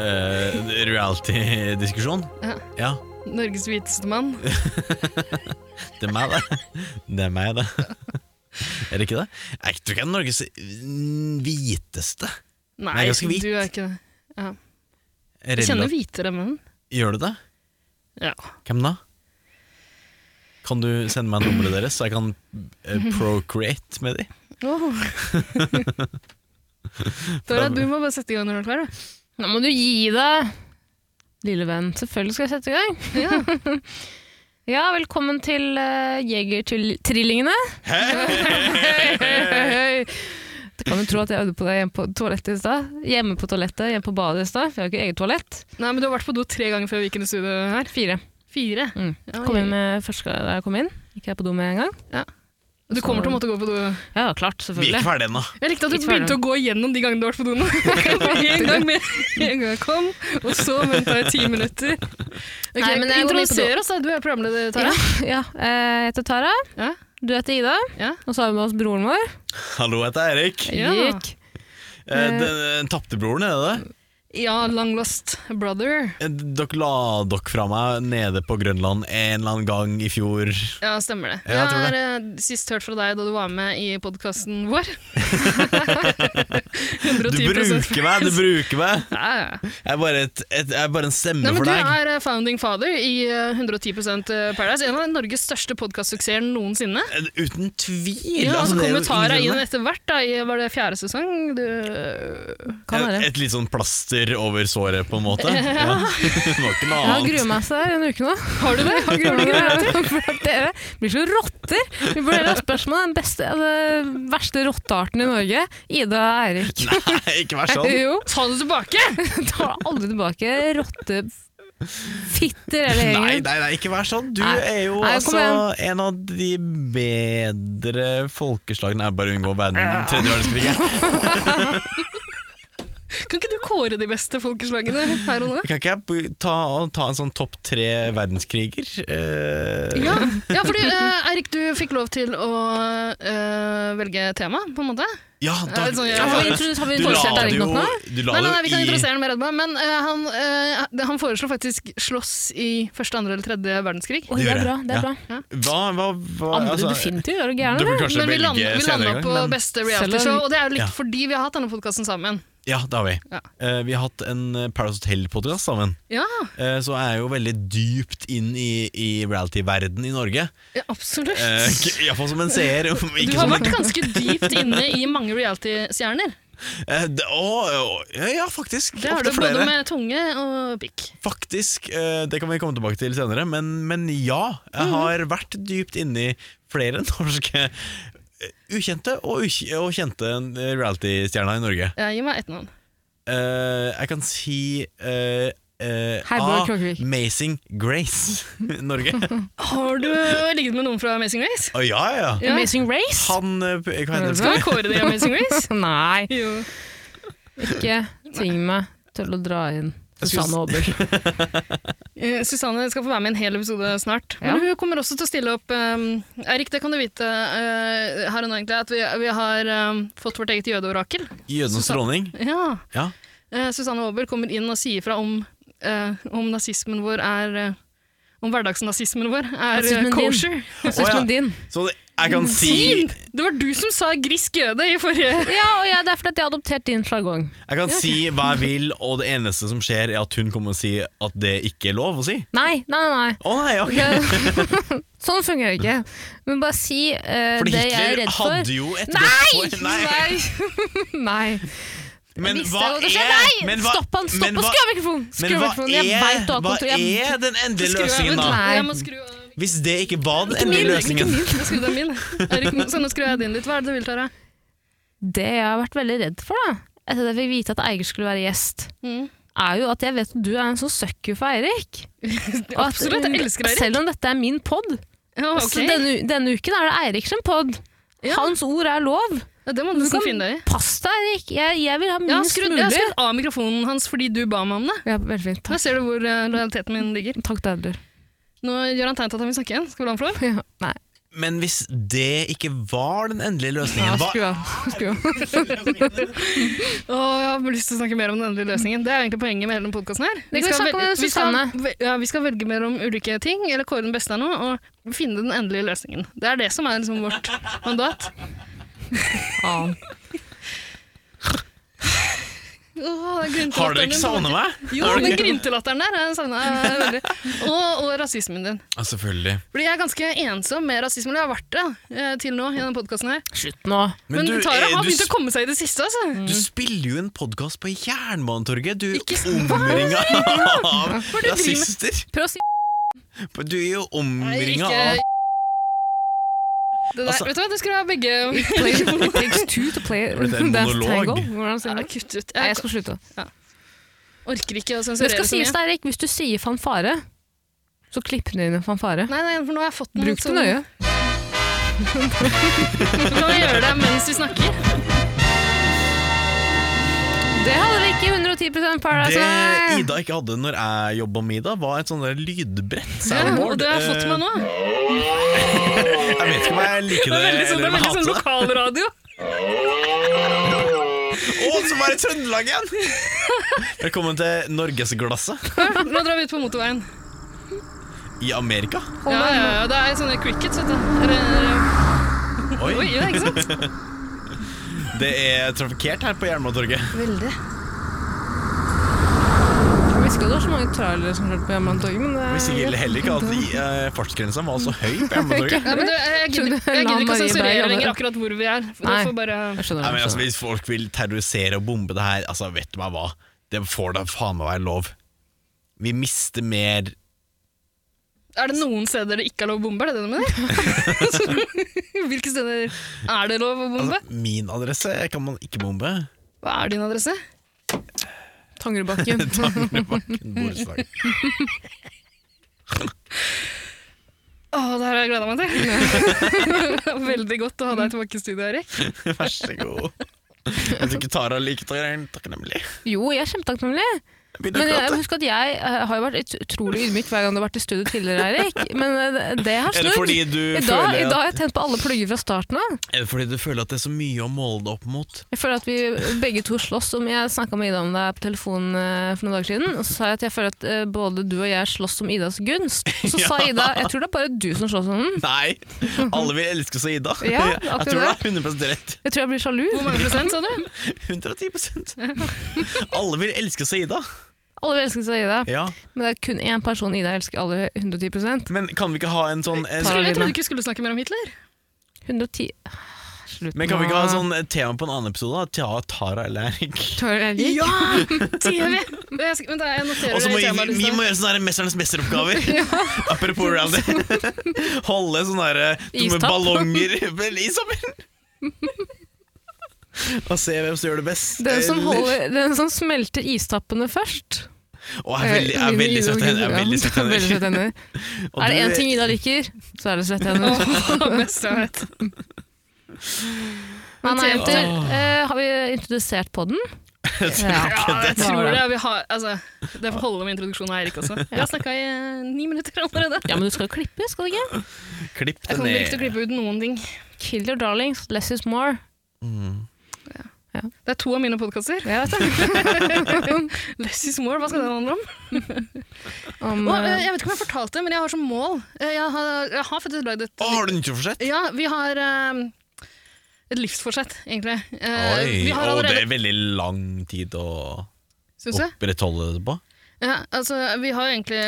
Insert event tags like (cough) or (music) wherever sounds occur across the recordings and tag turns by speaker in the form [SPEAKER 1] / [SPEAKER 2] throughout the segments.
[SPEAKER 1] eh, reality-diskusjon.
[SPEAKER 2] Ja.
[SPEAKER 1] Ja,
[SPEAKER 2] Norges hviteste mann.
[SPEAKER 1] det er meg, det. Det er meg, det. Er det ikke det? Jeg tror ikke jeg er Norges mm, hviteste.
[SPEAKER 2] (laughs) Nei,
[SPEAKER 1] ganske hvit.
[SPEAKER 2] du er ikke det. Ja. Jeg
[SPEAKER 1] Relat-
[SPEAKER 2] kjenner hvitere menn.
[SPEAKER 1] Gjør du det?
[SPEAKER 2] Ja.
[SPEAKER 1] Hvem da? Kan du sende meg nummeret deres, så jeg kan eh, procreate med dem?
[SPEAKER 2] Åh. (laughs) Dora, du må bare sette i gang når du er klar. da.
[SPEAKER 3] Nå må du gi deg, lille venn. Selvfølgelig skal jeg sette i gang.
[SPEAKER 2] Ja.
[SPEAKER 3] Ja, velkommen til uh, Jegertrillingene. (laughs) du kan jo tro at jeg øvde på det hjemme på toalettet i stad. Hjemme på toalettet, hjemme på badet i stad. For jeg har jo ikke eget toalett.
[SPEAKER 2] (laughs) Nei, men du har vært på do tre ganger før vi gikk inn i studio her.
[SPEAKER 3] Fire.
[SPEAKER 2] Fire.
[SPEAKER 3] Mm.
[SPEAKER 2] Ja,
[SPEAKER 3] Kom inn med første gang jeg kom inn. Gikk jeg på do med en gang?
[SPEAKER 2] Du kommer til å måtte gå på do.
[SPEAKER 3] Ja, klart,
[SPEAKER 1] Vi er
[SPEAKER 3] selvfølgelig.
[SPEAKER 1] ikke ferdige ennå.
[SPEAKER 2] Jeg likte at du
[SPEAKER 3] Ikke
[SPEAKER 2] begynte
[SPEAKER 3] ferdig.
[SPEAKER 2] å gå gjennom de gangene du har vært på (laughs) do nå. en gang med, (laughs) en gang jeg kom, og så venta jeg ti minutter. Ok,
[SPEAKER 3] Nei, men jeg går mye på
[SPEAKER 2] Introduser oss, da. Du er programleder, Tara.
[SPEAKER 3] Ja, eh, jeg heter Tara.
[SPEAKER 2] Ja.
[SPEAKER 3] Du heter Ida.
[SPEAKER 2] Ja.
[SPEAKER 3] Og så har vi med oss broren vår.
[SPEAKER 1] Hallo, jeg heter Erik.
[SPEAKER 2] Ja.
[SPEAKER 3] Erik.
[SPEAKER 1] Eh, Den, den tapte broren, er det det?
[SPEAKER 2] ja, long lost brother.
[SPEAKER 1] Eh, Dere la dere fra meg nede på Grønland en eller annen gang i fjor.
[SPEAKER 2] Ja, stemmer det.
[SPEAKER 1] Ja, jeg tror
[SPEAKER 2] har eh, sist hørt fra deg da du var med i podkasten
[SPEAKER 1] (laughs)
[SPEAKER 2] vår. (laughs)
[SPEAKER 1] Du
[SPEAKER 2] 110
[SPEAKER 1] bruker meg! du bruker meg
[SPEAKER 2] Ja, ja.
[SPEAKER 1] Jeg er bare, et, et, jeg er bare en stemme
[SPEAKER 2] Nei, men
[SPEAKER 1] for
[SPEAKER 2] Du
[SPEAKER 1] deg.
[SPEAKER 2] er eh, founding father i eh, 110 Paradise, en av Norges største podkastsuksesser noensinne.
[SPEAKER 1] Eh, Uten tvil! Altså,
[SPEAKER 2] Ja,
[SPEAKER 1] det
[SPEAKER 2] altså, og så
[SPEAKER 1] er
[SPEAKER 2] kommer
[SPEAKER 1] jo
[SPEAKER 2] Tara inn
[SPEAKER 1] innrømme.
[SPEAKER 2] etter hvert, da, i var det fjerde sesong? Du, eh,
[SPEAKER 1] Et,
[SPEAKER 3] Kan være.
[SPEAKER 1] et litt sånn plaster over såret, på en måte. Ja. (laughs) Det var ikke noe
[SPEAKER 3] Jeg har grua
[SPEAKER 1] annet.
[SPEAKER 3] meg seg en uke nå.
[SPEAKER 2] har du det?
[SPEAKER 3] Har du det? For at Dere blir så rotter. Vi burde ha spørsmål om den beste, den verste rottearten i Norge. Ida og Eirik.
[SPEAKER 1] (laughs) Nei, ikke vær sånn.
[SPEAKER 3] (laughs) Jo,
[SPEAKER 2] Ta det tilbake!
[SPEAKER 3] tar aldri tilbake rottefitter hele
[SPEAKER 1] Nei,
[SPEAKER 3] gjengen.
[SPEAKER 1] nei, nei, ikke vær sånn. Du
[SPEAKER 3] Nei.
[SPEAKER 1] er jo
[SPEAKER 3] Nei, kom
[SPEAKER 1] altså en av de bedre folkeslagene Jeg bare unngår verden tredje verdenskrig.
[SPEAKER 2] Kan ikke du kåre de beste folkeslagene her og nå?
[SPEAKER 1] Kan ikke jeg ta, ta en sånn topp tre verdenskriger? Eh,
[SPEAKER 2] Ja, ja fordi eh, Eirik, du fikk lov til å eh, velge tema, på en måte.
[SPEAKER 1] ja, da,
[SPEAKER 2] Ja, sånn, ja.
[SPEAKER 3] Ja, har vi introdus- Har vi
[SPEAKER 1] Du la
[SPEAKER 3] introdusert
[SPEAKER 1] det
[SPEAKER 3] Eirik
[SPEAKER 1] jo
[SPEAKER 3] nok nå?
[SPEAKER 1] du la
[SPEAKER 2] Nei, nei, nei,
[SPEAKER 1] det
[SPEAKER 2] vi kan
[SPEAKER 1] jo i-
[SPEAKER 2] introdusere ham med Redman, men eh, han, uh, han foreslo faktisk slåss i første, andre eller tredje verdenskrig.
[SPEAKER 1] Det
[SPEAKER 3] Oi, det
[SPEAKER 1] gjør
[SPEAKER 3] er
[SPEAKER 1] jeg.
[SPEAKER 3] bra. det
[SPEAKER 1] Ja.
[SPEAKER 3] er bra.
[SPEAKER 1] Hva, hva, hva
[SPEAKER 3] Andre
[SPEAKER 1] altså,
[SPEAKER 3] definitivt, er du
[SPEAKER 1] Du
[SPEAKER 3] gæren?
[SPEAKER 1] kan
[SPEAKER 3] eller?
[SPEAKER 1] kanskje
[SPEAKER 2] Men vi,
[SPEAKER 1] velge
[SPEAKER 2] land, vi
[SPEAKER 1] senere
[SPEAKER 2] landa
[SPEAKER 1] en
[SPEAKER 2] på
[SPEAKER 1] gang. men-
[SPEAKER 2] beste
[SPEAKER 3] Selv
[SPEAKER 2] realityshow,
[SPEAKER 3] om-
[SPEAKER 2] og det er jo litt
[SPEAKER 1] Ja.
[SPEAKER 2] fordi vi har hatt denne podkasten sammen.
[SPEAKER 1] Ja, det har vi.
[SPEAKER 2] Ja.
[SPEAKER 1] Eh, vi har hatt en eh, Paradise Hotel-podkast sammen.
[SPEAKER 2] Ja,
[SPEAKER 1] Eh, så jeg er jo veldig dypt inn i, i reality-verden i Norge.
[SPEAKER 2] ja absolutt.
[SPEAKER 1] Eh, k- Iallfall som en seer. om
[SPEAKER 2] (laughs) du
[SPEAKER 1] Ikke
[SPEAKER 2] har
[SPEAKER 1] som
[SPEAKER 2] vært ganske dypt inne i mange reality-stjerner.
[SPEAKER 1] Eh, det- å, å, ja, ja, faktisk.
[SPEAKER 2] Det har du
[SPEAKER 1] Ofte
[SPEAKER 2] både
[SPEAKER 1] flere.
[SPEAKER 2] med tunge og pikk.
[SPEAKER 1] Faktisk. eh, det kan vi komme tilbake til senere. Men, men ja, jeg
[SPEAKER 2] Mhm.
[SPEAKER 1] har vært dypt inni flere (laughs) norske eh, ukjente og, ukj- og kjente eh, reality-stjerner i Norge.
[SPEAKER 2] Ja, gi meg ett navn.
[SPEAKER 1] Eh, jeg kan si eh, eh,
[SPEAKER 3] Hei, Bård
[SPEAKER 1] A.
[SPEAKER 3] Klokevik.
[SPEAKER 1] Amazing Grace (laughs) Norge.
[SPEAKER 2] Har du ligget med noen fra Amazing Race?
[SPEAKER 1] Å ja, ja.
[SPEAKER 2] Ja.
[SPEAKER 3] Amazing Race?
[SPEAKER 1] Han eh, Hva heter
[SPEAKER 3] Skal
[SPEAKER 1] det?
[SPEAKER 2] Skal vi kåre det i Amazing
[SPEAKER 1] (laughs)
[SPEAKER 2] Race?
[SPEAKER 3] Nei,
[SPEAKER 2] Jo.
[SPEAKER 3] ikke tving meg til å dra inn
[SPEAKER 1] Jeg skulle-
[SPEAKER 3] Susanne Aabel.
[SPEAKER 1] (laughs)
[SPEAKER 2] Eh, Susanne skal få være med i en hel episode snart. Men
[SPEAKER 3] Ja.
[SPEAKER 2] hun kommer også til å stille opp. Um, Erik, det kan du vite eh, her og nå, egentlig, at vi, vi har eh, fått vårt eget jødeorakel.
[SPEAKER 1] Jødenes dronning.
[SPEAKER 2] Ja.
[SPEAKER 1] Ja.
[SPEAKER 2] Eh, Susanne Aabel kommer inn og sier fra om, eh, om nazismen vår er eh, Om hverdagsnazismen vår er eh,
[SPEAKER 3] Nazismen din.
[SPEAKER 2] kosher.
[SPEAKER 3] Sånn
[SPEAKER 1] Å, ja.
[SPEAKER 3] som din.
[SPEAKER 1] Så det, jeg kan si
[SPEAKER 2] Fin! Det var du som sa grisk jøde i forrige
[SPEAKER 3] Ja, og jeg, det er fordi at jeg har adoptert din sjargong.
[SPEAKER 1] Jeg kan si hva jeg vil, og det eneste som skjer, er at hun kommer og sier at det ikke er lov å si.
[SPEAKER 3] Nei, nei, nei. nei.
[SPEAKER 1] Å nei, ok
[SPEAKER 3] Det- (laughs) sånn fungerer det ikke. Men bare si eh,
[SPEAKER 1] For
[SPEAKER 3] det jeg er
[SPEAKER 1] Hitler
[SPEAKER 3] redd for.
[SPEAKER 1] hadde jo et
[SPEAKER 3] Nei!
[SPEAKER 1] dødsår-
[SPEAKER 3] Nei! (laughs) nei.
[SPEAKER 1] Men
[SPEAKER 3] Visste
[SPEAKER 1] hva
[SPEAKER 3] jeg hva det skjedde?
[SPEAKER 1] er
[SPEAKER 3] Nei!
[SPEAKER 1] men hva-
[SPEAKER 3] Stopp han, stopp
[SPEAKER 1] men
[SPEAKER 3] han!
[SPEAKER 1] hva-
[SPEAKER 3] Skru av mikrofonen! Skru
[SPEAKER 1] Men
[SPEAKER 3] av
[SPEAKER 1] hva
[SPEAKER 3] mikrofonen! Jeg
[SPEAKER 1] er,
[SPEAKER 3] veit du har
[SPEAKER 1] hva
[SPEAKER 3] kontroll. Jeg-
[SPEAKER 1] er den endelige
[SPEAKER 2] Skru av,
[SPEAKER 1] løsningen,
[SPEAKER 2] vent,
[SPEAKER 1] da?
[SPEAKER 3] Nei.
[SPEAKER 2] Jeg må skru av.
[SPEAKER 1] Hvis det ikke var den
[SPEAKER 2] Min,
[SPEAKER 1] endelige
[SPEAKER 2] ikke
[SPEAKER 1] løsningen
[SPEAKER 2] min. Jeg skrudde av min. Erik, så nå skrur jeg din litt. Hva er det du vil, Tara?
[SPEAKER 3] Det jeg har vært veldig redd for, da, etter at jeg fikk vite at Eiger skulle være gjest,
[SPEAKER 2] Mm.
[SPEAKER 3] er jo at jeg vet at du er en sånn sucker for Eirik. Og at-
[SPEAKER 2] Absolutt, jeg elsker Eirik.
[SPEAKER 3] Selv om dette er min pod.
[SPEAKER 2] Ja, ok.
[SPEAKER 3] Så denne, denne uken er det Eirik sin pod.
[SPEAKER 2] Ja.
[SPEAKER 3] Hans ord er lov.
[SPEAKER 2] ja, det må
[SPEAKER 3] Du
[SPEAKER 2] du
[SPEAKER 3] kan-
[SPEAKER 2] finne deg i.
[SPEAKER 3] Pass deg, Eirik. Jeg, jeg vil ha
[SPEAKER 2] Jeg har
[SPEAKER 3] minst
[SPEAKER 2] skrudd, jeg har
[SPEAKER 3] mulig.
[SPEAKER 2] skrudd av mikrofonen hans fordi du ba meg om det.
[SPEAKER 3] Ja, veldig fint.
[SPEAKER 2] Der
[SPEAKER 3] Takk,
[SPEAKER 2] ser du hvor eh, lojaliteten min ligger.
[SPEAKER 3] Takk
[SPEAKER 2] (laughs)
[SPEAKER 3] Dadler.
[SPEAKER 2] Nå gjør han tegn til at han vil snakke igjen. Skal vi la han få lov?
[SPEAKER 3] Ja, nei.
[SPEAKER 1] Men hvis det ikke var den endelige
[SPEAKER 3] Ja,
[SPEAKER 1] løsningen, hva
[SPEAKER 3] skru av. Skru av.
[SPEAKER 2] Å, jeg har lyst til å snakke mer om den endelige løsningen. Det er egentlig poenget med hele denne podkasten her.
[SPEAKER 3] Det kan vi snakke om
[SPEAKER 2] vel-
[SPEAKER 3] i
[SPEAKER 2] vi, skal, ve- ja, vi skal velge mellom ulike ting, eller kåre den beste av noe, og finne den endelige løsningen. Det er det som er liksom vårt mandat.
[SPEAKER 3] Ja.
[SPEAKER 2] Åh,
[SPEAKER 1] Har dere ikke savna meg?
[SPEAKER 2] Jo, den gryntelatteren der har jeg savna veldig. Og, og rasismen din.
[SPEAKER 1] Ja, selvfølgelig.
[SPEAKER 2] Fordi jeg er ganske ensom med rasisme, eller jeg har vært det da, eh, til nå i denne podkasten her.
[SPEAKER 3] Slutt nå.
[SPEAKER 2] Men,
[SPEAKER 1] du,
[SPEAKER 2] Tara
[SPEAKER 1] eh,
[SPEAKER 2] har
[SPEAKER 1] du
[SPEAKER 2] begynt
[SPEAKER 1] sp-
[SPEAKER 2] å komme seg i det siste, altså.
[SPEAKER 1] Du spiller jo en podkast på Jernbanetorget. Du
[SPEAKER 2] Ikke s-
[SPEAKER 1] omringa av
[SPEAKER 2] du driver med?
[SPEAKER 1] rasister.
[SPEAKER 3] Prøv å si
[SPEAKER 1] Du er jo omringa
[SPEAKER 2] Nei,
[SPEAKER 1] av
[SPEAKER 2] ikke- Det der,
[SPEAKER 1] Altså-
[SPEAKER 2] vet du hva, det skulle være begge (laughs)
[SPEAKER 3] play, It takes two to play
[SPEAKER 1] Ble det en
[SPEAKER 3] that
[SPEAKER 1] monolog?
[SPEAKER 3] tango. Hvordan sier
[SPEAKER 2] Ja,
[SPEAKER 3] man?
[SPEAKER 2] Kutt ut.
[SPEAKER 3] Nei, jeg
[SPEAKER 2] Jeg
[SPEAKER 3] skal slutte.
[SPEAKER 2] orker ikke å
[SPEAKER 3] Det
[SPEAKER 2] sensurere
[SPEAKER 3] skal
[SPEAKER 2] så
[SPEAKER 3] sies
[SPEAKER 2] mye.
[SPEAKER 3] deg, Eirik, hvis du sier fanfare, så klipp ned inn en fanfare.
[SPEAKER 2] Nei, nei, for nå har jeg fått noen
[SPEAKER 3] Bruk det
[SPEAKER 2] sånn-
[SPEAKER 3] nøye.
[SPEAKER 2] Så kan vi gjøre det mens vi snakker.
[SPEAKER 3] Det hadde vi ikke i 110 Paradise
[SPEAKER 1] Det
[SPEAKER 2] altså.
[SPEAKER 3] Hotel.
[SPEAKER 1] Ida ikke hadde når jeg jobba med Ida, var et sånn der lydbrett.
[SPEAKER 2] Ja, og
[SPEAKER 1] soundboard.
[SPEAKER 2] det har jeg fått
[SPEAKER 1] Eh,
[SPEAKER 2] meg nå.
[SPEAKER 1] Jeg vet ikke om jeg liker det,
[SPEAKER 2] Det er veldig sånn,
[SPEAKER 1] eller
[SPEAKER 2] det er
[SPEAKER 1] om jeg
[SPEAKER 2] veldig sånn
[SPEAKER 1] hater det.
[SPEAKER 2] lokalradio.
[SPEAKER 1] Å, så var det Trøndelag igjen! Velkommen til Norgesglasset
[SPEAKER 2] Nå drar vi ut på motorveien.
[SPEAKER 1] i Amerika.
[SPEAKER 2] Ja, ja, ja, det er sånne crickets, vet du. Eller, eller-
[SPEAKER 1] Oi,
[SPEAKER 2] Oi, ja, ikke sant?
[SPEAKER 1] Det er trafikkert her på Jernbanetorget.
[SPEAKER 2] Veldig.
[SPEAKER 3] Jeg visste ikke at det var så mange trailere som kjørte på Hjemmelandstorget, men
[SPEAKER 1] Hvis
[SPEAKER 3] det
[SPEAKER 1] ikke heller ikke at eh, fartsgrensa var så
[SPEAKER 3] (laughs)
[SPEAKER 1] høy på Jernbanetorget.
[SPEAKER 2] Ja, men du, jeg gidder, jeg gidder ikke å sensurere lenger akkurat hvor vi er. For
[SPEAKER 3] Nei.
[SPEAKER 2] da får bare...
[SPEAKER 3] Jeg skjønner.
[SPEAKER 1] Nei, men
[SPEAKER 3] jeg
[SPEAKER 1] altså,
[SPEAKER 3] skjønner.
[SPEAKER 1] Hvis folk vil terrorisere og bombe det her, altså, vet du meg hva? Det får da faen meg være lov. Vi mister mer
[SPEAKER 2] Er det noen steder det ikke er lov å bombe, er det det du mener? (laughs) Hvilke steder er det lov å bombe?
[SPEAKER 1] altså, Min adresse kan man ikke bombe. (laughs)
[SPEAKER 2] Hva er din adresse?
[SPEAKER 1] (laughs)
[SPEAKER 3] Tangerudbakken.
[SPEAKER 1] Tangerudbakken borettslag.
[SPEAKER 2] Å, det her har jeg gleda meg til. (laughs) Veldig godt å ha deg tilbake i studio, Erik.
[SPEAKER 1] Vær så god. Jeg tror ikke Tara liker Tangerud, takknemlig.
[SPEAKER 3] Jo, jeg er kjempetakknemlig.
[SPEAKER 1] Jeg begynner
[SPEAKER 3] Men
[SPEAKER 1] å
[SPEAKER 3] jeg
[SPEAKER 1] gråte.
[SPEAKER 3] husker at jeg eh, har jo vært ut- utrolig ydmyk hver gang du har vært i studio tidligere, Eirik.
[SPEAKER 1] (laughs)
[SPEAKER 3] Men eh, det har
[SPEAKER 1] Er det
[SPEAKER 3] snudd.
[SPEAKER 1] fordi du
[SPEAKER 3] I dag,
[SPEAKER 1] føler
[SPEAKER 3] I
[SPEAKER 1] at
[SPEAKER 3] dag har jeg tent på alle plugger fra starten av.
[SPEAKER 1] Er det fordi du føler at det er så mye å måle det opp mot?
[SPEAKER 3] (laughs) Jeg føler at vi begge to slåss om Jeg snakka med Ida om det på telefonen eh, for noen dager siden. Og så sa jeg at jeg føler at eh, både du og jeg slåss om Idas gunst.
[SPEAKER 1] (laughs)
[SPEAKER 3] Og så sa
[SPEAKER 1] Ja.
[SPEAKER 3] Ida jeg tror det er bare du som slåss om den.
[SPEAKER 1] Nei! Alle vil elske oss og Ida.
[SPEAKER 3] Ja,
[SPEAKER 1] (laughs) jeg
[SPEAKER 3] akkurat
[SPEAKER 1] tror du har 100 rett.
[SPEAKER 3] Jeg tror jeg blir sjalu.
[SPEAKER 2] Hvor mange prosent, sa du? (laughs)
[SPEAKER 1] 110 Alle vil elske oss og Ida.
[SPEAKER 3] Alle vil elske seg Ida,
[SPEAKER 1] Ja.
[SPEAKER 3] men det er kun én person Ida elsker alle 110
[SPEAKER 1] Men kan vi ikke ha en sånn en,
[SPEAKER 3] Tar-
[SPEAKER 2] Skulle, jeg trodde du ikke skulle snakke mer om Hitler.
[SPEAKER 3] 110 Slutt
[SPEAKER 1] Men kan vi ikke ha en sånn tema på en annen episode? da? Ta Tara eller Erik?
[SPEAKER 3] sånn
[SPEAKER 2] Ja! Det gjør vi! Jeg skal- Vent, da, jeg noterer
[SPEAKER 1] Og så
[SPEAKER 2] det
[SPEAKER 1] Altså, må
[SPEAKER 2] liksom.
[SPEAKER 1] vi,
[SPEAKER 2] i
[SPEAKER 1] vi
[SPEAKER 2] temalista.
[SPEAKER 1] må gjøre sånne her Mesternes mesteroppgaver.
[SPEAKER 2] (laughs)
[SPEAKER 1] (laughs) Apropos reality. (laughs) Holde sånne her eh, dumme
[SPEAKER 3] Istapp.
[SPEAKER 1] ballonger (laughs) vel, i sommer.
[SPEAKER 2] (laughs)
[SPEAKER 1] Og se hvem som gjør det best.
[SPEAKER 3] Den som,
[SPEAKER 1] Eller-
[SPEAKER 3] holder, den som smelter istappene først.
[SPEAKER 1] Å, jeg er veldig, jeg er
[SPEAKER 3] Mine
[SPEAKER 1] veldig søt
[SPEAKER 3] Ida-
[SPEAKER 1] henne. Jeg er veldig søt
[SPEAKER 3] Ja, (laughs)
[SPEAKER 1] henne.
[SPEAKER 3] veldig søt hender.
[SPEAKER 1] (laughs) Og
[SPEAKER 3] Er det
[SPEAKER 1] du- eh,
[SPEAKER 3] én ting Ida liker, så er det svette hender.
[SPEAKER 2] Åh, (laughs) best jeg vet.
[SPEAKER 3] Nei, nei,
[SPEAKER 2] Åh.
[SPEAKER 3] jenter, eh, har vi introdusert
[SPEAKER 1] (laughs)
[SPEAKER 3] podden? Ja.
[SPEAKER 2] Ja, jeg
[SPEAKER 3] det var
[SPEAKER 2] tror
[SPEAKER 3] det.
[SPEAKER 2] det. Vi har, altså, det får holde med introduksjonen av Eirik også. Vi har snakka i eh, ni minutter allerede.
[SPEAKER 3] ja, men du skal jo klippe, skal du ikke?
[SPEAKER 1] Klipp
[SPEAKER 2] Jeg
[SPEAKER 1] den
[SPEAKER 2] kommer ikke til å
[SPEAKER 1] ned.
[SPEAKER 2] klippe ut noen ting.
[SPEAKER 3] Kill your darlings, less is more.
[SPEAKER 1] Mm.
[SPEAKER 2] Det er to av mine podkaster.
[SPEAKER 3] Jeg vet det.
[SPEAKER 2] (laughs) Less is more, hva skal det handle om?
[SPEAKER 3] Om,
[SPEAKER 2] Og, eh,
[SPEAKER 3] eh,
[SPEAKER 2] jeg vet ikke om jeg fortalte det, men jeg har som mål eh, Jeg har, jeg har faktisk lagd et
[SPEAKER 1] Å, har du nyttårsforsett?
[SPEAKER 2] Ja, vi har eh, et livsforsett, egentlig. Eh,
[SPEAKER 1] Oi,
[SPEAKER 2] vi har
[SPEAKER 1] og det
[SPEAKER 2] allerede
[SPEAKER 1] er veldig lang tid å
[SPEAKER 2] Syns du?
[SPEAKER 1] opprettholde det på.
[SPEAKER 2] Ja, altså, vi har egentlig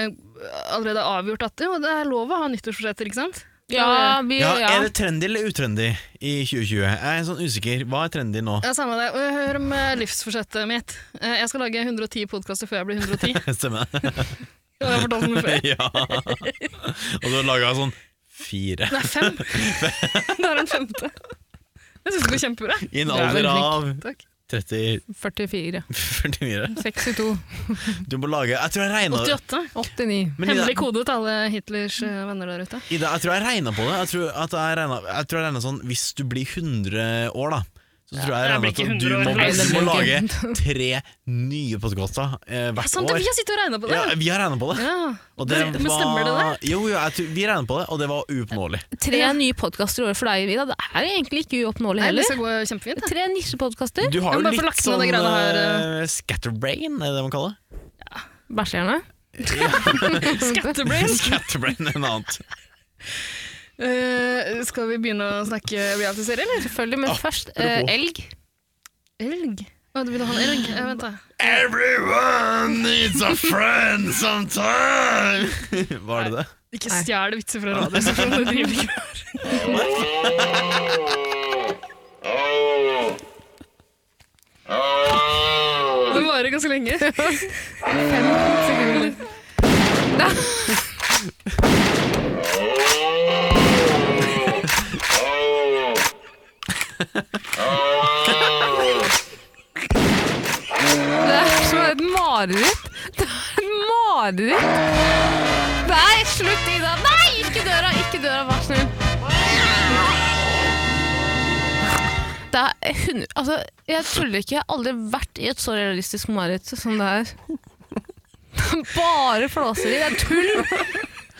[SPEAKER 2] allerede avgjort at jo, det er lov å ha nyttårsforsetter, ikke sant?
[SPEAKER 3] ja, vi,
[SPEAKER 1] Ja,
[SPEAKER 3] ja.
[SPEAKER 1] Er det trendy eller utrendy i 2020? Jeg er sånn usikker. Hva er trendy nå?
[SPEAKER 2] Ja, samme det. Og jeg hører om eh, livsforsettet mitt. Eh, Jeg skal lage 110 podkaster før jeg blir 110.
[SPEAKER 1] (laughs) Stemmer det?
[SPEAKER 2] Det har jeg fortalt om det før.
[SPEAKER 1] Ja. Og du har laga sånn fire.
[SPEAKER 2] Det er
[SPEAKER 1] (laughs)
[SPEAKER 2] fem. Det er en femte. Jeg syns det går kjempebra.
[SPEAKER 1] I en
[SPEAKER 3] er
[SPEAKER 1] alder
[SPEAKER 3] veldig
[SPEAKER 1] av
[SPEAKER 2] Takk.
[SPEAKER 1] 30
[SPEAKER 3] 44.
[SPEAKER 1] 44.
[SPEAKER 3] 62.
[SPEAKER 1] Du må lage Jeg tror jeg regna
[SPEAKER 2] 88.
[SPEAKER 3] 89.
[SPEAKER 1] Men Ida-
[SPEAKER 2] Hemmelig kode til alle Hitlers eh, venner der ute.
[SPEAKER 1] Ida, jeg tror jeg regna på det. Jeg tror, at jeg regnet, jeg tror jeg regnet sånn Hvis du blir 100 år, da så tror jeg jeg
[SPEAKER 2] jeg
[SPEAKER 1] regnet
[SPEAKER 2] blir
[SPEAKER 1] at
[SPEAKER 2] ikke
[SPEAKER 1] du
[SPEAKER 2] 100 år,
[SPEAKER 1] må,
[SPEAKER 2] nei, det
[SPEAKER 1] du må
[SPEAKER 3] blir
[SPEAKER 1] lage
[SPEAKER 3] jeg
[SPEAKER 1] tre nye podkaster eh, hvert
[SPEAKER 2] Sant, det,
[SPEAKER 1] år.
[SPEAKER 2] vi har sittet og regna på det!
[SPEAKER 1] Ja, vi har regna på det.
[SPEAKER 2] Ja.
[SPEAKER 1] Og
[SPEAKER 2] Men- men stemmer det
[SPEAKER 1] var- Jo, jo, jeg tror, vi regna på det, og det var uoppnåelig.
[SPEAKER 3] Tre nye podkaster i året for deg, Vida. Det er jo egentlig ikke uoppnåelig
[SPEAKER 2] Nei, det
[SPEAKER 3] heller.
[SPEAKER 2] skal gå kjempefint. det.
[SPEAKER 3] Tre nisjepodkaster.
[SPEAKER 1] Du har
[SPEAKER 2] Mm. Jeg må
[SPEAKER 1] jo
[SPEAKER 2] bare få
[SPEAKER 1] litt
[SPEAKER 2] lagt ned
[SPEAKER 1] sånn
[SPEAKER 2] det greiene her,
[SPEAKER 1] eh, scatterbrain, er det det man kaller det?
[SPEAKER 2] (laughs)
[SPEAKER 3] Bæsjerne.
[SPEAKER 2] Scatterbrain!
[SPEAKER 1] Scatterbrain er noe annet.
[SPEAKER 2] Eh, skal vi begynne å snakke reality-serie, eller?
[SPEAKER 3] (laughs) Selvfølgelig, men
[SPEAKER 1] Ah,
[SPEAKER 3] først eh,
[SPEAKER 1] apropos.
[SPEAKER 3] elg.
[SPEAKER 2] Elg? Å, du vil ha en elg? Eh, vent, da.
[SPEAKER 1] Everyone needs a friend sometime! (laughs) Var det det?
[SPEAKER 2] Ikke
[SPEAKER 3] Nei.
[SPEAKER 2] stjel vitser fra radiostasjonen. det driver ikke. Det varer ganske lenge. Fem sekunder.
[SPEAKER 3] Det er som et mareritt. Det er et mareritt. Nei, slutt, Ida. Nei, ikke døra, ikke døra, vær snill. Det er hund... Altså, jeg tuller ikke. Jeg har aldri vært i et så realistisk mareritt som det her. Bare flåseri. Det er tull.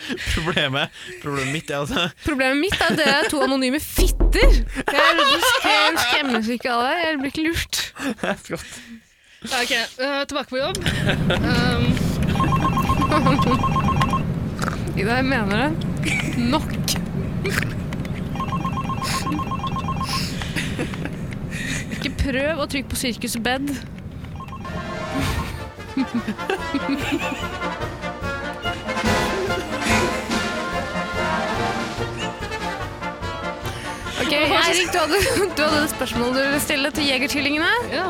[SPEAKER 1] Problemet, problemet mitt er altså- at
[SPEAKER 3] Problemet mitt er at dere er to anonyme fitter. Jeg skremmer skremmes ikke av det. Jeg blir ikke lurt.
[SPEAKER 2] Ja, ok, eh, tilbake på jobb. Um,
[SPEAKER 3] Ida, jeg mener det. Nok. Ikke prøv å trykke på Sirkus Bed. Ok, Eirik, du hadde, du hadde et spørsmål du ville stille til Jegertvillingene.
[SPEAKER 2] ja.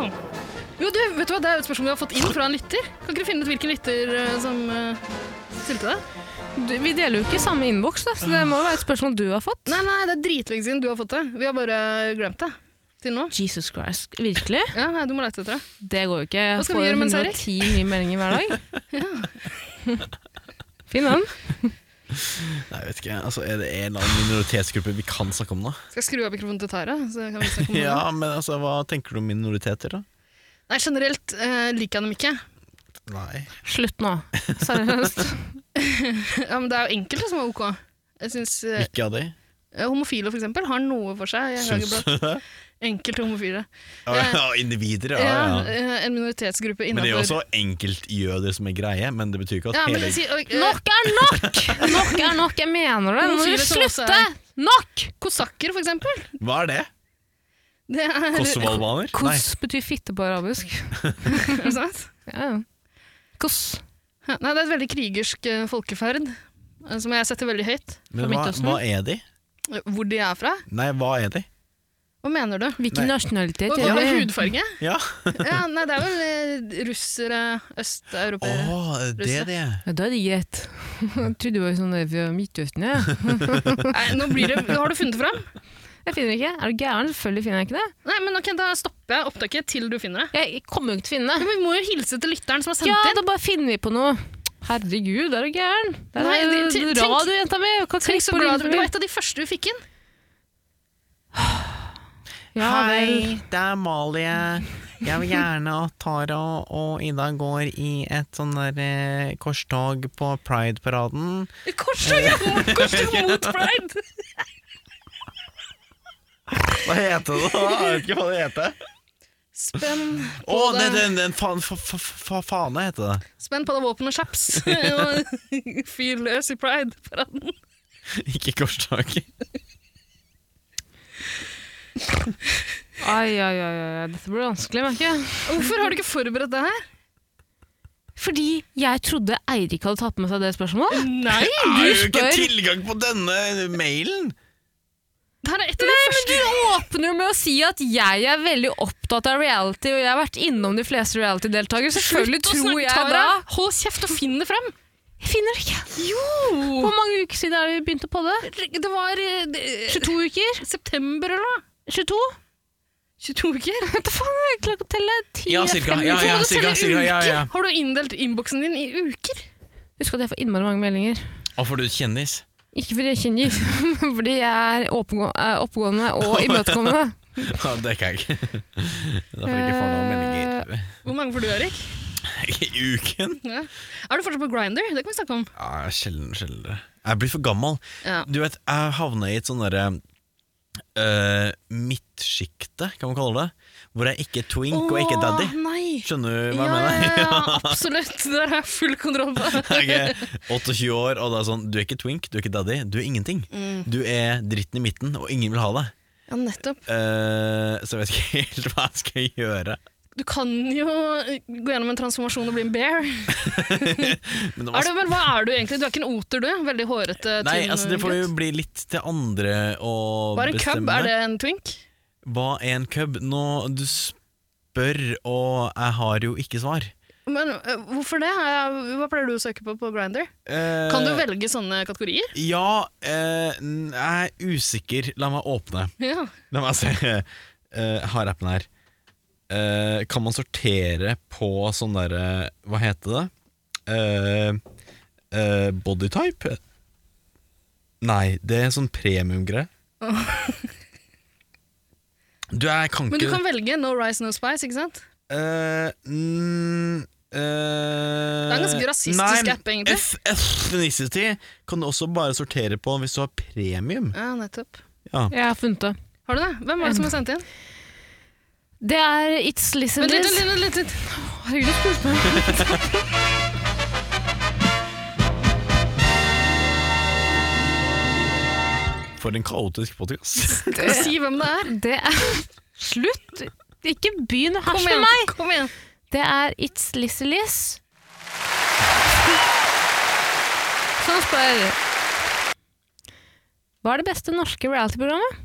[SPEAKER 2] Jo, du, vet du hva? Det er jo et spørsmål vi har fått inn fra en lytter. Kan ikke du finne ut hvilken lytter eh, som eh, stilte det?
[SPEAKER 3] Du- Vi deler jo ikke samme innboks, da, så det må jo være et spørsmål du har fått.
[SPEAKER 2] Nei, nei, det er dritlenge siden du har fått det. Vi har bare glemt det til nå.
[SPEAKER 3] Jesus Christ, virkelig?
[SPEAKER 2] Ja, nei, du må lete etter det.
[SPEAKER 3] Det går jo ikke. Jeg
[SPEAKER 2] Hva skal vi
[SPEAKER 3] får
[SPEAKER 2] gjøre mens Erik?
[SPEAKER 3] 110 nye meldinger
[SPEAKER 2] (laughs)
[SPEAKER 3] hver dag. Finn den.
[SPEAKER 1] Nei, jeg vet ikke, altså Er det en eller annen minoritetsgruppe vi kan snakke om, da?
[SPEAKER 2] Skal jeg skru av mikrofonen til Tara? Så kan vi snakke om det?
[SPEAKER 1] (laughs) Ja, men altså, Hva tenker du om minoriteter, da?
[SPEAKER 2] Nei, generelt eh, liker jeg dem ikke. (laughs)
[SPEAKER 1] Nei.
[SPEAKER 3] Slutt nå. Seriøst.
[SPEAKER 2] Ja, men det er jo enkelte som er ok. Jeg synes, eh,
[SPEAKER 1] Ikke av de?
[SPEAKER 2] Homofile for eksempel har noe for seg. Jeg
[SPEAKER 1] Syns
[SPEAKER 2] lager blad.
[SPEAKER 1] du det?
[SPEAKER 2] Enkelte homofile.
[SPEAKER 1] Ja, ja, individer, ja.
[SPEAKER 2] Ja,
[SPEAKER 1] ja.
[SPEAKER 2] eh, en minoritetsgruppe
[SPEAKER 1] Men det er jo
[SPEAKER 2] innafor
[SPEAKER 1] også enkeltjøder som er greie, men det betyr ikke at
[SPEAKER 2] ja, men
[SPEAKER 1] hele
[SPEAKER 2] si, og, eh,
[SPEAKER 3] Nok er nok! Nok er nok, jeg mener det. Nå må
[SPEAKER 2] Homofile
[SPEAKER 3] du
[SPEAKER 2] som også
[SPEAKER 3] slutte!
[SPEAKER 2] er-
[SPEAKER 3] Nok!
[SPEAKER 2] Kosakker, for eksempel.
[SPEAKER 1] Hva er det?
[SPEAKER 2] Det er,
[SPEAKER 1] Kosovo-albaner? Nei.
[SPEAKER 3] Kos betyr fitte på arabisk.
[SPEAKER 2] (laughs) Er det sant?
[SPEAKER 3] Ja. ja. Kos.
[SPEAKER 2] Ja, Nei, det er et veldig krigersk eh, folkeferd, eh, som jeg setter veldig høyt.
[SPEAKER 1] Men hva,
[SPEAKER 3] Fra Midtøsten?
[SPEAKER 1] hva er de?
[SPEAKER 2] Eh, Hvor de er fra?
[SPEAKER 1] Nei, hva er de?
[SPEAKER 2] Hva mener du?
[SPEAKER 3] Hvilken
[SPEAKER 1] Nei.
[SPEAKER 3] nasjonalitet
[SPEAKER 2] Hva, hva
[SPEAKER 3] er
[SPEAKER 2] med
[SPEAKER 3] det?
[SPEAKER 2] hudfarge?
[SPEAKER 1] Ja,
[SPEAKER 2] (laughs) Ja, nei, det er vel eh, russere,
[SPEAKER 1] Å,
[SPEAKER 2] østeuropeere.
[SPEAKER 1] det er det.
[SPEAKER 3] Ja, da er det greit. Jeg trodde det var sånn der fra Midtøsten, jeg.
[SPEAKER 2] Nei, nå blir det, har du funnet det fram?
[SPEAKER 3] Jeg finner det ikke. Er du gæren? Selvfølgelig finner jeg ikke det.
[SPEAKER 2] Nei, men ok, Da stopper jeg opptaket til du finner det.
[SPEAKER 3] Jeg kommer jo ikke til å finne
[SPEAKER 2] Ja,
[SPEAKER 3] det.
[SPEAKER 2] men vi må jo hilse til lytteren som har sendt
[SPEAKER 3] Ja,
[SPEAKER 2] inn.
[SPEAKER 3] da bare finner vi på noe. Herregud, er du gæren? Det
[SPEAKER 2] Nei,
[SPEAKER 3] er
[SPEAKER 2] det- tenk-
[SPEAKER 3] radio, jenta mi! Kan
[SPEAKER 2] Tenk
[SPEAKER 3] klikke
[SPEAKER 2] så
[SPEAKER 3] på
[SPEAKER 2] glad du
[SPEAKER 3] linken
[SPEAKER 2] Det var
[SPEAKER 3] min.
[SPEAKER 2] et av de første du fikk inn.
[SPEAKER 3] Ja, vel.
[SPEAKER 1] det er Malie. Jeg vil gjerne at Tara og Ida går i et sånn der eh, korstog på Pride-paraden.
[SPEAKER 2] Korstog
[SPEAKER 1] (laughs)
[SPEAKER 2] mot pride!
[SPEAKER 1] Hva heter det da? Jeg vet ikke hva det heter.
[SPEAKER 2] Spenn
[SPEAKER 1] Å,
[SPEAKER 2] på
[SPEAKER 1] nei,
[SPEAKER 2] deg
[SPEAKER 1] den, den faen, fa, fa, fa, fane heter det.
[SPEAKER 2] Spenn på deg våpen og (laughs) chaps. Fyr løs i pride-paraden.
[SPEAKER 1] (laughs) Ikke korstog.
[SPEAKER 3] Ai, ai, ai, ai, dette blir vanskelig, merker jeg.
[SPEAKER 2] Hvorfor har du ikke forberedt det her?
[SPEAKER 3] Fordi jeg trodde Eirik hadde tatt med seg det spørsmålet.
[SPEAKER 2] Nei!
[SPEAKER 3] Du
[SPEAKER 1] jo ikke
[SPEAKER 3] spør.
[SPEAKER 1] tilgang på denne mailen!
[SPEAKER 2] Det her er et av de første
[SPEAKER 3] Åpner jo med å si at jeg er veldig opptatt av reality, og jeg har vært innom de fleste reality-deltakere. Selvfølgelig
[SPEAKER 2] Slutt å
[SPEAKER 3] tror
[SPEAKER 2] snakke,
[SPEAKER 3] jeg da
[SPEAKER 2] Tara. Hold kjeft og finn det fram!
[SPEAKER 3] Jeg finner det ikke.
[SPEAKER 2] Jo!
[SPEAKER 3] Hvor mange uker siden er det vi begynte på det?
[SPEAKER 2] Det var eh, det-
[SPEAKER 3] 22 uker?
[SPEAKER 2] september eller noe.
[SPEAKER 3] 22?
[SPEAKER 2] 22 uker?
[SPEAKER 3] (laughs) Hva faen, jeg klarer ikke å telle. 10,
[SPEAKER 1] Ja, cirka. Ja, ja,
[SPEAKER 2] Må du
[SPEAKER 1] cirka,
[SPEAKER 2] telle
[SPEAKER 1] cirka, ja,
[SPEAKER 2] uker?
[SPEAKER 1] ja.
[SPEAKER 2] Har du inndelt innboksen din i uker?
[SPEAKER 3] Husk at jeg får innmari mange meldinger.
[SPEAKER 1] Og får du et kjendis?
[SPEAKER 3] Ikke fordi jeg kjenner, (laughs) fordi jeg er oppegå- eh, oppegående og imøtekommende.
[SPEAKER 1] (laughs) Ja, det kan jeg ikke. Da får jeg ikke faen noen meldinger.
[SPEAKER 2] Hvor mange får du, Erik?
[SPEAKER 1] (laughs) I uken?
[SPEAKER 2] Ja. Er du fortsatt på Grinder? Det kan vi snakke om.
[SPEAKER 1] Ja, sjelden, sjelden. Jeg blir for gammel.
[SPEAKER 2] Ja.
[SPEAKER 1] Du vet, jeg havna i et sånn derre uh, midtsjikte, kan man kalle det. Hvor jeg ikke er twink og ikke er daddy.
[SPEAKER 2] Åh, Nei.
[SPEAKER 1] Skjønner du hva
[SPEAKER 2] Ja,
[SPEAKER 1] jeg (laughs) mener?
[SPEAKER 2] ja, ja, absolutt. Det der har jeg full kontroll på.
[SPEAKER 1] (laughs) Jeg er 28 år, og det er sånn, du er ikke twink, du er ikke daddy, du er ingenting.
[SPEAKER 2] Mm.
[SPEAKER 1] Du er dritten i midten, og ingen vil ha deg.
[SPEAKER 2] Ja, nettopp.
[SPEAKER 1] Eh, så jeg vet ikke (laughs) helt hva jeg skal gjøre.
[SPEAKER 2] Du kan jo eh, gå gjennom en transformasjon og bli en bear.
[SPEAKER 1] Men det var-
[SPEAKER 2] Er du, men hva er du egentlig? Du er ikke en oter, du? Veldig hårete, tynn
[SPEAKER 1] Nei, altså det får jo
[SPEAKER 2] gutt.
[SPEAKER 1] bli litt til andre å
[SPEAKER 2] Hva er en
[SPEAKER 1] bestemme.
[SPEAKER 2] cub? Er det en twink?
[SPEAKER 1] Hva er en cub? Nå, du spør, og jeg har jo ikke svar.
[SPEAKER 2] Men øh, hvorfor det? Eh, Hva pleier du å søke på på Grinder?
[SPEAKER 1] Eh,
[SPEAKER 2] Kan du velge sånne kategorier?
[SPEAKER 1] Ja, eh, n- jeg er usikker. La meg åpne.
[SPEAKER 2] Ja.
[SPEAKER 1] La meg se. Eh, jeg har appen her. Eh, kan man sortere på sånn derre Hva heter det? Uh, bodytype? Nei, det er sånn premiumgreie. Du, jeg kan
[SPEAKER 2] Men du
[SPEAKER 1] ikke
[SPEAKER 2] kan velge no rice, no spice, ikke sant?
[SPEAKER 1] Eh, mm, eh,
[SPEAKER 2] er en ganske rasistisk
[SPEAKER 1] nei,
[SPEAKER 2] app, egentlig.
[SPEAKER 1] eth- Ethnicity kan du også bare sortere på hvis du har premium.
[SPEAKER 2] Ja, nettopp.
[SPEAKER 3] Jeg har funnet det.
[SPEAKER 2] Har du det? Hvem er det som har sendt inn?
[SPEAKER 3] Det er It's Listen
[SPEAKER 2] Vent litt,
[SPEAKER 3] Liz.
[SPEAKER 2] litt, litt, litt, litt.
[SPEAKER 3] Herregud, du spurte meg.
[SPEAKER 1] For en kaotisk podkast.
[SPEAKER 2] Si hvem det er.
[SPEAKER 3] Det er (laughs) Slutt! Ikke begynn å
[SPEAKER 2] Kom
[SPEAKER 3] herse med
[SPEAKER 2] igjen.
[SPEAKER 3] meg!
[SPEAKER 2] Kom igjen. (laughs)
[SPEAKER 3] Det er It's (laughs) Liz. Som Sånn spør Hva er det beste norske reality-programmet?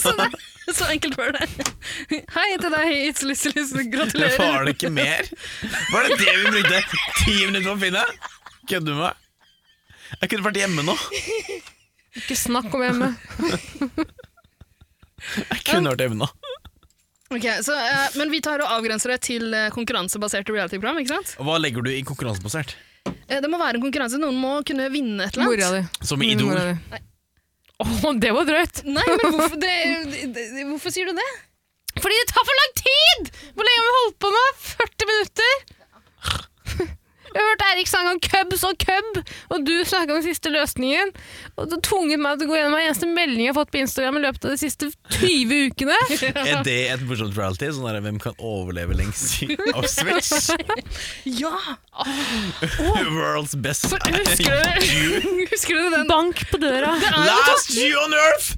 [SPEAKER 2] Så, det, så enkelt var det. Hei til deg, It's Lizzie Liz.
[SPEAKER 1] Var
[SPEAKER 2] Gratulerer.
[SPEAKER 1] det ikke mer? Var det det vi brukte ti minutter på å finne? Kødder du med meg? Jeg kunne vært hjemme nå.
[SPEAKER 3] Ikke snakk om hjemme.
[SPEAKER 1] Jeg kunne vært hjemme nå
[SPEAKER 2] Ok, så, eh, men vi tar og avgrenser det til eh, konkurransebaserte reality-program. ikke sant?
[SPEAKER 1] Og Hva legger du i konkurransebasert?
[SPEAKER 2] Eh, det må være en konkurranse. Noen må kunne vinne et eller
[SPEAKER 3] Mora
[SPEAKER 2] annet.
[SPEAKER 3] di.
[SPEAKER 1] Som i Idol?
[SPEAKER 3] Mora di. Å, det var drøyt!
[SPEAKER 2] Nei, men hvorfor, det, det, det, hvorfor sier du det?
[SPEAKER 3] Fordi det tar for lang tid! Hvor lenge har vi holdt på nå? 40 minutter? Jeg har hørt Eirik sang om cubs og cub, og du snakka om den siste løsningen. Og du tvunget meg til å gå gjennom hver eneste melding jeg har fått på Instagram i løpet av de siste 20 ukene.
[SPEAKER 2] (laughs)
[SPEAKER 1] Er det et morsomt reality? Sånn der, Hvem kan overleve lengst i Auschwitz?
[SPEAKER 2] (laughs) Ja!
[SPEAKER 1] World's best
[SPEAKER 2] For, husker, du, (laughs) husker du den?
[SPEAKER 3] Bank på døra.
[SPEAKER 2] Det er jo
[SPEAKER 1] Last you on earth!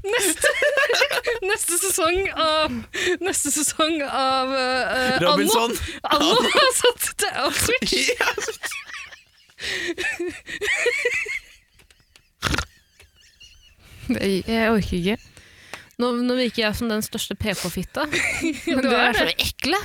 [SPEAKER 2] neste sesong av Neste sesong av eh, eh,
[SPEAKER 1] Robinson.
[SPEAKER 2] (laughs) Anno, Anno har satt til Auschwitz.
[SPEAKER 3] Jeg, orker ikke. Nå, nå virker jeg som den største
[SPEAKER 2] (laughs)
[SPEAKER 3] PK-fitta. Men
[SPEAKER 2] Du
[SPEAKER 3] dere
[SPEAKER 2] er
[SPEAKER 3] er så ekle.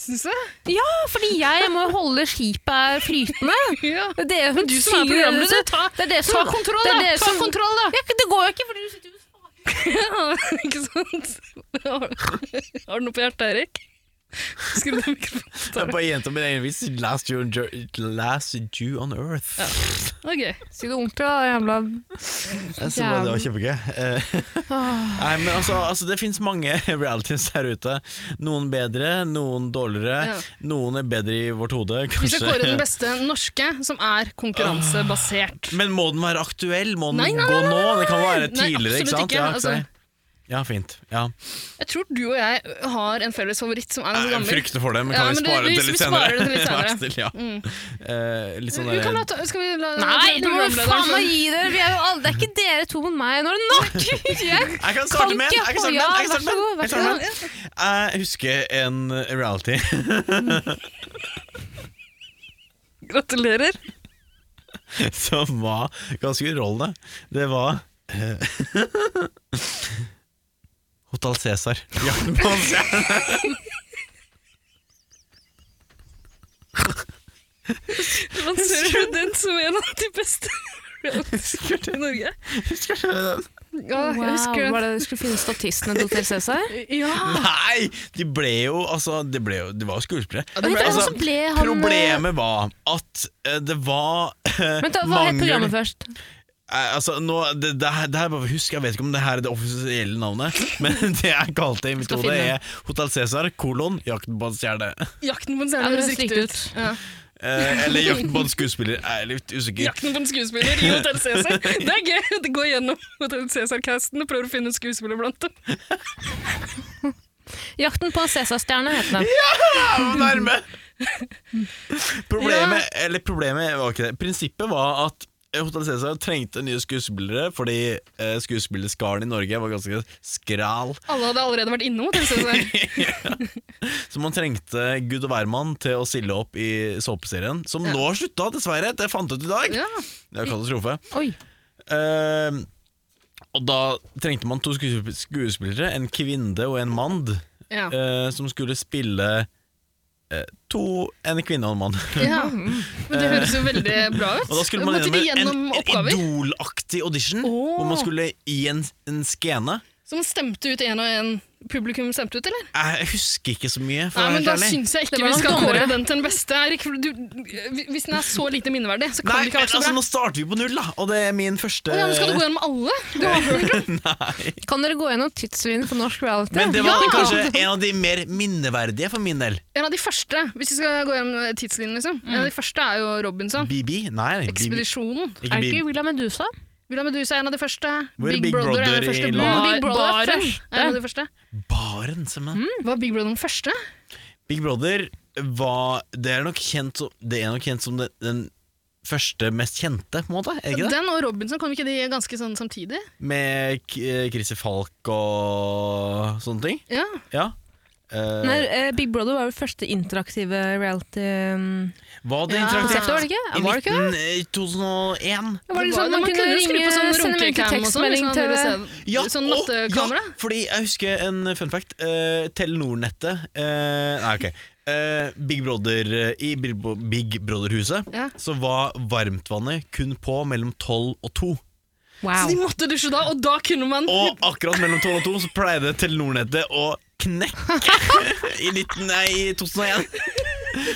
[SPEAKER 2] Syns jeg.
[SPEAKER 3] Ja, fordi jeg må holde skipet her flytende.
[SPEAKER 2] Ja. (laughs)
[SPEAKER 3] Det er dere som
[SPEAKER 2] Du som er
[SPEAKER 3] styrer,
[SPEAKER 2] programleder,
[SPEAKER 3] så-
[SPEAKER 2] ta,
[SPEAKER 3] Det er dere
[SPEAKER 2] ta
[SPEAKER 3] som
[SPEAKER 2] kontroll,
[SPEAKER 3] det er
[SPEAKER 2] da!
[SPEAKER 3] dere
[SPEAKER 2] Ta
[SPEAKER 3] som-
[SPEAKER 2] kontroll, da!
[SPEAKER 3] Ja, det går jo ikke, fordi du sitter jo og svarer.
[SPEAKER 2] Ja, ikke sant? Har har du noe på hjertet, Erik? Skru deg mikrofonen.
[SPEAKER 1] Det er bare jenta min egen vits. Last you on, jer- last you on earth.
[SPEAKER 2] Ok.
[SPEAKER 3] Si det ordentlig, da, jævla
[SPEAKER 1] Jeg synes bare det var kjempegøy. Eh, (laughs) Nei, men altså, altså Det fins mange (laughs) realities her ute. Noen bedre, noen dårligere.
[SPEAKER 2] Ja.
[SPEAKER 1] Noen er bedre i vårt hode,
[SPEAKER 2] Vi skal kåre den
[SPEAKER 1] kanskje.
[SPEAKER 2] beste norske som er konkurransebasert.
[SPEAKER 1] (laughs) Men må den være aktuell? Må den
[SPEAKER 2] Nei, nei,
[SPEAKER 1] gå
[SPEAKER 2] nei, nei,
[SPEAKER 1] nå? Det kan
[SPEAKER 2] nei,
[SPEAKER 1] være
[SPEAKER 2] nei,
[SPEAKER 1] tidligere,
[SPEAKER 2] absolutt
[SPEAKER 1] ikke sant?
[SPEAKER 2] ikke,
[SPEAKER 1] Ja,
[SPEAKER 2] altså.
[SPEAKER 1] nei. ja, fint. Ja.
[SPEAKER 2] Jeg tror du og jeg har en felles favoritt som er ganske
[SPEAKER 1] Jeg
[SPEAKER 2] gammel.
[SPEAKER 1] frykter for det, men
[SPEAKER 2] Ja,
[SPEAKER 1] kan
[SPEAKER 2] men
[SPEAKER 1] vi
[SPEAKER 2] det-
[SPEAKER 1] spare
[SPEAKER 2] vi-
[SPEAKER 1] det til
[SPEAKER 2] vi
[SPEAKER 1] litt
[SPEAKER 2] sparer
[SPEAKER 1] senere?
[SPEAKER 2] det til
[SPEAKER 1] (laughs)
[SPEAKER 2] litt senere.
[SPEAKER 1] Vær stille, ja. Eh, litt sånn
[SPEAKER 2] Vi kan la
[SPEAKER 1] der,
[SPEAKER 2] ta, skal vi la
[SPEAKER 3] Nei, nå må du
[SPEAKER 2] programlederen
[SPEAKER 3] faen
[SPEAKER 2] få-
[SPEAKER 3] meg gi dere! Vi er jo alle, det er ikke dere to mot meg. Nå er det (laughs) nok! Jeg
[SPEAKER 1] Jeg kan starte med en!
[SPEAKER 3] ikke
[SPEAKER 1] Jeg kan starte
[SPEAKER 3] Ja,
[SPEAKER 1] med en! Jeg kan
[SPEAKER 3] vær så
[SPEAKER 1] starte med en! Jeg
[SPEAKER 3] god. Vær så
[SPEAKER 1] kan starte
[SPEAKER 3] god.
[SPEAKER 1] med en. Jeg husker en reality.
[SPEAKER 2] Gratulerer.
[SPEAKER 1] (laughs) som var ganske urollende. Det var eh, (laughs) Hotel Cæsar. Jakten på en stjerne.
[SPEAKER 2] Lanserer du den som en av de beste (laughs) i Norge?
[SPEAKER 1] Husker du den?
[SPEAKER 2] Ja, jeg husker
[SPEAKER 3] Wow,
[SPEAKER 2] det.
[SPEAKER 3] var det du skulle finne statistene til Hotel Cæsar?
[SPEAKER 2] Ja.
[SPEAKER 1] (laughs) Nei! De ble jo Altså, det ble jo, de var jo skuespillere.
[SPEAKER 2] Ja,
[SPEAKER 3] Vent,
[SPEAKER 2] det ble,
[SPEAKER 3] og
[SPEAKER 1] altså,
[SPEAKER 3] så ble han eh,
[SPEAKER 1] Problemet var at eh, det var eh,
[SPEAKER 3] Vent, da, hva het
[SPEAKER 1] mangel-
[SPEAKER 3] programmet først?
[SPEAKER 1] Eh, altså, nå, det, det, her, det her bare husk, jeg vet ikke om det her er det offisielle navnet, men (laughs) det jeg kalte i mitt
[SPEAKER 3] Skal
[SPEAKER 1] hode,
[SPEAKER 3] finne.
[SPEAKER 1] er Hotell Cæsar, kolon, Jakten på en stjerne.
[SPEAKER 2] Jakten på en
[SPEAKER 3] Ja,
[SPEAKER 2] stjerne
[SPEAKER 3] det
[SPEAKER 2] høres
[SPEAKER 3] høres
[SPEAKER 2] riktig
[SPEAKER 3] riktig
[SPEAKER 2] ut. Ja.
[SPEAKER 1] Eh, eller Jakten på en skuespiller, jeg er litt usikker.
[SPEAKER 2] Jakten på en skuespiller i Hotell Cæsar. (laughs) Det er gøy! Det går gjennom Hotell Cæsar-casten og prøver å finne en skuespiller blant dem.
[SPEAKER 3] Jakten på en Cæsarstjerne het den.
[SPEAKER 1] Jeg var nærme! (laughs) Problemet, eller problemet var ikke det. Prinsippet var at Hotell Cæsar trengte nye skuespillere, fordi eh, skuespillerskaren i Norge var ganske skral.
[SPEAKER 2] Alle hadde allerede vært innom Hotell Cæsar.
[SPEAKER 1] Så man trengte Gud og hvermann til å stille opp i såpeserien, som nå har slutta, dessverre. Det fant jeg ut i dag.
[SPEAKER 2] Ja.
[SPEAKER 1] Det er katastrofe.
[SPEAKER 3] Oi.
[SPEAKER 1] Ehm, og da trengte man to skuesp- skuespillere, en kvinne og en mann,
[SPEAKER 2] Ja.
[SPEAKER 1] eh, som skulle spille eh, to En kvinne og en mann.
[SPEAKER 2] ja. Men det høres jo veldig bra ut.
[SPEAKER 1] Og da skulle man
[SPEAKER 2] Måtte de
[SPEAKER 1] gjennom
[SPEAKER 2] gjennom
[SPEAKER 1] en, en
[SPEAKER 2] oppgaver?
[SPEAKER 1] idolaktig audition,
[SPEAKER 2] Åh.
[SPEAKER 1] hvor man skulle i en, en skene.
[SPEAKER 2] Så man stemte ut en og en? Publikum stemte ut, eller?
[SPEAKER 1] Jeg husker ikke så mye. For
[SPEAKER 2] Nei,
[SPEAKER 1] å være
[SPEAKER 2] men Da
[SPEAKER 1] helt ærlig.
[SPEAKER 2] syns jeg ikke
[SPEAKER 3] Det var
[SPEAKER 2] vi
[SPEAKER 3] nok
[SPEAKER 2] skal
[SPEAKER 3] dommere.
[SPEAKER 2] kåre den til den beste, Eirik. for Du, hvis den er så lite minneverdig, så kan
[SPEAKER 1] Nei,
[SPEAKER 2] det ikke ha vært så
[SPEAKER 1] altså, nå
[SPEAKER 2] bra.
[SPEAKER 1] starter vi på null, da, og det er min første
[SPEAKER 2] Å ja, nå skal du gå gjennom alle? Du har
[SPEAKER 3] Kan dere gå gjennom tidslinjen for norsk reality?
[SPEAKER 1] Men det var
[SPEAKER 2] Ja!
[SPEAKER 1] kanskje en av de mer minneverdige for min del.
[SPEAKER 2] En av de første, hvis vi skal gå gjennom tidslinjen, liksom. En av de første er jo Robinson.
[SPEAKER 1] BB? Nei, BB.
[SPEAKER 2] Ekspedisjonen.
[SPEAKER 3] Er
[SPEAKER 1] Ikke
[SPEAKER 3] det
[SPEAKER 1] BB.
[SPEAKER 3] ikke Villa Medusa?
[SPEAKER 2] Villa Medusa er en av de første.
[SPEAKER 1] Hvor er
[SPEAKER 2] Big,
[SPEAKER 1] Big
[SPEAKER 2] Brother, er
[SPEAKER 1] Brother
[SPEAKER 2] en av de første.
[SPEAKER 1] i
[SPEAKER 2] Bar-
[SPEAKER 3] London? Big Brother er
[SPEAKER 2] Baren
[SPEAKER 3] første.
[SPEAKER 2] er en av de første.
[SPEAKER 1] Baren, som er.
[SPEAKER 2] Var Big Brother den første?
[SPEAKER 1] Big Brother var Det er nok kjent som, det er nok kjent som den, den første mest kjente, på en måte. Er det ikke det?
[SPEAKER 2] Den og Robinson, kom ikke de ganske sånn samtidig?
[SPEAKER 1] Med K- eh, Chrissy Falk og sånne ting.
[SPEAKER 2] Ja.
[SPEAKER 1] Ja. Eh,
[SPEAKER 3] Nei, eh, Big Brother var jo første interaktive reality um,
[SPEAKER 1] var det
[SPEAKER 2] Ja.
[SPEAKER 1] interaktivt?
[SPEAKER 3] konseptet, var det ikke?
[SPEAKER 1] I
[SPEAKER 3] Var det ikke?
[SPEAKER 1] 19, eh, 2001.
[SPEAKER 3] Det var
[SPEAKER 2] Det
[SPEAKER 3] liksom,
[SPEAKER 2] var-
[SPEAKER 3] man,
[SPEAKER 2] man
[SPEAKER 3] kunne
[SPEAKER 2] jo skru
[SPEAKER 3] ringe,
[SPEAKER 2] på sånn
[SPEAKER 3] sende melding til
[SPEAKER 2] runkecam og sånn, hvis
[SPEAKER 3] tekstmelding
[SPEAKER 2] man
[SPEAKER 3] til
[SPEAKER 2] ville se- Sånn
[SPEAKER 1] å,
[SPEAKER 2] nattekamera.
[SPEAKER 1] ja, fordi jeg husker en fun fact. Eh, Telenor-nettet eh, Nei, ok. Eh, Big Brother eh, I Big Bro- Big Brother-huset
[SPEAKER 2] Ja.
[SPEAKER 1] så var varmtvannet kun på mellom tolv og to.
[SPEAKER 2] Så de
[SPEAKER 3] Wow.
[SPEAKER 2] måtte dusje da, og da kunne man
[SPEAKER 1] Og akkurat mellom 12 og 2 så pleide Telenor-nettet å knekke (laughs) i, 19, nei, i 2001.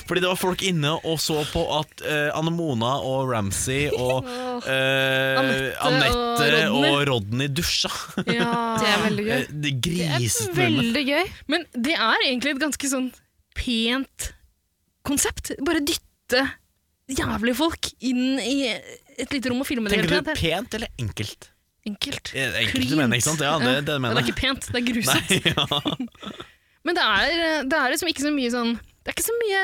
[SPEAKER 1] Fordi det var folk inne og så på at eh, Anne Mona og Ramsay og
[SPEAKER 2] Åh,
[SPEAKER 1] eh,
[SPEAKER 2] Anette og
[SPEAKER 1] Anette og,
[SPEAKER 2] Rodney.
[SPEAKER 1] Rodney dusja.
[SPEAKER 3] Det er veldig gøy.
[SPEAKER 1] Eh, det grisetrømme.
[SPEAKER 3] Veldig gøy.
[SPEAKER 2] Men det er egentlig et ganske sånn pent konsept. Bare dytte jævlige folk inn i et lite rom og filme det
[SPEAKER 1] Tenker
[SPEAKER 2] hele
[SPEAKER 1] du
[SPEAKER 2] tiden.
[SPEAKER 1] pent eller enkelt?
[SPEAKER 2] Enkelt.
[SPEAKER 1] Eh, Enkelt
[SPEAKER 2] Cleant.
[SPEAKER 1] du mener, ikke sant? Ja, det, det
[SPEAKER 2] Ja,
[SPEAKER 1] mener
[SPEAKER 2] det er
[SPEAKER 1] jeg.
[SPEAKER 2] ikke pent, det er grusomt.
[SPEAKER 1] (laughs) Nei, ja.
[SPEAKER 2] Men det er, det er liksom ikke så mye sånn Det er ikke så mye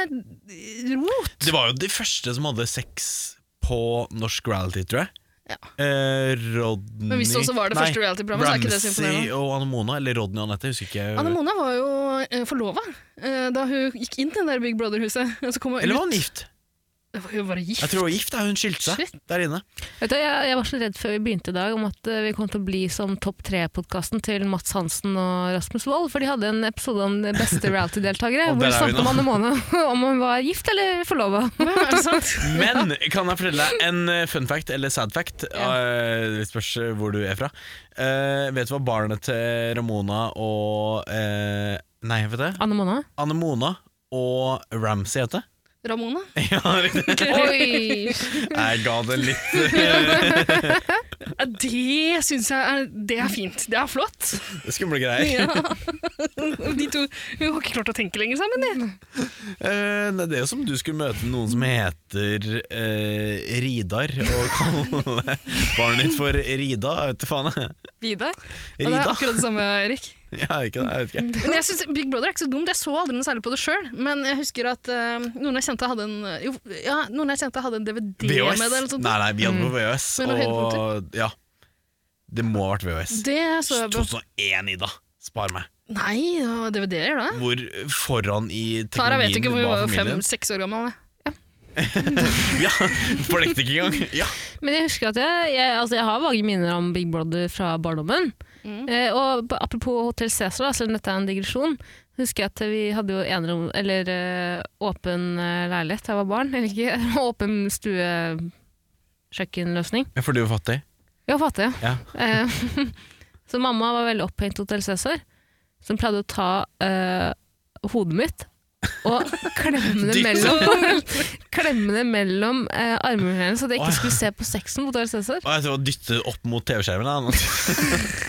[SPEAKER 2] rot.
[SPEAKER 1] Det var jo de første som hadde sex på norsk reality, tror jeg.
[SPEAKER 2] Ja.
[SPEAKER 1] Eh, Rodney
[SPEAKER 2] Men hvis det også var det
[SPEAKER 1] Nei,
[SPEAKER 2] første reality-programmet, så er ikke det så imponerende.
[SPEAKER 1] Ramsey og Anne Mona, eller Rodney og Anette, husker ikke.
[SPEAKER 2] Anne Mona var jo eh, forlova eh, da hun gikk inn til det der Big Brother-huset. (laughs) Og så kom hun
[SPEAKER 1] Eller var
[SPEAKER 2] ut.
[SPEAKER 1] hun gift?
[SPEAKER 2] Hun var gift.
[SPEAKER 1] Jeg tror hun var gift, da. Hun skilte seg
[SPEAKER 2] Shit.
[SPEAKER 1] der
[SPEAKER 2] (laughs)
[SPEAKER 1] inne.
[SPEAKER 3] Vet du, jeg, jeg var så redd før vi begynte i dag om at eh, vi kom til å bli som Topp tre-podkasten til Mats Hansen og Rasmus Wold, for de hadde en episode om de beste reality-deltakere,
[SPEAKER 1] Og
[SPEAKER 3] hvor
[SPEAKER 1] der
[SPEAKER 3] de
[SPEAKER 1] er vi
[SPEAKER 3] snakket om
[SPEAKER 1] nå.
[SPEAKER 3] Anne Mone, (laughs) om hun var gift eller forlova.
[SPEAKER 2] Ja, er det sant?
[SPEAKER 1] (laughs) Men kan jeg fortelle deg en eh, fun fact, eller sad fact?
[SPEAKER 3] Ja.
[SPEAKER 1] eh, Det spørs eh, hvor du er fra. Eh, vet du hva barnet til Ramona og eh, Nei, vet du
[SPEAKER 3] Anne Mone?
[SPEAKER 1] Anne Mona og Ramsay heter? (laughs)
[SPEAKER 2] Ramona?
[SPEAKER 1] Ja, riktig.
[SPEAKER 2] (laughs)
[SPEAKER 3] Oi!
[SPEAKER 1] Jeg ga det litt eh,
[SPEAKER 2] Ja, det syns jeg er, det er fint. Det er flott.
[SPEAKER 1] skumle greier.
[SPEAKER 2] Ja. De to hun har ikke klart å tenke lenger sammen. De.
[SPEAKER 1] Eh, nei, det er jo som du skulle møte noen som heter eh, Ridar, og (laughs) kalle barnet ditt for Rida. Jeg vet ikke faen. jeg.
[SPEAKER 2] Vidar. Ja, det er
[SPEAKER 1] Rida?
[SPEAKER 2] akkurat det samme, Erik.
[SPEAKER 1] Ja, ikke det, jeg vet ikke.
[SPEAKER 2] Men jeg synes Big Brother er ikke så dumt. Jeg så aldri noe særlig på det sjøl. Men jeg husker at eh, noen jeg kjente hadde en jo, ja, noen jeg kjente hadde en DVD
[SPEAKER 1] VHS?
[SPEAKER 2] med det. Eller noe sånt.
[SPEAKER 1] Nei, nei, vi hadde på VHS.
[SPEAKER 2] Med noen høydepunkter?
[SPEAKER 1] Og ja, det må ha vært VHS.
[SPEAKER 2] Det så jeg på
[SPEAKER 1] 2001, Ida. Spar meg.
[SPEAKER 2] Nei, det var DVD-er da.
[SPEAKER 1] Hvor foran i teknologien
[SPEAKER 2] Klara vet ikke hvor vi
[SPEAKER 1] var
[SPEAKER 2] var
[SPEAKER 1] familien.
[SPEAKER 2] fem-seks år gammel.
[SPEAKER 1] Ja, Fornekter ikke engang.
[SPEAKER 2] (laughs)
[SPEAKER 1] Ja.
[SPEAKER 3] (laughs) Men jeg husker at jeg, jeg, altså jeg har vage minner om Big Brother fra barndommen. Eh, og b- apropos Hotel Cæsar, da, selv om dette er en digresjon, så husker jeg at vi hadde jo enerom, eller eh, åpen eh, leilighet (laughs) da jeg var barn. Eller ikke, åpen stue kjøkkenløsning.
[SPEAKER 1] For du er fattig.
[SPEAKER 3] Ja, Ja, fattig.
[SPEAKER 1] Ja.
[SPEAKER 3] Eh, (laughs) så mamma var veldig opphengt Hotell Cæsar, som pleide å ta eh, hodet mitt og klemme det
[SPEAKER 1] Dytte.
[SPEAKER 3] mellom, (laughs) klemme det mellom eh, armene hennes, så at jeg
[SPEAKER 1] Åh, ja.
[SPEAKER 3] ikke skulle se på sexen på Hotell Cæsar.
[SPEAKER 1] Og jeg tror å dytte opp mot TV-skjermen. da.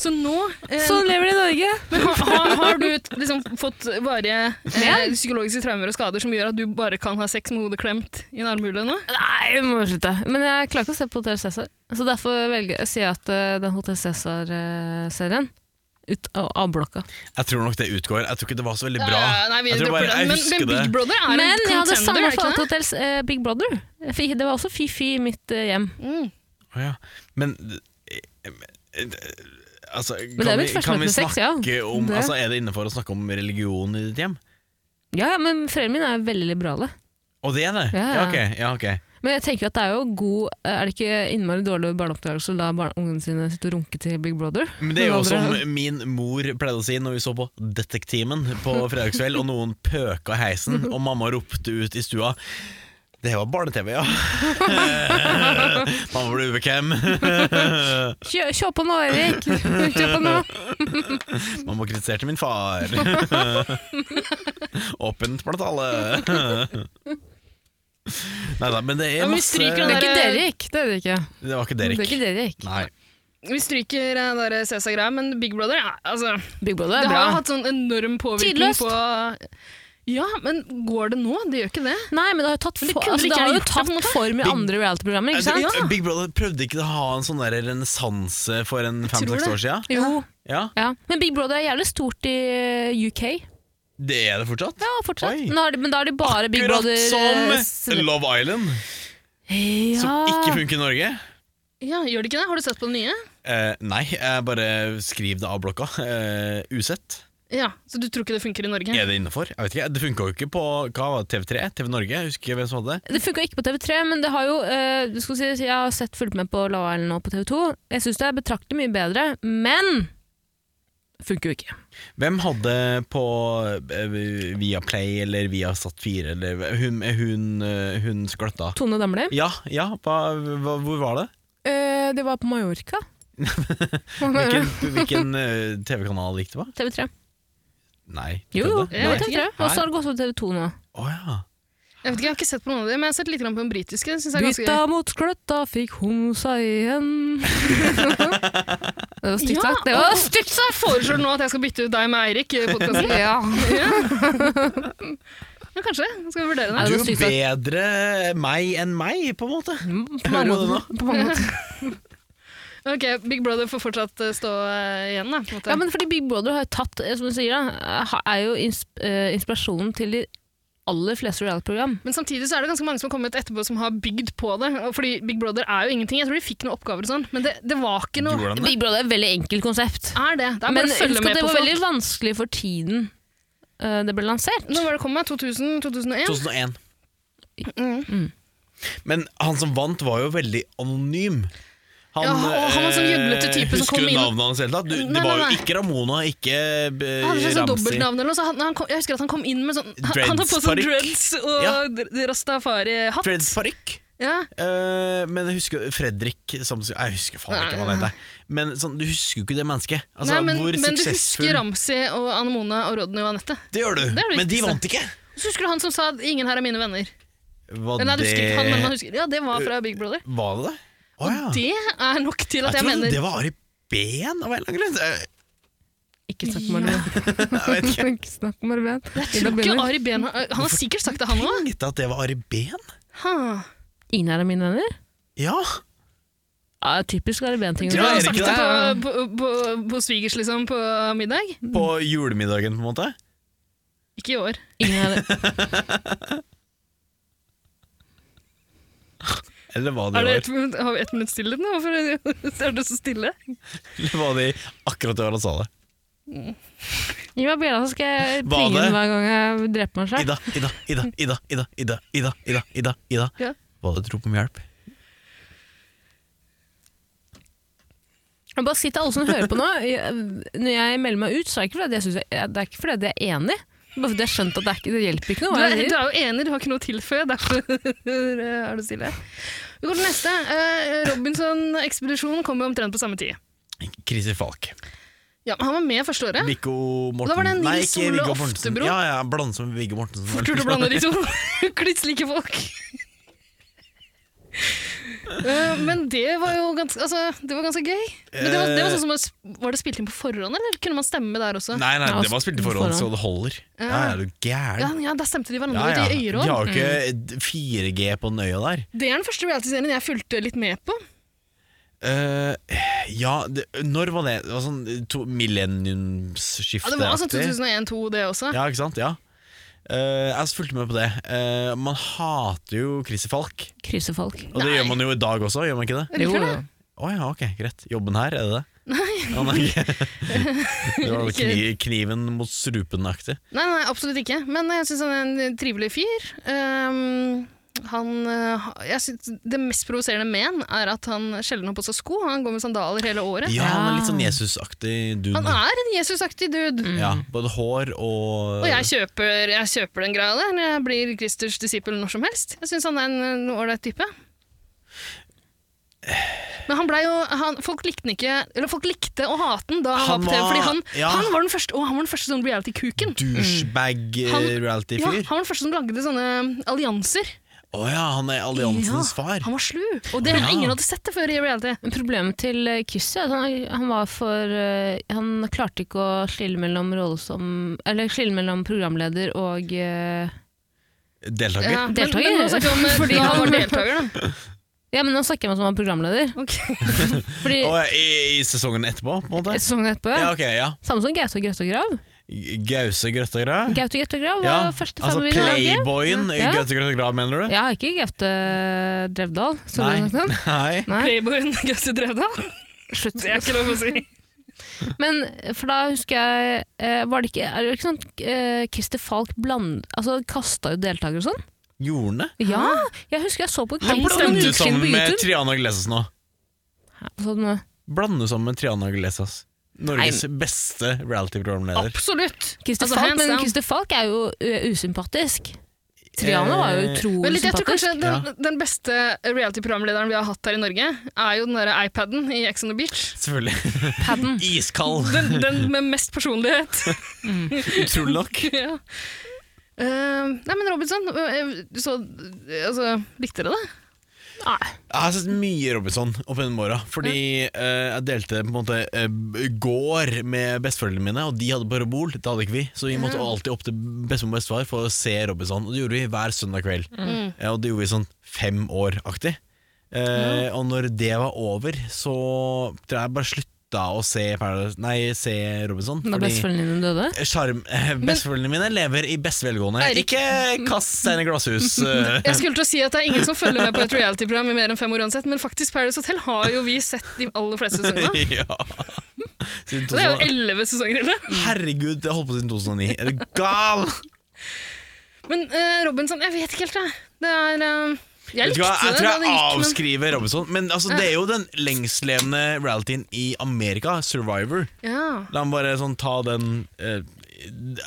[SPEAKER 2] Så nå eh,
[SPEAKER 3] Sånn lever de i Norge!
[SPEAKER 2] men har, har, har du et- liksom, fått varige eh, psykologiske traumer og skader som gjør at du bare kan ha sex med hodet klemt i en armhule nå?
[SPEAKER 3] Nei, jeg må slutte. Men jeg klarer ikke å se på Hotell Cæsar. Så derfor velger jeg å si at eh, den Hotell Cæsar-serien ut av, av blokka.
[SPEAKER 1] Jeg tror nok det utgår. Jeg tror ikke det var så veldig bra.
[SPEAKER 2] Ja, nei, vi
[SPEAKER 1] jeg tror
[SPEAKER 2] dropper
[SPEAKER 1] bare,
[SPEAKER 2] den,
[SPEAKER 1] jeg
[SPEAKER 2] men,
[SPEAKER 1] husker
[SPEAKER 2] men Big
[SPEAKER 1] det.
[SPEAKER 2] Brother er
[SPEAKER 3] Men
[SPEAKER 2] en
[SPEAKER 3] jeg hadde
[SPEAKER 2] contender,
[SPEAKER 3] samme
[SPEAKER 2] er det ikke
[SPEAKER 3] forhold til
[SPEAKER 2] det?
[SPEAKER 3] Hotell eh, Big Brother. Fy- Det var også fy-fy i mitt eh, hjem.
[SPEAKER 2] Mm.
[SPEAKER 1] Å ja. Men eh, eh, Altså,
[SPEAKER 3] det
[SPEAKER 1] kan,
[SPEAKER 3] er mitt
[SPEAKER 1] vi,
[SPEAKER 3] første
[SPEAKER 1] kan vi
[SPEAKER 3] møte med sex,
[SPEAKER 1] snakke
[SPEAKER 3] ja.
[SPEAKER 1] om
[SPEAKER 3] Det-
[SPEAKER 1] altså, Er det innenfor å snakke om religion i ditt hjem?
[SPEAKER 3] Ja, ja, men foreldrene mine er jo veldig liberale.
[SPEAKER 1] Og det er det?
[SPEAKER 3] Ja,
[SPEAKER 1] ja
[SPEAKER 3] ja.
[SPEAKER 1] ok. Ja, ok.
[SPEAKER 3] Men jeg tenker at det er jo god eh, Er det ikke innmari dårlig barneoppdragelse å la barn- ungene sine sitte og runke til Big Brother?
[SPEAKER 1] Men det er jo
[SPEAKER 3] Noen
[SPEAKER 1] som
[SPEAKER 3] andre-
[SPEAKER 1] min mor pleide å si når vi så på Detektimen på
[SPEAKER 3] (laughs)
[SPEAKER 1] fredagskveld, og noen pøka i heisen, og mamma ropte ut i stua Det var barne-TV,
[SPEAKER 3] (laughs)
[SPEAKER 1] ja. (laughs) mamma ble ubekvem.
[SPEAKER 3] Kjø, kjør på nå, Erik! Kjør på nå!
[SPEAKER 1] Mamma kritiserte min
[SPEAKER 3] (laughs)
[SPEAKER 1] far. Åpent blant alle. Nei da, men det
[SPEAKER 2] Ja,
[SPEAKER 1] er
[SPEAKER 2] men vi
[SPEAKER 1] masse
[SPEAKER 2] stryker
[SPEAKER 3] Det
[SPEAKER 2] den
[SPEAKER 3] er
[SPEAKER 1] Det
[SPEAKER 3] ikke Derek. Det er det ikke.
[SPEAKER 1] var ikke
[SPEAKER 3] Det er
[SPEAKER 1] Derek.
[SPEAKER 3] ikke Derek.
[SPEAKER 1] Nei.
[SPEAKER 2] Vi stryker eh, der Cæsar-greia, men Big Brother er, altså,
[SPEAKER 3] Big Brother
[SPEAKER 2] Det
[SPEAKER 3] er bra.
[SPEAKER 2] har hatt sånn enorm påvirkning
[SPEAKER 3] Tidløst.
[SPEAKER 2] på Ja, men går det nå? Det gjør ikke det.
[SPEAKER 3] Nei, men det har jo tatt,
[SPEAKER 2] det
[SPEAKER 3] for,
[SPEAKER 2] kunne
[SPEAKER 3] altså,
[SPEAKER 2] ikke
[SPEAKER 3] det har
[SPEAKER 2] jeg
[SPEAKER 3] jo
[SPEAKER 2] gjort det, på en
[SPEAKER 3] tatt
[SPEAKER 2] måte.
[SPEAKER 3] form i andre reality-programmer, ikke sant?
[SPEAKER 1] Altså, Big Brother prøvde ikke å ha en sånn der renessanse for en
[SPEAKER 2] tror
[SPEAKER 1] fem-seks
[SPEAKER 2] det.
[SPEAKER 1] år siden?
[SPEAKER 3] Jo.
[SPEAKER 1] Ja,
[SPEAKER 3] Ja. Men Big Brother er jævlig stort i eh, UK.
[SPEAKER 1] det er det fortsatt.
[SPEAKER 3] Ja, fortsatt.
[SPEAKER 1] Oi.
[SPEAKER 3] Nå er det, men da er det bare Big
[SPEAKER 1] Akkurat
[SPEAKER 3] Brother eh, s-
[SPEAKER 1] som Love Island,
[SPEAKER 3] ja.
[SPEAKER 1] som ikke funker i Norge.
[SPEAKER 2] Ja, gjør det ikke det? Har du sett på den nye?
[SPEAKER 1] Eh, nei, jeg bare skriv det av blokka. Eh, usett.
[SPEAKER 2] Ja, Så du tror ikke det funker i Norge?
[SPEAKER 1] Er det innafor? Jeg vet ikke. Det funka jo ikke på hva var det, TV3, TV Norge, jeg husker ikke hvem som hadde det.
[SPEAKER 3] Det funka ikke på TV3, men det har jo eh, du skal si, Jeg har sett fulgt med på Love Island nå på TV2. Jeg syns det er betraktelig mye bedre, men funker jo ikke.
[SPEAKER 1] Hvem hadde på eh, Viaplay eller Viasat4 eller Hun, hun, eh, hun skløtta.
[SPEAKER 3] Tone Damli.
[SPEAKER 1] Ja, ja, hva, hva, hvor var det?
[SPEAKER 3] Eh, det var på Mallorca.
[SPEAKER 1] (laughs) Hvilken, hvilken eh, TV-kanal gikk det på?
[SPEAKER 3] TV3.
[SPEAKER 1] Nei.
[SPEAKER 3] Jo, jo.
[SPEAKER 1] det?
[SPEAKER 3] det
[SPEAKER 1] Nei.
[SPEAKER 3] var
[SPEAKER 2] vet
[SPEAKER 3] TV3. Og så har det gått over TV2 nå.
[SPEAKER 1] Å ja.
[SPEAKER 2] Jeg vet ikke, jeg har ikke sett på noen av dem, men jeg har sett litt grann på den britiske. Det synes jeg er ganske
[SPEAKER 3] Bytta mot skløtta, fikk homsa igjen. (laughs) det var stygt
[SPEAKER 2] Ja,
[SPEAKER 3] sagt. Det
[SPEAKER 2] og-
[SPEAKER 3] var stygt
[SPEAKER 2] Så jeg foreslår nå at jeg skal bytte ut deg med Eirik i podkasten.
[SPEAKER 3] ja.
[SPEAKER 2] (laughs) Ja, kanskje. Skal vi vurdere det?
[SPEAKER 3] Ja,
[SPEAKER 1] Du
[SPEAKER 3] det
[SPEAKER 1] er
[SPEAKER 3] var stygt sagt.
[SPEAKER 1] bedre meg enn meg, på en måte.
[SPEAKER 3] På
[SPEAKER 1] Hører du
[SPEAKER 3] mange
[SPEAKER 1] det
[SPEAKER 3] måter. På mange måter.
[SPEAKER 2] Ok, Big Brother får fortsatt eh, stå eh, igjen, da. På en måte.
[SPEAKER 3] Ja, men fordi Big Brother har jo tatt, eh, som du sier, da, ha- er jo insp eh, inspirasjonen til de aller fleste reality-program.
[SPEAKER 2] Men samtidig så er det ganske mange som har kommet etterpå som har bygd på det. og Fordi Big Brother er jo ingenting. Jeg tror de fikk noen oppgaver og sånn, men det, det var ikke noe
[SPEAKER 1] Gjorde han det?
[SPEAKER 3] Big Brother er et veldig enkelt konsept.
[SPEAKER 2] Er det. Det er
[SPEAKER 3] Men
[SPEAKER 2] bare å
[SPEAKER 3] husk
[SPEAKER 2] følge
[SPEAKER 3] at
[SPEAKER 2] med
[SPEAKER 3] det
[SPEAKER 2] på
[SPEAKER 3] var
[SPEAKER 2] folk.
[SPEAKER 3] veldig vanskelig for tiden eh, det ble lansert.
[SPEAKER 2] Når var det kom med? 2000? 2001?
[SPEAKER 1] 2001.
[SPEAKER 2] Mm.
[SPEAKER 1] Men han som vant, var jo veldig anonym. eh,
[SPEAKER 2] Ja, og han var sånn gjøglete type som kom
[SPEAKER 1] Husker du
[SPEAKER 2] inn-
[SPEAKER 1] navnet hans i det hele tatt? Du- Det
[SPEAKER 2] Nei,
[SPEAKER 1] var
[SPEAKER 2] nei,
[SPEAKER 1] jo
[SPEAKER 2] nei.
[SPEAKER 1] ikke Ramona, ikke eh,
[SPEAKER 2] Han hadde sånn
[SPEAKER 1] Ramsey.
[SPEAKER 2] dobbeltnavn eller noe. Så han, han kom, jeg husker at han kom inn med sånn Han, han hadde på seg
[SPEAKER 1] Dreads-parykk.
[SPEAKER 2] dreads og
[SPEAKER 1] Ja.
[SPEAKER 2] dr- rastafari-hatt.
[SPEAKER 1] Freds parykk.
[SPEAKER 2] Ja.
[SPEAKER 1] Eh, men jeg husker Fredrik som, Jeg husker faen ikke hva han heter. Men sånn, du husker jo ikke det mennesket. Altså,
[SPEAKER 2] Nei, men,
[SPEAKER 1] hvor
[SPEAKER 2] men du
[SPEAKER 1] suksessfull
[SPEAKER 2] husker Ramsi og Anne Mona og Rodney og Anette.
[SPEAKER 1] Det gjør du,
[SPEAKER 2] det
[SPEAKER 1] men de
[SPEAKER 2] viktigste.
[SPEAKER 1] vant ikke.
[SPEAKER 2] Så husker du han som sa at 'ingen her er mine venner'?
[SPEAKER 1] Var
[SPEAKER 2] Nei, du husker ikke han, men man
[SPEAKER 1] det
[SPEAKER 2] husker Ja, det var fra Big Brother.
[SPEAKER 1] Var det det? Å ja.
[SPEAKER 2] Det er nok til at
[SPEAKER 1] Jeg
[SPEAKER 2] jeg,
[SPEAKER 1] trodde
[SPEAKER 2] mener
[SPEAKER 1] det var Ari Behn, av en eller annen grunn. Jeg-
[SPEAKER 3] Ikke snakk om Marven.
[SPEAKER 1] (laughs) Jeg vet ikke.
[SPEAKER 3] (laughs) Ikke snakk om Marven.
[SPEAKER 2] Jeg tror ikke Ari Behn har- Han har sikkert sagt det, han òg.
[SPEAKER 1] Tenkte at det var Ari Behn.
[SPEAKER 3] Ingen er av mine venner?
[SPEAKER 1] Ja.
[SPEAKER 3] Ja, typisk Ari Behn-ting.
[SPEAKER 2] Tror du han har sagt
[SPEAKER 1] Erik,
[SPEAKER 2] det på, på, på, på svigers, liksom, på middag?
[SPEAKER 1] På julemiddagen, på en måte.
[SPEAKER 2] Ikke i år.
[SPEAKER 3] Ingen er...
[SPEAKER 1] Eller var det,
[SPEAKER 2] Er det
[SPEAKER 1] i år?
[SPEAKER 2] et, minutt- har vi ett minutts stillhet nå? Hvorfor er det så stille?
[SPEAKER 1] Eller var det i akkurat det året han sa det?
[SPEAKER 3] Gi meg bjella, så skal jeg
[SPEAKER 1] Var
[SPEAKER 3] plinge
[SPEAKER 1] det-
[SPEAKER 3] den hver gang jeg dreper meg selv.
[SPEAKER 1] Ida, Ida, Ida, Ida, Ida, Ida, Ida, Ida, Ida, Ida.
[SPEAKER 2] Ja.
[SPEAKER 1] Hva hadde du rop om hjelp?
[SPEAKER 3] Jeg bare sier til alle som hører på nå, jeg, når jeg melder meg ut, så er det ikke fordi at jeg, synes jeg, det er ikke fordi at jeg er enig. Det er Bare fordi jeg har skjønt at det, er ikke, det hjelper ikke
[SPEAKER 2] Du
[SPEAKER 3] noe. hva
[SPEAKER 2] er, du
[SPEAKER 3] jeg
[SPEAKER 2] (laughs)
[SPEAKER 3] sier.
[SPEAKER 2] er jo enig, du har ikke noe å tilføye, derfor er du stille. Vi går til neste. Eh, Robinson-ekspedisjonen kom jo omtrent på samme tid.
[SPEAKER 1] Chrissy Falk.
[SPEAKER 2] Ja, men Han var med første året.
[SPEAKER 1] Viggo Morten.
[SPEAKER 2] Da var det en
[SPEAKER 1] Nei,
[SPEAKER 2] Nils
[SPEAKER 1] ikke
[SPEAKER 2] Ole
[SPEAKER 1] Viggo Mortensen.
[SPEAKER 2] Oftebro.
[SPEAKER 1] Ja, ja, blande som Viggo Mortensen.
[SPEAKER 2] Fort gjort å blande de to. (laughs) Kliss like folk. Eh, men det var jo ganske, altså, det var ganske gøy. Men det var, det
[SPEAKER 1] Eh.
[SPEAKER 2] var, sånn som, å sp- var det spilt inn på forhånd, eller kunne man stemme der også?
[SPEAKER 1] Nei, nei,
[SPEAKER 3] Ja,
[SPEAKER 1] det var spilt i forhold, så det holder.
[SPEAKER 2] Ja.
[SPEAKER 1] Ja, er du
[SPEAKER 2] Ja,
[SPEAKER 1] gæren?
[SPEAKER 2] ja, Der stemte de hverandre
[SPEAKER 1] Ja, ja.
[SPEAKER 2] ut i
[SPEAKER 1] De
[SPEAKER 2] øyeråd.
[SPEAKER 1] har jo
[SPEAKER 2] Mm.
[SPEAKER 1] ikke 4G på nøya der.
[SPEAKER 2] Det er den første reality-serien jeg fulgte litt med på.
[SPEAKER 1] Eh, ja, det, når var det? Det var sånn to-
[SPEAKER 2] Ja, det var altså
[SPEAKER 1] millenniumsskifteaktig.
[SPEAKER 2] 2001-2002, det også.
[SPEAKER 1] Ja, ikke sant? Ja. Eh, jeg fulgte med på det. Eh, man hater jo Chrissy Falk.
[SPEAKER 3] Krysefolk.
[SPEAKER 1] Og det gjør man jo i dag også, gjør man ikke det?
[SPEAKER 2] Jeg liker det.
[SPEAKER 1] Å ja, ok, greit. Jobben her, er det det? Å, Nei. det var noe kni, kniven mot strupen-aktig.
[SPEAKER 2] Nei, nei, absolutt ikke. Men jeg syns han er en trivelig fyr. Ehm, han, eh, ha- jeg synes det mest provoserende med han er at han sjelden har på seg sko. Han går med sandaler hele året.
[SPEAKER 1] Ja, han er litt sånn Jesus-aktig dude.
[SPEAKER 2] Han er en Jesusaktig dude.
[SPEAKER 1] Ja, både hår og
[SPEAKER 2] Og jeg kjøper, jeg kjøper den greia der. Jeg blir Kristers disippel når som helst. Jeg syns han er en en ålreit type. Men han blei jo han, folk, likte han ikke, eller folk likte å hate han da han,
[SPEAKER 1] Han
[SPEAKER 2] var på TV,
[SPEAKER 1] var-
[SPEAKER 2] fordi han,
[SPEAKER 1] ja.
[SPEAKER 2] han var den første, å, han var den første sånn reality-kuken. Han- Mm. Ja,
[SPEAKER 1] douchebag-reality-fyr.
[SPEAKER 2] han var den første som lagde sånne allianser.
[SPEAKER 1] Å ja, han er alliansens
[SPEAKER 2] Ja,
[SPEAKER 1] far.
[SPEAKER 2] Han var slu. Og det
[SPEAKER 1] Ja.
[SPEAKER 2] ingen hadde sett det før i reality.
[SPEAKER 3] Men Problemet til eh, Kyssi er at han, han var for eh, Han klarte ikke å skille mellom rolle som Eller skille mellom programleder og eh,
[SPEAKER 1] Deltaker.
[SPEAKER 2] Ja, men-
[SPEAKER 3] Deltaker.
[SPEAKER 2] Men, nå snakker vi om eh,
[SPEAKER 3] Fordi
[SPEAKER 2] da han
[SPEAKER 3] han-
[SPEAKER 2] var deltaker, da.
[SPEAKER 3] Ja, men nå snakker jeg om han som var programleder. (laughs) Fordi
[SPEAKER 1] Å, ja, i, I sesongen etterpå, på en måte?
[SPEAKER 3] sesongen etterpå
[SPEAKER 1] Ja,
[SPEAKER 3] ja.
[SPEAKER 1] ok, ja.
[SPEAKER 3] Samme som Gaute og Grøtte og Grav.
[SPEAKER 1] Gause Grøtta Grav?
[SPEAKER 3] Gaute og Grøtte og Grav
[SPEAKER 1] Ja,
[SPEAKER 3] var første
[SPEAKER 1] altså
[SPEAKER 3] femme vi lagde.
[SPEAKER 1] Playboyen i
[SPEAKER 3] Ja.
[SPEAKER 1] Gaute Grøtta Grav, mener du?
[SPEAKER 3] Ja, ikke Gaute Drevdal. som
[SPEAKER 1] Nei.
[SPEAKER 3] du snakket
[SPEAKER 1] (laughs)
[SPEAKER 3] om.
[SPEAKER 1] Nei.
[SPEAKER 3] Nei.
[SPEAKER 2] Playboyen Gaussi Drevdal.
[SPEAKER 3] Slutt.
[SPEAKER 2] Det er ikke lov å si.
[SPEAKER 3] Men for da husker jeg eh, Var det ikke, er det ikke sånn eh, Christer Falk bland, altså, kasta ut deltakere og sånn?
[SPEAKER 1] Gjorde han det?
[SPEAKER 3] Ja! Jeg husker jeg så på
[SPEAKER 1] Han
[SPEAKER 3] klipp for noen
[SPEAKER 1] blander
[SPEAKER 3] uker
[SPEAKER 1] du
[SPEAKER 3] siden
[SPEAKER 1] sammen
[SPEAKER 3] på
[SPEAKER 1] med
[SPEAKER 3] YouTube.
[SPEAKER 1] Triana Glesas nå.
[SPEAKER 3] Sånn, eh,
[SPEAKER 1] Blande sammen med Triana Glesas. Norges beste reality-programleder.
[SPEAKER 2] Absolutt.
[SPEAKER 3] Christer
[SPEAKER 2] Altså,
[SPEAKER 3] Falk,
[SPEAKER 2] hands
[SPEAKER 3] men
[SPEAKER 2] down.
[SPEAKER 3] Christer Falk er jo ø, usympatisk. Triana var jo
[SPEAKER 1] Eh,
[SPEAKER 3] utrolig
[SPEAKER 2] Men litt, jeg tror
[SPEAKER 3] sympatisk.
[SPEAKER 2] kanskje den, den beste reality-programlederen vi har hatt her i Norge, er jo den derre iPaden i Ex on the Beach.
[SPEAKER 1] Selvfølgelig.
[SPEAKER 3] Padden.
[SPEAKER 1] (laughs) Iskald,
[SPEAKER 2] Den, den med mest personlighet.
[SPEAKER 1] (laughs) utrolig nok.
[SPEAKER 2] ja. Eh, nei, men Robinson, eh, du så eh, Altså, likte dere det?
[SPEAKER 3] Nei.
[SPEAKER 1] Jeg har sett mye Robinson opp gjennom åra. Fordi eh, jeg delte på en måte eh, gård med besteforeldrene mine, og de hadde parabol. Det hadde ikke vi, så vi måtte alltid opp til bestemor og bestefar for å se Robinson. Og det gjorde vi hver søndag kveld.
[SPEAKER 2] Mm.
[SPEAKER 1] Eh, og det gjorde vi sånn fem år-aktig. Eh, Og når det var over, så tror jeg jeg bare slutta å se, Paradise- nei, se Robinson.
[SPEAKER 3] Da
[SPEAKER 1] fordi-
[SPEAKER 3] besteforeldrene dine døde?
[SPEAKER 1] Sjarm. (laughs) eh, Besteforeldrene mine lever i beste velgående.
[SPEAKER 2] Eirik.
[SPEAKER 1] Ikke kast stein i
[SPEAKER 2] (laughs)
[SPEAKER 1] glasshus. eh.
[SPEAKER 2] Jeg skulle til å si at det er ingen som følger med på et reality-program i mer enn fem år uansett, men faktisk Paradise Hotel har jo vi sett de aller fleste sesongene.
[SPEAKER 1] (laughs) ja. Siden
[SPEAKER 2] Og det er jo
[SPEAKER 1] 2000
[SPEAKER 2] elleve sesonger, eller?
[SPEAKER 1] Herregud, det har holdt på siden 2009. Er du gal?
[SPEAKER 2] Men eh, Robinson, jeg vet ikke helt, jeg. Det er eh, Jeg
[SPEAKER 1] Vet du
[SPEAKER 2] likte
[SPEAKER 1] hva, jeg
[SPEAKER 2] det
[SPEAKER 1] tror
[SPEAKER 2] da det
[SPEAKER 1] jeg
[SPEAKER 2] gikk, men
[SPEAKER 1] avskriver Robinson. Men altså, det er jo den lengstlevende realityen i Amerika, Survivor.
[SPEAKER 2] ja.
[SPEAKER 1] La meg bare sånn ta den eh,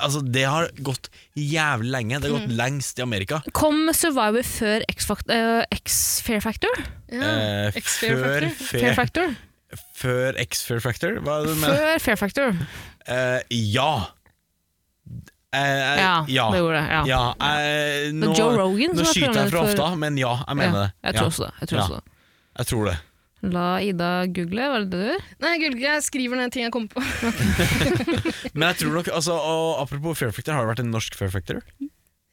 [SPEAKER 1] Altså, det har gått jævlig lenge. Det har
[SPEAKER 2] Mm.
[SPEAKER 1] gått lengst i Amerika.
[SPEAKER 3] Kom Survivor før X, -Fact eh, X Fair Factor?
[SPEAKER 2] ja.
[SPEAKER 1] Eh,
[SPEAKER 2] X-Fair
[SPEAKER 1] før,
[SPEAKER 2] Factor.
[SPEAKER 3] Fair
[SPEAKER 1] fe, (laughs)
[SPEAKER 3] Factor?
[SPEAKER 1] før X-Fair Factor? Hva er det du mener?
[SPEAKER 3] Før Fair Factor.
[SPEAKER 1] Eh, ja. Eh, eh,
[SPEAKER 3] Ja,
[SPEAKER 1] ja.
[SPEAKER 3] det gjorde det. Ja.
[SPEAKER 1] ja. eh,
[SPEAKER 3] Det
[SPEAKER 1] nå,
[SPEAKER 3] var Joe Rogan
[SPEAKER 1] nå
[SPEAKER 3] som var
[SPEAKER 1] skyter jeg fra
[SPEAKER 3] programleder for-
[SPEAKER 1] hofta, men ja, jeg mener det.
[SPEAKER 3] Jeg
[SPEAKER 1] Ja,
[SPEAKER 3] tror også det. Jeg tror
[SPEAKER 1] Ja.
[SPEAKER 3] også det.
[SPEAKER 1] jeg tror det.
[SPEAKER 3] La Ida google, var det det du gjør?
[SPEAKER 2] Nei, Gulge, jeg skriver ned ting jeg kommer på.
[SPEAKER 1] Men jeg tror nok, altså, og apropos Fair Factor, har det vært en norsk Fair Factor?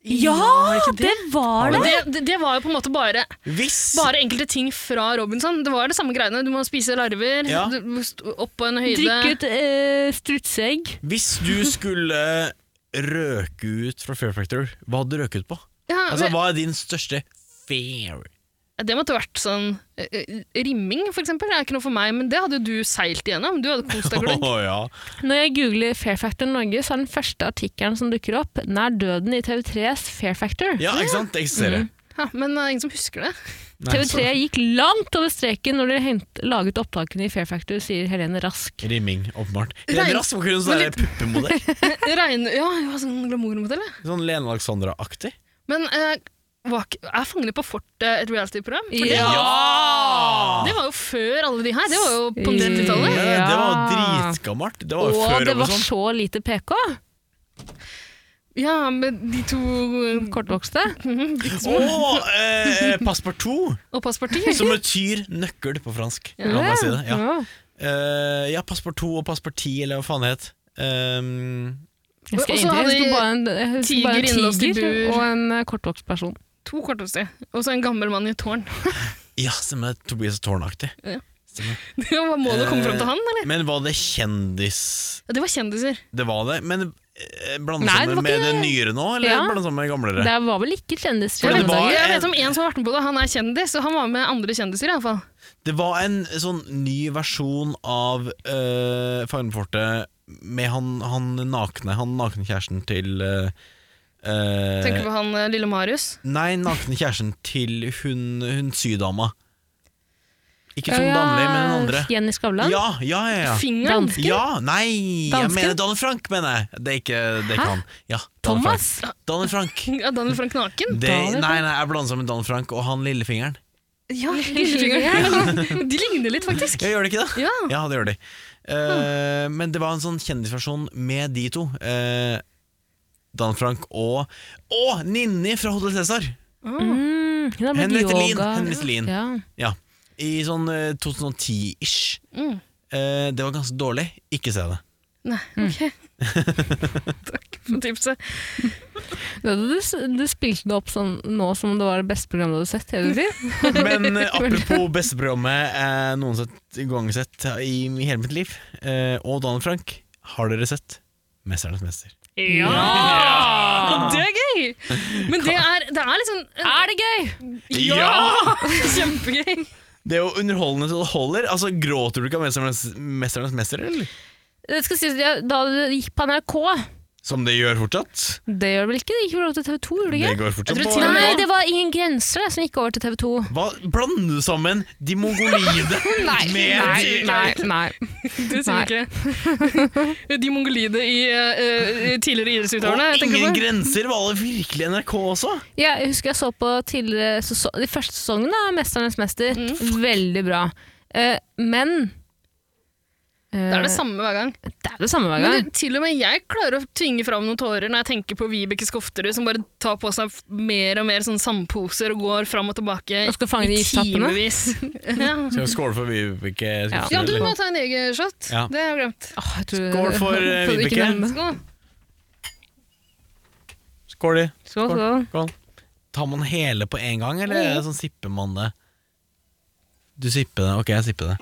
[SPEAKER 2] var det ikke det?
[SPEAKER 3] var
[SPEAKER 2] Men Det, det, det var jo på en måte bare,
[SPEAKER 1] Hvis
[SPEAKER 2] bare enkelte ting fra Robinson. Det var det samme greiene. Du må spise larver,
[SPEAKER 1] Ja.
[SPEAKER 2] du må stå opp på en høyde
[SPEAKER 3] Drikke ut eh, strutseegg.
[SPEAKER 1] Hvis du skulle røke ut fra Fair Factor, hva hadde du røket ut på?
[SPEAKER 2] Ja,
[SPEAKER 1] Altså,
[SPEAKER 2] men-
[SPEAKER 1] Hva er din største fair?
[SPEAKER 2] Det måtte vært sånn eh, eh, Rimming, for eksempel. Det er ikke noe for meg, men det hadde jo du seilt igjennom. Du hadde kost deg
[SPEAKER 1] Å (laughs)
[SPEAKER 2] gløgg.
[SPEAKER 1] ja.
[SPEAKER 3] Når jeg googler Fair Factor Norge, så er den første artikkelen som dukker opp, 'Nær døden i TV3s Fair Factor'.
[SPEAKER 1] ja, ikke sant? Det
[SPEAKER 3] Mhm.
[SPEAKER 1] eksisterer.
[SPEAKER 2] Ja, men det er ingen som husker det.
[SPEAKER 1] Nei,
[SPEAKER 3] TV3 gikk langt over streken når de hent, laget opptakene i Fair Factor, sier Helene Rask.
[SPEAKER 1] så- Rimming, åpenbart.
[SPEAKER 2] Nei,
[SPEAKER 1] Ren Rask var kun en sånn der
[SPEAKER 2] men
[SPEAKER 1] puppemodell.
[SPEAKER 2] Regne, ja, jeg var sånn glamourmodell, jeg.
[SPEAKER 1] Sånn Lene Alexandra-aktig.
[SPEAKER 2] Men eh, var ikke- Er Fangene på fortet et reality-program? For det,
[SPEAKER 3] Ja!
[SPEAKER 2] det var jo før alle de her. Det var jo på 90-tallet.
[SPEAKER 1] Nei, Det var jo
[SPEAKER 3] Ja.
[SPEAKER 1] dritgammelt. Det var jo
[SPEAKER 3] Og
[SPEAKER 1] før sånn.
[SPEAKER 3] det var
[SPEAKER 1] Robinson.
[SPEAKER 3] så lite PK.
[SPEAKER 2] Ja, med de to
[SPEAKER 3] Kortvokste.
[SPEAKER 2] (laughs) mhm, de to-
[SPEAKER 1] Og eh, passepartout,
[SPEAKER 2] Og Passparti.
[SPEAKER 1] som betyr nøkkel på fransk. La meg si det. Ja, Eh, ja passepartout og passeparti, eller hva faen det het. Um,
[SPEAKER 3] Jeg husker
[SPEAKER 2] Og så
[SPEAKER 3] egentlig- jeg
[SPEAKER 2] hadde
[SPEAKER 3] husker bare en, jeg husker
[SPEAKER 2] tiger
[SPEAKER 3] bare en
[SPEAKER 2] innlåst i
[SPEAKER 3] tiger
[SPEAKER 2] bur.
[SPEAKER 3] og en eh, kortvokst person.
[SPEAKER 2] To kortvokste. Og så en gammel mann i et tårn. (laughs)
[SPEAKER 1] ja, stemmer det. Tobias Tårnaktig.
[SPEAKER 2] Ja.
[SPEAKER 1] Stemmer.
[SPEAKER 2] Det var målet å komme fram til han, eller?
[SPEAKER 1] Men var det kjendis
[SPEAKER 2] Ja, det var kjendiser.
[SPEAKER 1] Det var det, men eh, blande
[SPEAKER 3] Nei, det
[SPEAKER 1] sammen
[SPEAKER 3] var
[SPEAKER 1] med
[SPEAKER 3] ikke-
[SPEAKER 1] det nyere nå, eller
[SPEAKER 3] Ja.
[SPEAKER 1] blande sammen med gamlere?
[SPEAKER 3] Det var vel ikke kjendis i
[SPEAKER 1] For det
[SPEAKER 3] gamle
[SPEAKER 1] var-
[SPEAKER 3] dager?
[SPEAKER 2] Jeg vet om en som har vært med på det. Han er kjendis, og han var med andre kjendiser. I alle fall.
[SPEAKER 1] Det var en sånn ny versjon av uh, Farmefortet med han, han nakne, han nakenkjæresten til eh, eh,
[SPEAKER 2] Tenker på han eh, lille Marius.
[SPEAKER 1] Nei, nakenkjæresten til hun, hun sydama. Ikke sånn
[SPEAKER 3] Ja,
[SPEAKER 1] damlig, men den andre.
[SPEAKER 3] Jenny Skavlan?
[SPEAKER 1] Ja, ja, ja. ja.
[SPEAKER 2] Fingeren.
[SPEAKER 3] Dansken?
[SPEAKER 1] Ja, nei, jeg
[SPEAKER 3] Dansken?
[SPEAKER 1] mener Donald Frank, mener jeg. Det er ikke, det er
[SPEAKER 3] Hæ?
[SPEAKER 1] ikke han. Ja, Donald
[SPEAKER 3] Thomas?
[SPEAKER 1] Frank. Donald
[SPEAKER 3] (laughs)
[SPEAKER 1] Frank.
[SPEAKER 2] (laughs) Ja, Daniel Frank naken.
[SPEAKER 1] Det,
[SPEAKER 3] Donald
[SPEAKER 1] nei,
[SPEAKER 3] Frank?
[SPEAKER 1] nei, jeg blander sammen Donald Frank og han lillefingeren.
[SPEAKER 2] Ja, (laughs) lillefingeren. De ligner litt, faktisk.
[SPEAKER 1] Ja, gjør det ikke det?
[SPEAKER 2] Ja.
[SPEAKER 1] Ja, det gjør de. Eh, Men det var en sånn kjendisversjon med de to. Eh, Dan Frank og Og Ninni fra Hotell Cæsar!
[SPEAKER 3] Mm, hun har blitt
[SPEAKER 1] Henriette Lien,
[SPEAKER 3] yoga.
[SPEAKER 1] Henriette Lien.
[SPEAKER 3] Ja.
[SPEAKER 1] Ja. I sånn eh, 2010-ish.
[SPEAKER 2] Mm.
[SPEAKER 1] Eh, Det var ganske dårlig. Ikke
[SPEAKER 2] (laughs)
[SPEAKER 1] se det.
[SPEAKER 2] Nei, ok. Takk for tipset.
[SPEAKER 3] Du, du, du spilte det opp sånn nå som om det var det beste programmet du hadde sett.
[SPEAKER 2] (laughs)
[SPEAKER 3] hele tiden.
[SPEAKER 1] Men eh, apropos beste programmet jeg noensinne gang sett i hele mitt liv, eh, og Donald Frank, har dere sett Mesternes mester?
[SPEAKER 2] Og det er gøy! Men det er, det er liksom
[SPEAKER 3] Er det gøy?
[SPEAKER 1] Ja!
[SPEAKER 2] (laughs) Kjempegøy.
[SPEAKER 1] Det er jo underholdende så det holder. Altså, Gråter du ikke av Mesternes, Mesternes mester, eller?
[SPEAKER 3] Det skal sies, jeg- Da det gikk på NRK
[SPEAKER 1] Som det gjør fortsatt?
[SPEAKER 3] Det gjør vel ikke? Det gikk vel over til TV 2? gjorde det
[SPEAKER 1] Det
[SPEAKER 3] ikke?
[SPEAKER 1] går fortsatt
[SPEAKER 2] Jeg tror
[SPEAKER 1] på
[SPEAKER 2] til og
[SPEAKER 1] NRK.
[SPEAKER 2] med-
[SPEAKER 3] Nei, det var Ingen grenser som gikk over til TV 2.
[SPEAKER 1] Hva, blander du sammen de mongolide med de-
[SPEAKER 3] nei.
[SPEAKER 2] Det sier jeg ikke. (laughs) De mongolide i eh, eh, tidligere idrettsutøverne.
[SPEAKER 1] Og
[SPEAKER 2] jeg tenker
[SPEAKER 1] Ingen
[SPEAKER 2] på.
[SPEAKER 1] grenser var det virkelig NRK også?
[SPEAKER 3] Ja, jeg husker jeg så på tidligere seso- de første sesongene av 'Mesternes mester'.
[SPEAKER 2] Mm.
[SPEAKER 3] Veldig bra. Eh, men eh,
[SPEAKER 2] Det er det samme hver gang.
[SPEAKER 3] det er det samme hver gang.
[SPEAKER 2] Men det, til og med jeg klarer å tvinge fram noen tårer når jeg tenker på Vibeke Skofterud som bare tar på seg f- mer og mer sånn sandposer og går fram og tilbake
[SPEAKER 3] Og skal fange de
[SPEAKER 2] i
[SPEAKER 3] istappene. (laughs)
[SPEAKER 2] timevis. ja.
[SPEAKER 1] Skal vi skåle for Vibeke?
[SPEAKER 3] Ja.
[SPEAKER 2] ja, du
[SPEAKER 1] sånn?
[SPEAKER 2] må ta en egen shot.
[SPEAKER 1] Ja.
[SPEAKER 2] Det har jeg glemt.
[SPEAKER 3] Åh, jeg tror-
[SPEAKER 1] Skål for, eh,
[SPEAKER 3] Prøvde ikke
[SPEAKER 1] Vibeke.
[SPEAKER 3] å nevne det.
[SPEAKER 2] Skål.
[SPEAKER 1] Skål, de.
[SPEAKER 3] Skål, skål.
[SPEAKER 1] Skål. Tar man hele på en gang, eller er det sånn sipper man det? Du sipper det, ok, jeg sipper det.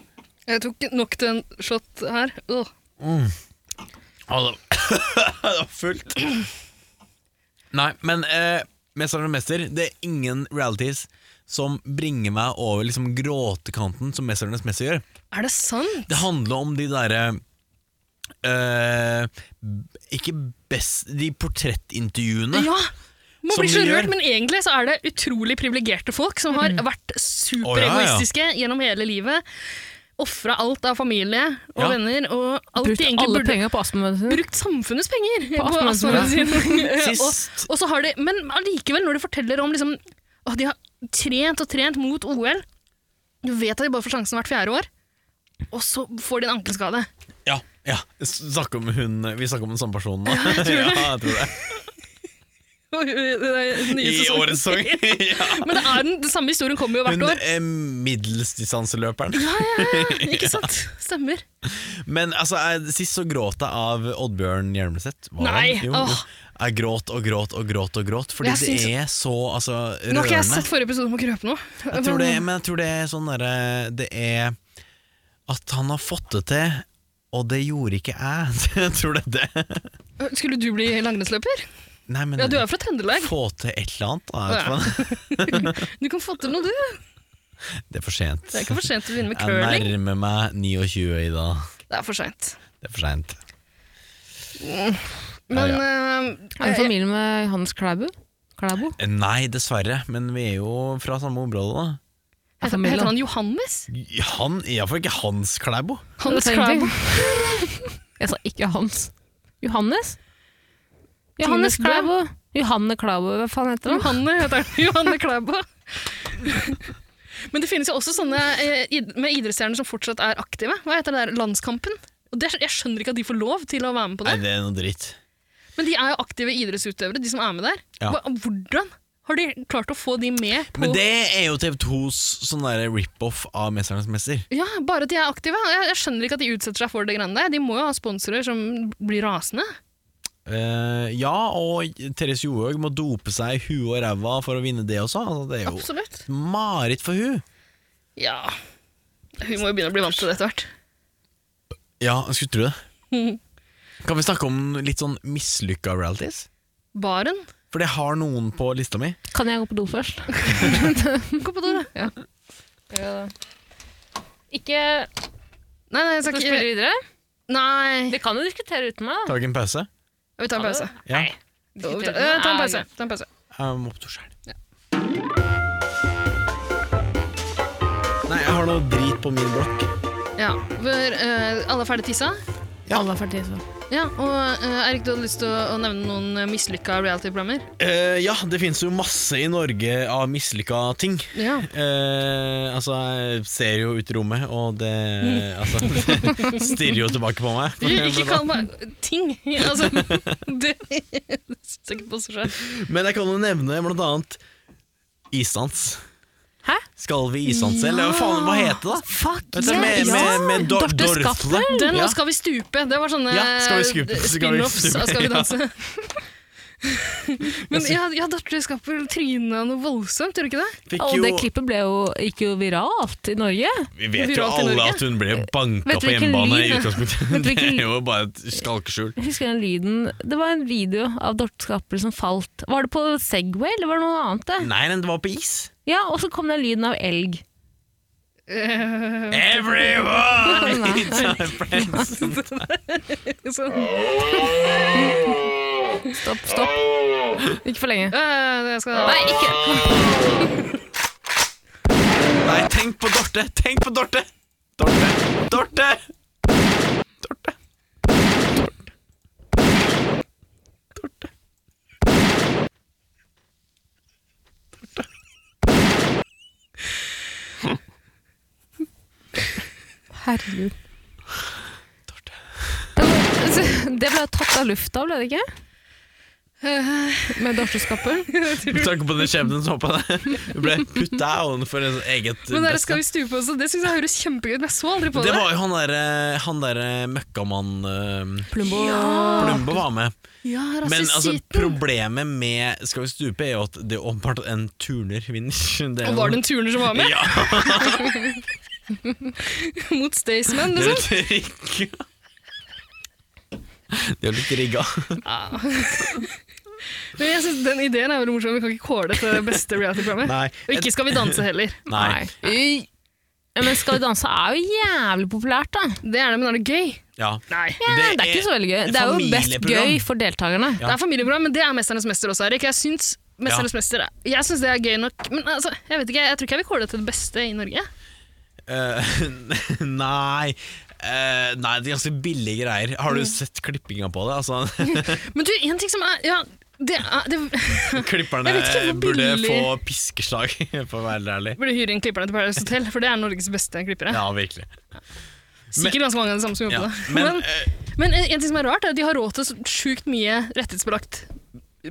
[SPEAKER 2] Jeg tok nok til en shot her. Åh.
[SPEAKER 1] Å, det det var (laughs) fullt. Nei, men eh, Mester og mester, det er ingen realities som bringer meg over liksom, gråtekanten som Mesternes mester gjør.
[SPEAKER 2] Er det sant?
[SPEAKER 1] Det handler om de derre eh, Ikke best De portrettintervjuene.
[SPEAKER 2] Ja! Man
[SPEAKER 1] Som
[SPEAKER 2] blir så
[SPEAKER 1] de
[SPEAKER 2] rørt,
[SPEAKER 1] gjør. Mhm.
[SPEAKER 2] men egentlig så er det utrolig privilegerte folk som har vært superegoistiske gjennom hele livet. Ofra alt av familie og
[SPEAKER 1] Ja.
[SPEAKER 2] venner og alt
[SPEAKER 3] Brukt
[SPEAKER 2] de egentlig
[SPEAKER 3] alle
[SPEAKER 2] burde
[SPEAKER 3] penger på astmamedisin.
[SPEAKER 2] brukt samfunnets penger
[SPEAKER 3] På
[SPEAKER 2] på (laughs)
[SPEAKER 3] astmamedisin.
[SPEAKER 2] astmamedisin.
[SPEAKER 1] Sist.
[SPEAKER 2] og, og så har de, men allikevel, når de forteller om liksom, at de har trent og trent mot OL Du vet at de bare får sjansen hvert fjerde år, og så får de en (laughs) ankelskade.
[SPEAKER 1] Ja, ja. Snakker om hun, vi snakker om den samme personen nå. (laughs) Ja, jeg tror
[SPEAKER 2] (laughs)
[SPEAKER 1] det.
[SPEAKER 2] Og, ø, det er den nye
[SPEAKER 1] I
[SPEAKER 2] sesongen.
[SPEAKER 1] årets sesong. (laughs) ja.
[SPEAKER 2] (laughs) Men det er den, den samme historien kommer jo hvert
[SPEAKER 1] Hun eh,
[SPEAKER 2] år.
[SPEAKER 1] er middelsdistanseløperen. (laughs)
[SPEAKER 2] Ikke sant? Stemmer.
[SPEAKER 1] Men altså, jeg, sist så gråt jeg av Oddbjørn Hjelmeset. var det
[SPEAKER 2] Nei,
[SPEAKER 1] han? Jo,
[SPEAKER 2] åh.
[SPEAKER 1] jo. Jeg gråt og gråt og gråt og gråt, fordi
[SPEAKER 2] Jeg syns-
[SPEAKER 1] det er så altså, rørende.
[SPEAKER 2] Nå har ikke jeg sett forrige episode om å krøpe noe.
[SPEAKER 1] Jeg tror det, (laughs) men jeg tror det er sånn derre Det er at han har fått det til, og det gjorde ikke jeg. (laughs) Jeg tror det er det.
[SPEAKER 2] Skulle du bli langrennsløper?
[SPEAKER 1] Nei, men
[SPEAKER 2] Ja, du er jo fra Trøndelag.
[SPEAKER 1] få til et eller annet. Da, jeg
[SPEAKER 2] Å, ja.
[SPEAKER 1] vet ikke hva.
[SPEAKER 2] Du kan få til noe, du.
[SPEAKER 1] Det er for sent.
[SPEAKER 2] Det er ikke for sent å begynne med
[SPEAKER 1] Jeg
[SPEAKER 2] curling.
[SPEAKER 1] nærmer meg 29, Ida.
[SPEAKER 2] Det er for seint.
[SPEAKER 1] Det er for sent.
[SPEAKER 2] Men
[SPEAKER 1] Ja,
[SPEAKER 2] ø,
[SPEAKER 3] Er det familie med Hans Klæbo? Klæbo?
[SPEAKER 1] Eh, Nei, dessverre, men vi er jo fra samme område, da.
[SPEAKER 3] Altså,
[SPEAKER 2] Heter, heter han Johannes?
[SPEAKER 1] Han, Iallfall ikke Hans Klæbo.
[SPEAKER 2] Hans
[SPEAKER 3] Jeg sa ingenting.
[SPEAKER 2] Klæbo?
[SPEAKER 3] (laughs) Jeg sa ikke Hans. Johannes? Johannes
[SPEAKER 2] Johannes Klæbo.
[SPEAKER 3] Klæbo. Johanne Klauber, hva faen heter hun?
[SPEAKER 2] Johanne heter han. Johanne Klæbo. Men det finnes jo også sånne eh, id- med idrettsstjerner som fortsatt er aktive. Hva heter det der? Landskampen? Og det, jeg skjønner ikke at de får lov til å være med på det.
[SPEAKER 1] Nei, det er noe dritt.
[SPEAKER 2] Men de er jo aktive idrettsutøvere, de som er med der.
[SPEAKER 1] Ja.
[SPEAKER 2] Hva- Hvordan har de klart å få de med på
[SPEAKER 1] Men det er jo TV2s sånn derre rip-off av 'Mesternes mester'.
[SPEAKER 2] Ja, bare at de er aktive. Jeg, jeg skjønner ikke at de utsetter seg for det greiene der. De må jo ha sponsorer som blir rasende.
[SPEAKER 1] Eh, ja, og Therese Johaug må dope seg i huet og ræva for å vinne det også. Altså, det er jo
[SPEAKER 2] Absolutt.
[SPEAKER 1] et mareritt for hun
[SPEAKER 2] Ja. Hun må jo begynne å bli vant til det etter hvert.
[SPEAKER 1] Ja, jeg skulle tro det. (laughs) Kan vi snakke om litt sånn mislykka realities?
[SPEAKER 2] Baren.
[SPEAKER 1] For det har noen på lista mi.
[SPEAKER 3] Kan jeg gå på do først?
[SPEAKER 2] Gå på do, da.
[SPEAKER 3] Ikke
[SPEAKER 2] Nei, nei, jeg skal
[SPEAKER 3] Skal vi
[SPEAKER 2] ikke
[SPEAKER 3] spille videre?
[SPEAKER 2] Nei.
[SPEAKER 3] Vi kan jo diskutere uten meg. da.
[SPEAKER 1] Tar dere en pause?
[SPEAKER 2] Vi tar en pause.
[SPEAKER 1] Ja.
[SPEAKER 2] Ta, eh, ta en pause. Ta en pause.
[SPEAKER 1] Jeg må på do sjøl. Nei, jeg har noe drit på min blokk.
[SPEAKER 2] Ja. Hvor, eh, alle er ferdig tissa?
[SPEAKER 3] Alle har ferdig, så.
[SPEAKER 2] Ja, og eh, Erik, du hadde lyst til å, å nevne noen eh, mislykka reality-programmer?
[SPEAKER 1] Eh, ja, det finnes jo masse i Norge av mislykka ting.
[SPEAKER 2] Ja.
[SPEAKER 1] Eh, altså, jeg ser jo ut i rommet, og det altså, (laughs) det stirrer jo tilbake på meg.
[SPEAKER 2] Ikke kall meg ting! (laughs) Altså, det (laughs) syns jeg ikke passer seg.
[SPEAKER 1] Men jeg kan jo nevne blant annet isdans.
[SPEAKER 3] Hæ?
[SPEAKER 1] Skal vi isdanse, eller hva faen, hva heter det? da?
[SPEAKER 3] Fuck
[SPEAKER 1] Vet du, med,
[SPEAKER 3] yes!
[SPEAKER 1] med, med Dor
[SPEAKER 3] Dorte
[SPEAKER 1] Dorte.
[SPEAKER 3] Skaffel?
[SPEAKER 2] Den og
[SPEAKER 1] Ja.
[SPEAKER 2] Skal vi stupe? Det var sånne
[SPEAKER 1] Ja, Skal vi stupe?
[SPEAKER 2] eh,
[SPEAKER 1] Skal vi
[SPEAKER 2] spin-offs
[SPEAKER 1] stupe?
[SPEAKER 2] av Skal vi
[SPEAKER 1] Ja.
[SPEAKER 2] danse. (laughs) Men ja, ja datteren skal vel tryna noe voldsomt, gjør du ikke det?
[SPEAKER 1] Fikk
[SPEAKER 3] Og
[SPEAKER 1] jo,
[SPEAKER 3] det klippet ble jo, gikk jo viralt i Norge.
[SPEAKER 1] vi vet jo
[SPEAKER 2] viralt i
[SPEAKER 1] alle
[SPEAKER 2] Norge.
[SPEAKER 1] at hun ble banka
[SPEAKER 3] Vet
[SPEAKER 1] på
[SPEAKER 3] du hvilken
[SPEAKER 1] hjemmebane i
[SPEAKER 3] lyd- Vet
[SPEAKER 1] utgangspunktet.
[SPEAKER 3] du
[SPEAKER 1] (laughs) Det
[SPEAKER 3] hvilken-
[SPEAKER 1] er jo bare et
[SPEAKER 3] (laughs)
[SPEAKER 1] skalkeskjul.
[SPEAKER 3] Jeg husker den lyden Det var en video av Dorte Skaffel som falt. Var det på Segway, eller var det noe annet? det?
[SPEAKER 1] Nei, den var på is.
[SPEAKER 3] Ja, Og så kom den lyden av elg.
[SPEAKER 2] Eh,
[SPEAKER 1] Everyone! (laughs) needs a friend.
[SPEAKER 3] (laughs)
[SPEAKER 2] sånn.
[SPEAKER 3] Stopp, stopp. Ikke for lenge.
[SPEAKER 2] Eh, jeg skal,
[SPEAKER 3] Nei, ikke
[SPEAKER 1] Nei, tenk på Dorte! Tenk på Dorte! Dorte! Dorte! Dorte!
[SPEAKER 3] Herregud. Det var- (laughs) Det ble tatt av lufta, ble det ikke? Med dorseskappel.
[SPEAKER 1] Med tanke på den skjebnen som hoppa der. Hun ble put down for ens eget
[SPEAKER 2] men der
[SPEAKER 1] beste.
[SPEAKER 2] skal vi stupe også. Det syns jeg høres kjempegøy ut, men jeg så aldri på
[SPEAKER 1] Det
[SPEAKER 2] det.
[SPEAKER 1] var jo han derre han der møkkamann eh,
[SPEAKER 3] Plumbo.
[SPEAKER 1] Plumbo var med.
[SPEAKER 2] Ja,
[SPEAKER 1] Men altså,
[SPEAKER 2] Ah. rasisiten.
[SPEAKER 1] problemet med Skal vi stupe er jo at det er åpenbart en turner vinner. (laughs) Det er
[SPEAKER 2] og
[SPEAKER 1] jo-
[SPEAKER 2] var det en turner som var med?
[SPEAKER 1] Ja,
[SPEAKER 2] Mot Staysman,
[SPEAKER 1] det er
[SPEAKER 2] liksom?
[SPEAKER 1] litt rigga. (laughs) Det er jo litt rigga.
[SPEAKER 2] (laughs) Men jeg synes Den ideen er veldig morsom. Vi kan ikke kåle det til det beste reality-programmet.
[SPEAKER 1] Nei.
[SPEAKER 2] Og ikke Skal vi danse heller.
[SPEAKER 1] Nei.
[SPEAKER 3] Nei. Ja, Men Skal vi danse er jo jævlig populært, da.
[SPEAKER 2] Det er det, men er det gøy?
[SPEAKER 1] Ja.
[SPEAKER 2] Nei.
[SPEAKER 3] Ja, det, er, ikke så veldig gøy. Det er jo best
[SPEAKER 1] familieprogram.
[SPEAKER 3] gøy for deltakerne.
[SPEAKER 1] Ja.
[SPEAKER 2] Det er familieprogram, men det er Mesternes mester også, Erik. Jeg syns Mesternes mester er- Jeg syns det er gøy nok, men altså, jeg vet ikke, jeg tror ikke jeg vil kåle det til det beste i Norge.
[SPEAKER 1] Eh, (laughs) nei. Eh, nei, det er ganske billige greier. Har
[SPEAKER 2] Mm.
[SPEAKER 1] du sett klippinga på det?
[SPEAKER 2] (laughs)
[SPEAKER 1] Altså, (laughs)
[SPEAKER 2] Men du, en ting som er Ja, det er det, (laughs)
[SPEAKER 1] klipperne
[SPEAKER 2] Jeg vet ikke hvor
[SPEAKER 1] burde
[SPEAKER 2] billig-
[SPEAKER 1] få piskeslag, (laughs) for å være ærlig.
[SPEAKER 2] Burde hyre inn klipperne til Paradise Hotel, for det er Norges beste klippere.
[SPEAKER 1] Ja, virkelig.
[SPEAKER 2] Sikkert ganske mange av de samme som
[SPEAKER 1] Ja.
[SPEAKER 2] jobber der.
[SPEAKER 1] Men
[SPEAKER 2] Men,
[SPEAKER 1] eh,
[SPEAKER 2] (laughs) men en ting som er rart, er at de har råd til så sjukt mye rettighetsbelagt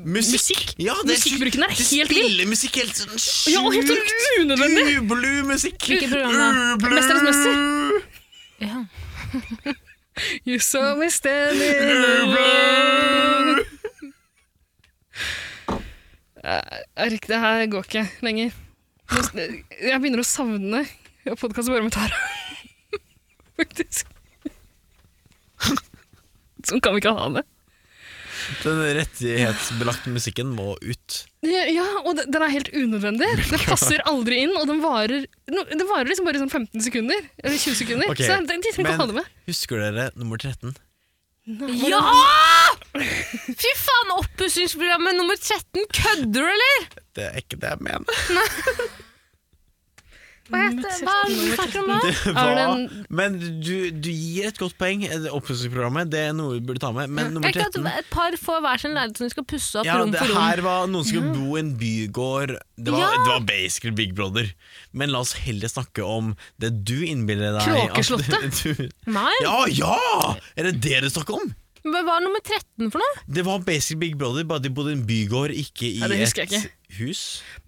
[SPEAKER 1] musikk, ja, det er
[SPEAKER 2] Musikkbruken er
[SPEAKER 1] sykt- de
[SPEAKER 2] helt vill.
[SPEAKER 1] spiller musikk helt sånn sjukt
[SPEAKER 2] Ja, og helt sånn unødvendig!
[SPEAKER 1] Ublu musikk!
[SPEAKER 3] Hvilket program da?
[SPEAKER 1] Ublu.
[SPEAKER 2] Mesternes
[SPEAKER 3] Ja.
[SPEAKER 2] You saw me standing alone. Eh, Erik, det her går ikke lenger. Nå s- Jeg begynner å savne podkast bare med Tara. (laughs) Faktisk. Sånn kan vi ikke ha det.
[SPEAKER 1] Den rettighetsbelagte musikken må ut.
[SPEAKER 2] Ja, ja, og det- den er helt unødvendig. Den passer aldri inn, og den varer, no, den varer liksom bare sånn 15 sekunder. Eller 20 sekunder.
[SPEAKER 1] Ok,
[SPEAKER 2] Så de de trenger ikke å ha det med.
[SPEAKER 1] husker dere nummer 13?
[SPEAKER 3] ja! Fy faen, oppussingsprogrammet nummer 13. Kødder du, eller?
[SPEAKER 2] (laughs)
[SPEAKER 1] Det er ikke det Mm, jeg mener.
[SPEAKER 3] Hva heter Hva er det du snakker om nå?
[SPEAKER 1] Det
[SPEAKER 2] Er det
[SPEAKER 1] var,
[SPEAKER 2] en-
[SPEAKER 1] men du, du gir et godt poeng. Det Oppussingsprogrammet det er noe vi burde ta med. Men nummer
[SPEAKER 3] Er ikke at
[SPEAKER 1] 13
[SPEAKER 3] Et par får hver sin leilighet som de skal pusse opp
[SPEAKER 1] ja,
[SPEAKER 3] rom
[SPEAKER 1] det
[SPEAKER 3] for rom.
[SPEAKER 1] her var noen som skulle bo i en bygård. Det var,
[SPEAKER 3] Ja.
[SPEAKER 1] det var basically Big Brother. Men la oss heller snakke om det du innbiller deg. at
[SPEAKER 2] Kråkeslottet?
[SPEAKER 1] (laughs) du-
[SPEAKER 3] Nei,
[SPEAKER 1] Ja, ja! Er det det du snakker om?
[SPEAKER 3] men Hva er nummer 13 for noe?
[SPEAKER 1] Det var basically Big Brother, bare de bodde i en bygård, ikke i
[SPEAKER 2] Ja, det
[SPEAKER 1] et
[SPEAKER 2] husker jeg
[SPEAKER 1] hus.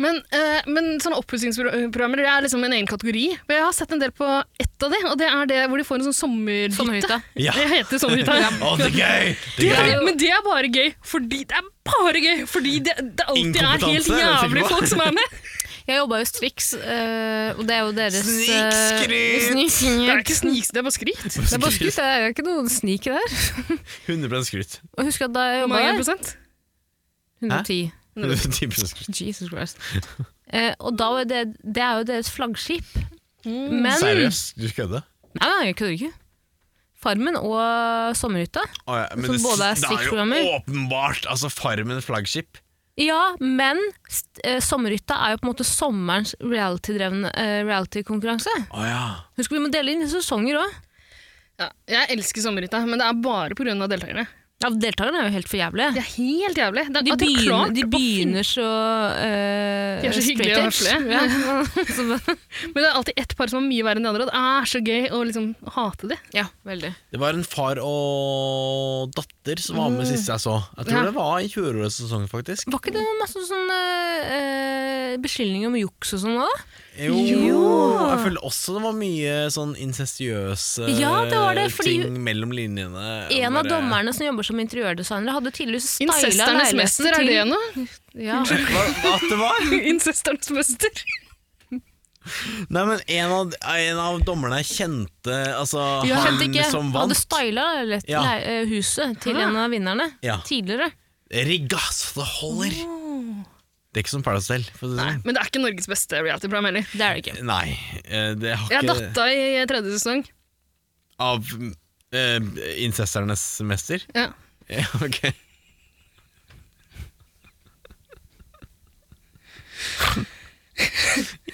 [SPEAKER 2] Men, eh, men sånne oppussingsprogrammer det er liksom en egen kategori. Og jeg har sett en del på ett av de, og det er det hvor de får en sånn sommerhytte.
[SPEAKER 3] Sommerhytta.
[SPEAKER 1] Ja.
[SPEAKER 2] Det heter sommerhytta.
[SPEAKER 1] Å, det er gøy! Det
[SPEAKER 2] Det
[SPEAKER 1] er gøy.
[SPEAKER 2] er, men det er bare gøy, fordi det er bare gøy, fordi det, det alltid er
[SPEAKER 1] Inkompetanse, er
[SPEAKER 2] helt
[SPEAKER 1] det jeg tenker
[SPEAKER 2] jævlig
[SPEAKER 1] på. (laughs)
[SPEAKER 2] folk som er med.
[SPEAKER 3] Jeg jobba jo i Strix, eh, og det er jo deres eh,
[SPEAKER 1] Snikskryt!
[SPEAKER 2] Det er ikke
[SPEAKER 3] Snikskryt!
[SPEAKER 2] snikskryt, det er bare skryt.
[SPEAKER 3] Det er bare skryt, det er ikke noe snik i det her.
[SPEAKER 1] 100 skryt.
[SPEAKER 3] Og husk at da jeg jobba
[SPEAKER 2] Mange
[SPEAKER 3] der
[SPEAKER 2] prosent.
[SPEAKER 3] 110.
[SPEAKER 1] 10% skryt.
[SPEAKER 3] Jesus Christ. Eh, og da var det, det er jo deres flaggskip.
[SPEAKER 2] Mm.
[SPEAKER 3] Men
[SPEAKER 1] Mm. Seriøst, du kødder?
[SPEAKER 3] Nei, nei, jeg kødder ikke. Farmen og Sommerhytta.
[SPEAKER 1] Å ja, men
[SPEAKER 3] Som
[SPEAKER 1] det,
[SPEAKER 3] både er
[SPEAKER 1] det er jo
[SPEAKER 3] strikkprogrammer.
[SPEAKER 1] åpenbart! Altså Farmen flaggskip.
[SPEAKER 3] Ja, men st eh, Sommerhytta er jo på en måte sommerens reality-drevne eh, reality-konkurranse.
[SPEAKER 1] Å ja.
[SPEAKER 3] Husk, vi må dele inn i sesonger òg.
[SPEAKER 2] Ja, jeg elsker sommerhytta, men det er bare pga. deltakerne.
[SPEAKER 3] Ja, deltakerne er jo helt for jævlige.
[SPEAKER 2] Det er helt jævlig. Det,
[SPEAKER 3] De
[SPEAKER 2] at har klart
[SPEAKER 3] begynner, de
[SPEAKER 2] å finne-
[SPEAKER 3] begynner så eh,
[SPEAKER 2] De er så hyggelige og
[SPEAKER 3] straight
[SPEAKER 2] (laughs)
[SPEAKER 3] edge. Ja. Så bare-
[SPEAKER 2] Men det er alltid ett par som er mye verre enn de andre, og det er så gøy å liksom hate de.
[SPEAKER 3] ja, veldig.
[SPEAKER 1] Det var en far og datter som var
[SPEAKER 3] Mm.
[SPEAKER 1] med sist jeg så. Jeg tror
[SPEAKER 2] Ja.
[SPEAKER 1] det var i fjorårets sesong, faktisk.
[SPEAKER 3] Var ikke det masse sånne eh, beskyldninger om juks og sånn òg?
[SPEAKER 1] Jo.
[SPEAKER 3] Jo.
[SPEAKER 1] Jeg føler også det var mye sånn incestuøse
[SPEAKER 3] Ja, det var det, fordi-
[SPEAKER 1] ting mellom linjene.
[SPEAKER 3] En av
[SPEAKER 1] Bare-
[SPEAKER 3] dommerne som jobber som interiørdesignere, hadde tydeligvis styla
[SPEAKER 2] Incesternes
[SPEAKER 3] leiligheten
[SPEAKER 2] mester, er
[SPEAKER 3] til-
[SPEAKER 2] det noe?
[SPEAKER 3] Ja.
[SPEAKER 1] Hva, hva at det
[SPEAKER 3] (laughs)
[SPEAKER 1] var?
[SPEAKER 2] (laughs) Incesternes mester.
[SPEAKER 1] Nei, men en av, en av dommerne jeg kjente altså, han
[SPEAKER 3] Skjønte ikke.
[SPEAKER 1] som
[SPEAKER 3] Hadde
[SPEAKER 1] vant.
[SPEAKER 3] styla leiligheten-
[SPEAKER 1] Ja.
[SPEAKER 3] le- eh, huset til
[SPEAKER 2] Ah.
[SPEAKER 3] en av vinnerne
[SPEAKER 1] Ja.
[SPEAKER 3] tidligere.
[SPEAKER 1] Rigga så det holder! Det er ikke som Paradise Hotel. For å si det sånn.
[SPEAKER 2] Men det er ikke Norges beste reality-program heller.
[SPEAKER 3] Det er det ikke.
[SPEAKER 1] Nei, eh, det har
[SPEAKER 2] Jeg
[SPEAKER 1] ikke
[SPEAKER 2] datta i tredje sesong.
[SPEAKER 1] Av eh, incesternes mester?
[SPEAKER 2] Ja.
[SPEAKER 1] (laughs) Ja, ok.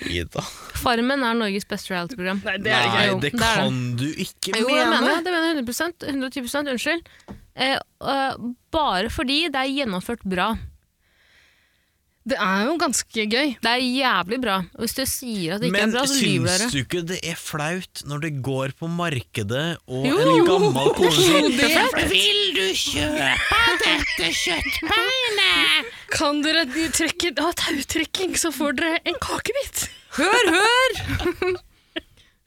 [SPEAKER 1] Ida
[SPEAKER 3] Farmen er Norges beste reality-program.
[SPEAKER 2] Nei, det er det
[SPEAKER 1] Nei,
[SPEAKER 2] ikke.
[SPEAKER 3] jo.
[SPEAKER 1] det
[SPEAKER 3] Det er
[SPEAKER 1] kan du ikke
[SPEAKER 3] Jo, jeg
[SPEAKER 1] mene!
[SPEAKER 3] mener det. det mener jeg 100 110 Unnskyld. Eh, eh, bare fordi det er gjennomført bra.
[SPEAKER 2] Det er jo ganske gøy.
[SPEAKER 3] Det er jævlig bra. Og hvis dere sier at det ikke
[SPEAKER 1] Men
[SPEAKER 3] er bra, så lyver
[SPEAKER 1] syns
[SPEAKER 3] dere.
[SPEAKER 1] du ikke det er flaut når det går på markedet, og
[SPEAKER 3] Jo,
[SPEAKER 1] en gammel kone
[SPEAKER 3] (laughs)
[SPEAKER 1] sier
[SPEAKER 2] det er
[SPEAKER 1] Vil du kjøpe dette kjøttbeinet?
[SPEAKER 2] Kan dere de- trekke, ha tautrekking, så får dere en kakebit?
[SPEAKER 3] Hør, hør!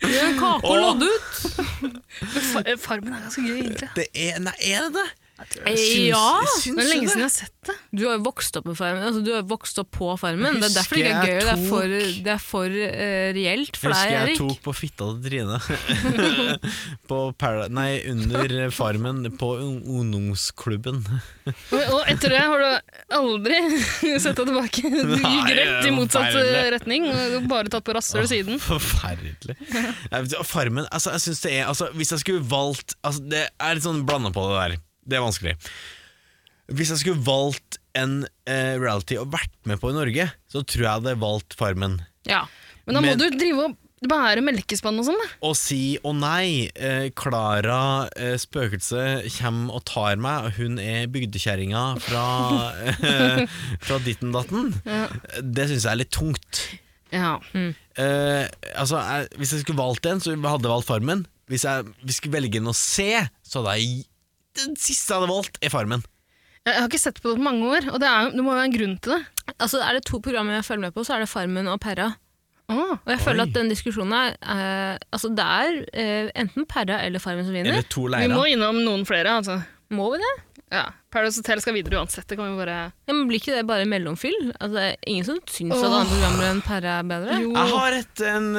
[SPEAKER 3] Gjør en kake
[SPEAKER 1] Åh.
[SPEAKER 3] og lodd ut.
[SPEAKER 2] Men fa- eh, Farmen er ganske gøy, egentlig.
[SPEAKER 1] Det er, nei, er det det?
[SPEAKER 3] Eh, ja.
[SPEAKER 2] Det
[SPEAKER 1] syns
[SPEAKER 2] er lenge
[SPEAKER 1] du det?
[SPEAKER 2] siden jeg har sett det.
[SPEAKER 3] Du har jo vokst opp med farmen. Altså, du har jo vokst opp på farmen. Det er derfor det ikke
[SPEAKER 1] Husker
[SPEAKER 3] er
[SPEAKER 1] jeg
[SPEAKER 3] gøy. Det er for,
[SPEAKER 1] tok-
[SPEAKER 3] det er for eh, reelt for
[SPEAKER 1] Husker
[SPEAKER 3] deg,
[SPEAKER 1] jeg
[SPEAKER 3] Erik.
[SPEAKER 1] tok på fitta til Trine på Para- Nei, under Farmen på un- ungdomsklubben.
[SPEAKER 2] Og, og etter det har du aldri (laughs) sett deg tilbake. Du gikk
[SPEAKER 1] Nei,
[SPEAKER 2] rett i motsatt
[SPEAKER 1] forferdelig.
[SPEAKER 2] eh, retning. og Bare tatt på rasshøl siden.
[SPEAKER 1] Forferdelig. Nei, vet du, Farmen altså, jeg synes det er, altså, Hvis jeg skulle valgt altså, Det er litt sånn blanda på det der. Det er vanskelig. Hvis jeg skulle valgt en eh, reality og vært med på i Norge, så tror jeg jeg hadde valgt Farmen.
[SPEAKER 3] Ja.
[SPEAKER 2] Men da må
[SPEAKER 1] Men-
[SPEAKER 2] du drive og bære melkespann og sånn, da.
[SPEAKER 1] Å si 'å nei, eh, Klara, eh, spøkelse, kommer og tar meg', hun er bygdekjerringa fra, eh, fra ditten datten, det syns jeg er litt tungt.
[SPEAKER 2] Ja.
[SPEAKER 1] Eh, altså, jeg, hvis jeg skulle valgt en, så hadde jeg valgt Farmen. Hvis jeg, hvis jeg skulle velge en å se, så hadde jeg Den siste jeg hadde valgt, er Farmen.
[SPEAKER 2] Jeg jeg har ikke sett på det på mange år, og det, er, jo- det må jo være en grunn til det.
[SPEAKER 3] Altså, er det to programmer jeg følger med på, så er det Farmen og Perra.
[SPEAKER 2] Ah.
[SPEAKER 3] Og jeg føler at den diskusjonen er eh, Altså, det er eh, enten Perra eller Farmen som vinner.
[SPEAKER 1] Eller to
[SPEAKER 2] Vi må
[SPEAKER 1] leirer.
[SPEAKER 2] innom noen flere, altså.
[SPEAKER 3] Må vi det?
[SPEAKER 2] Ja. Paradise Hotel skal videre uansett. Det kan vi bare
[SPEAKER 3] Ja, men blir ikke det bare mellomfyll? Altså, det er ingen som syns at
[SPEAKER 2] Åh.
[SPEAKER 3] andre programmer enn Perra er bedre?
[SPEAKER 2] Jo.
[SPEAKER 1] Jeg har et, en,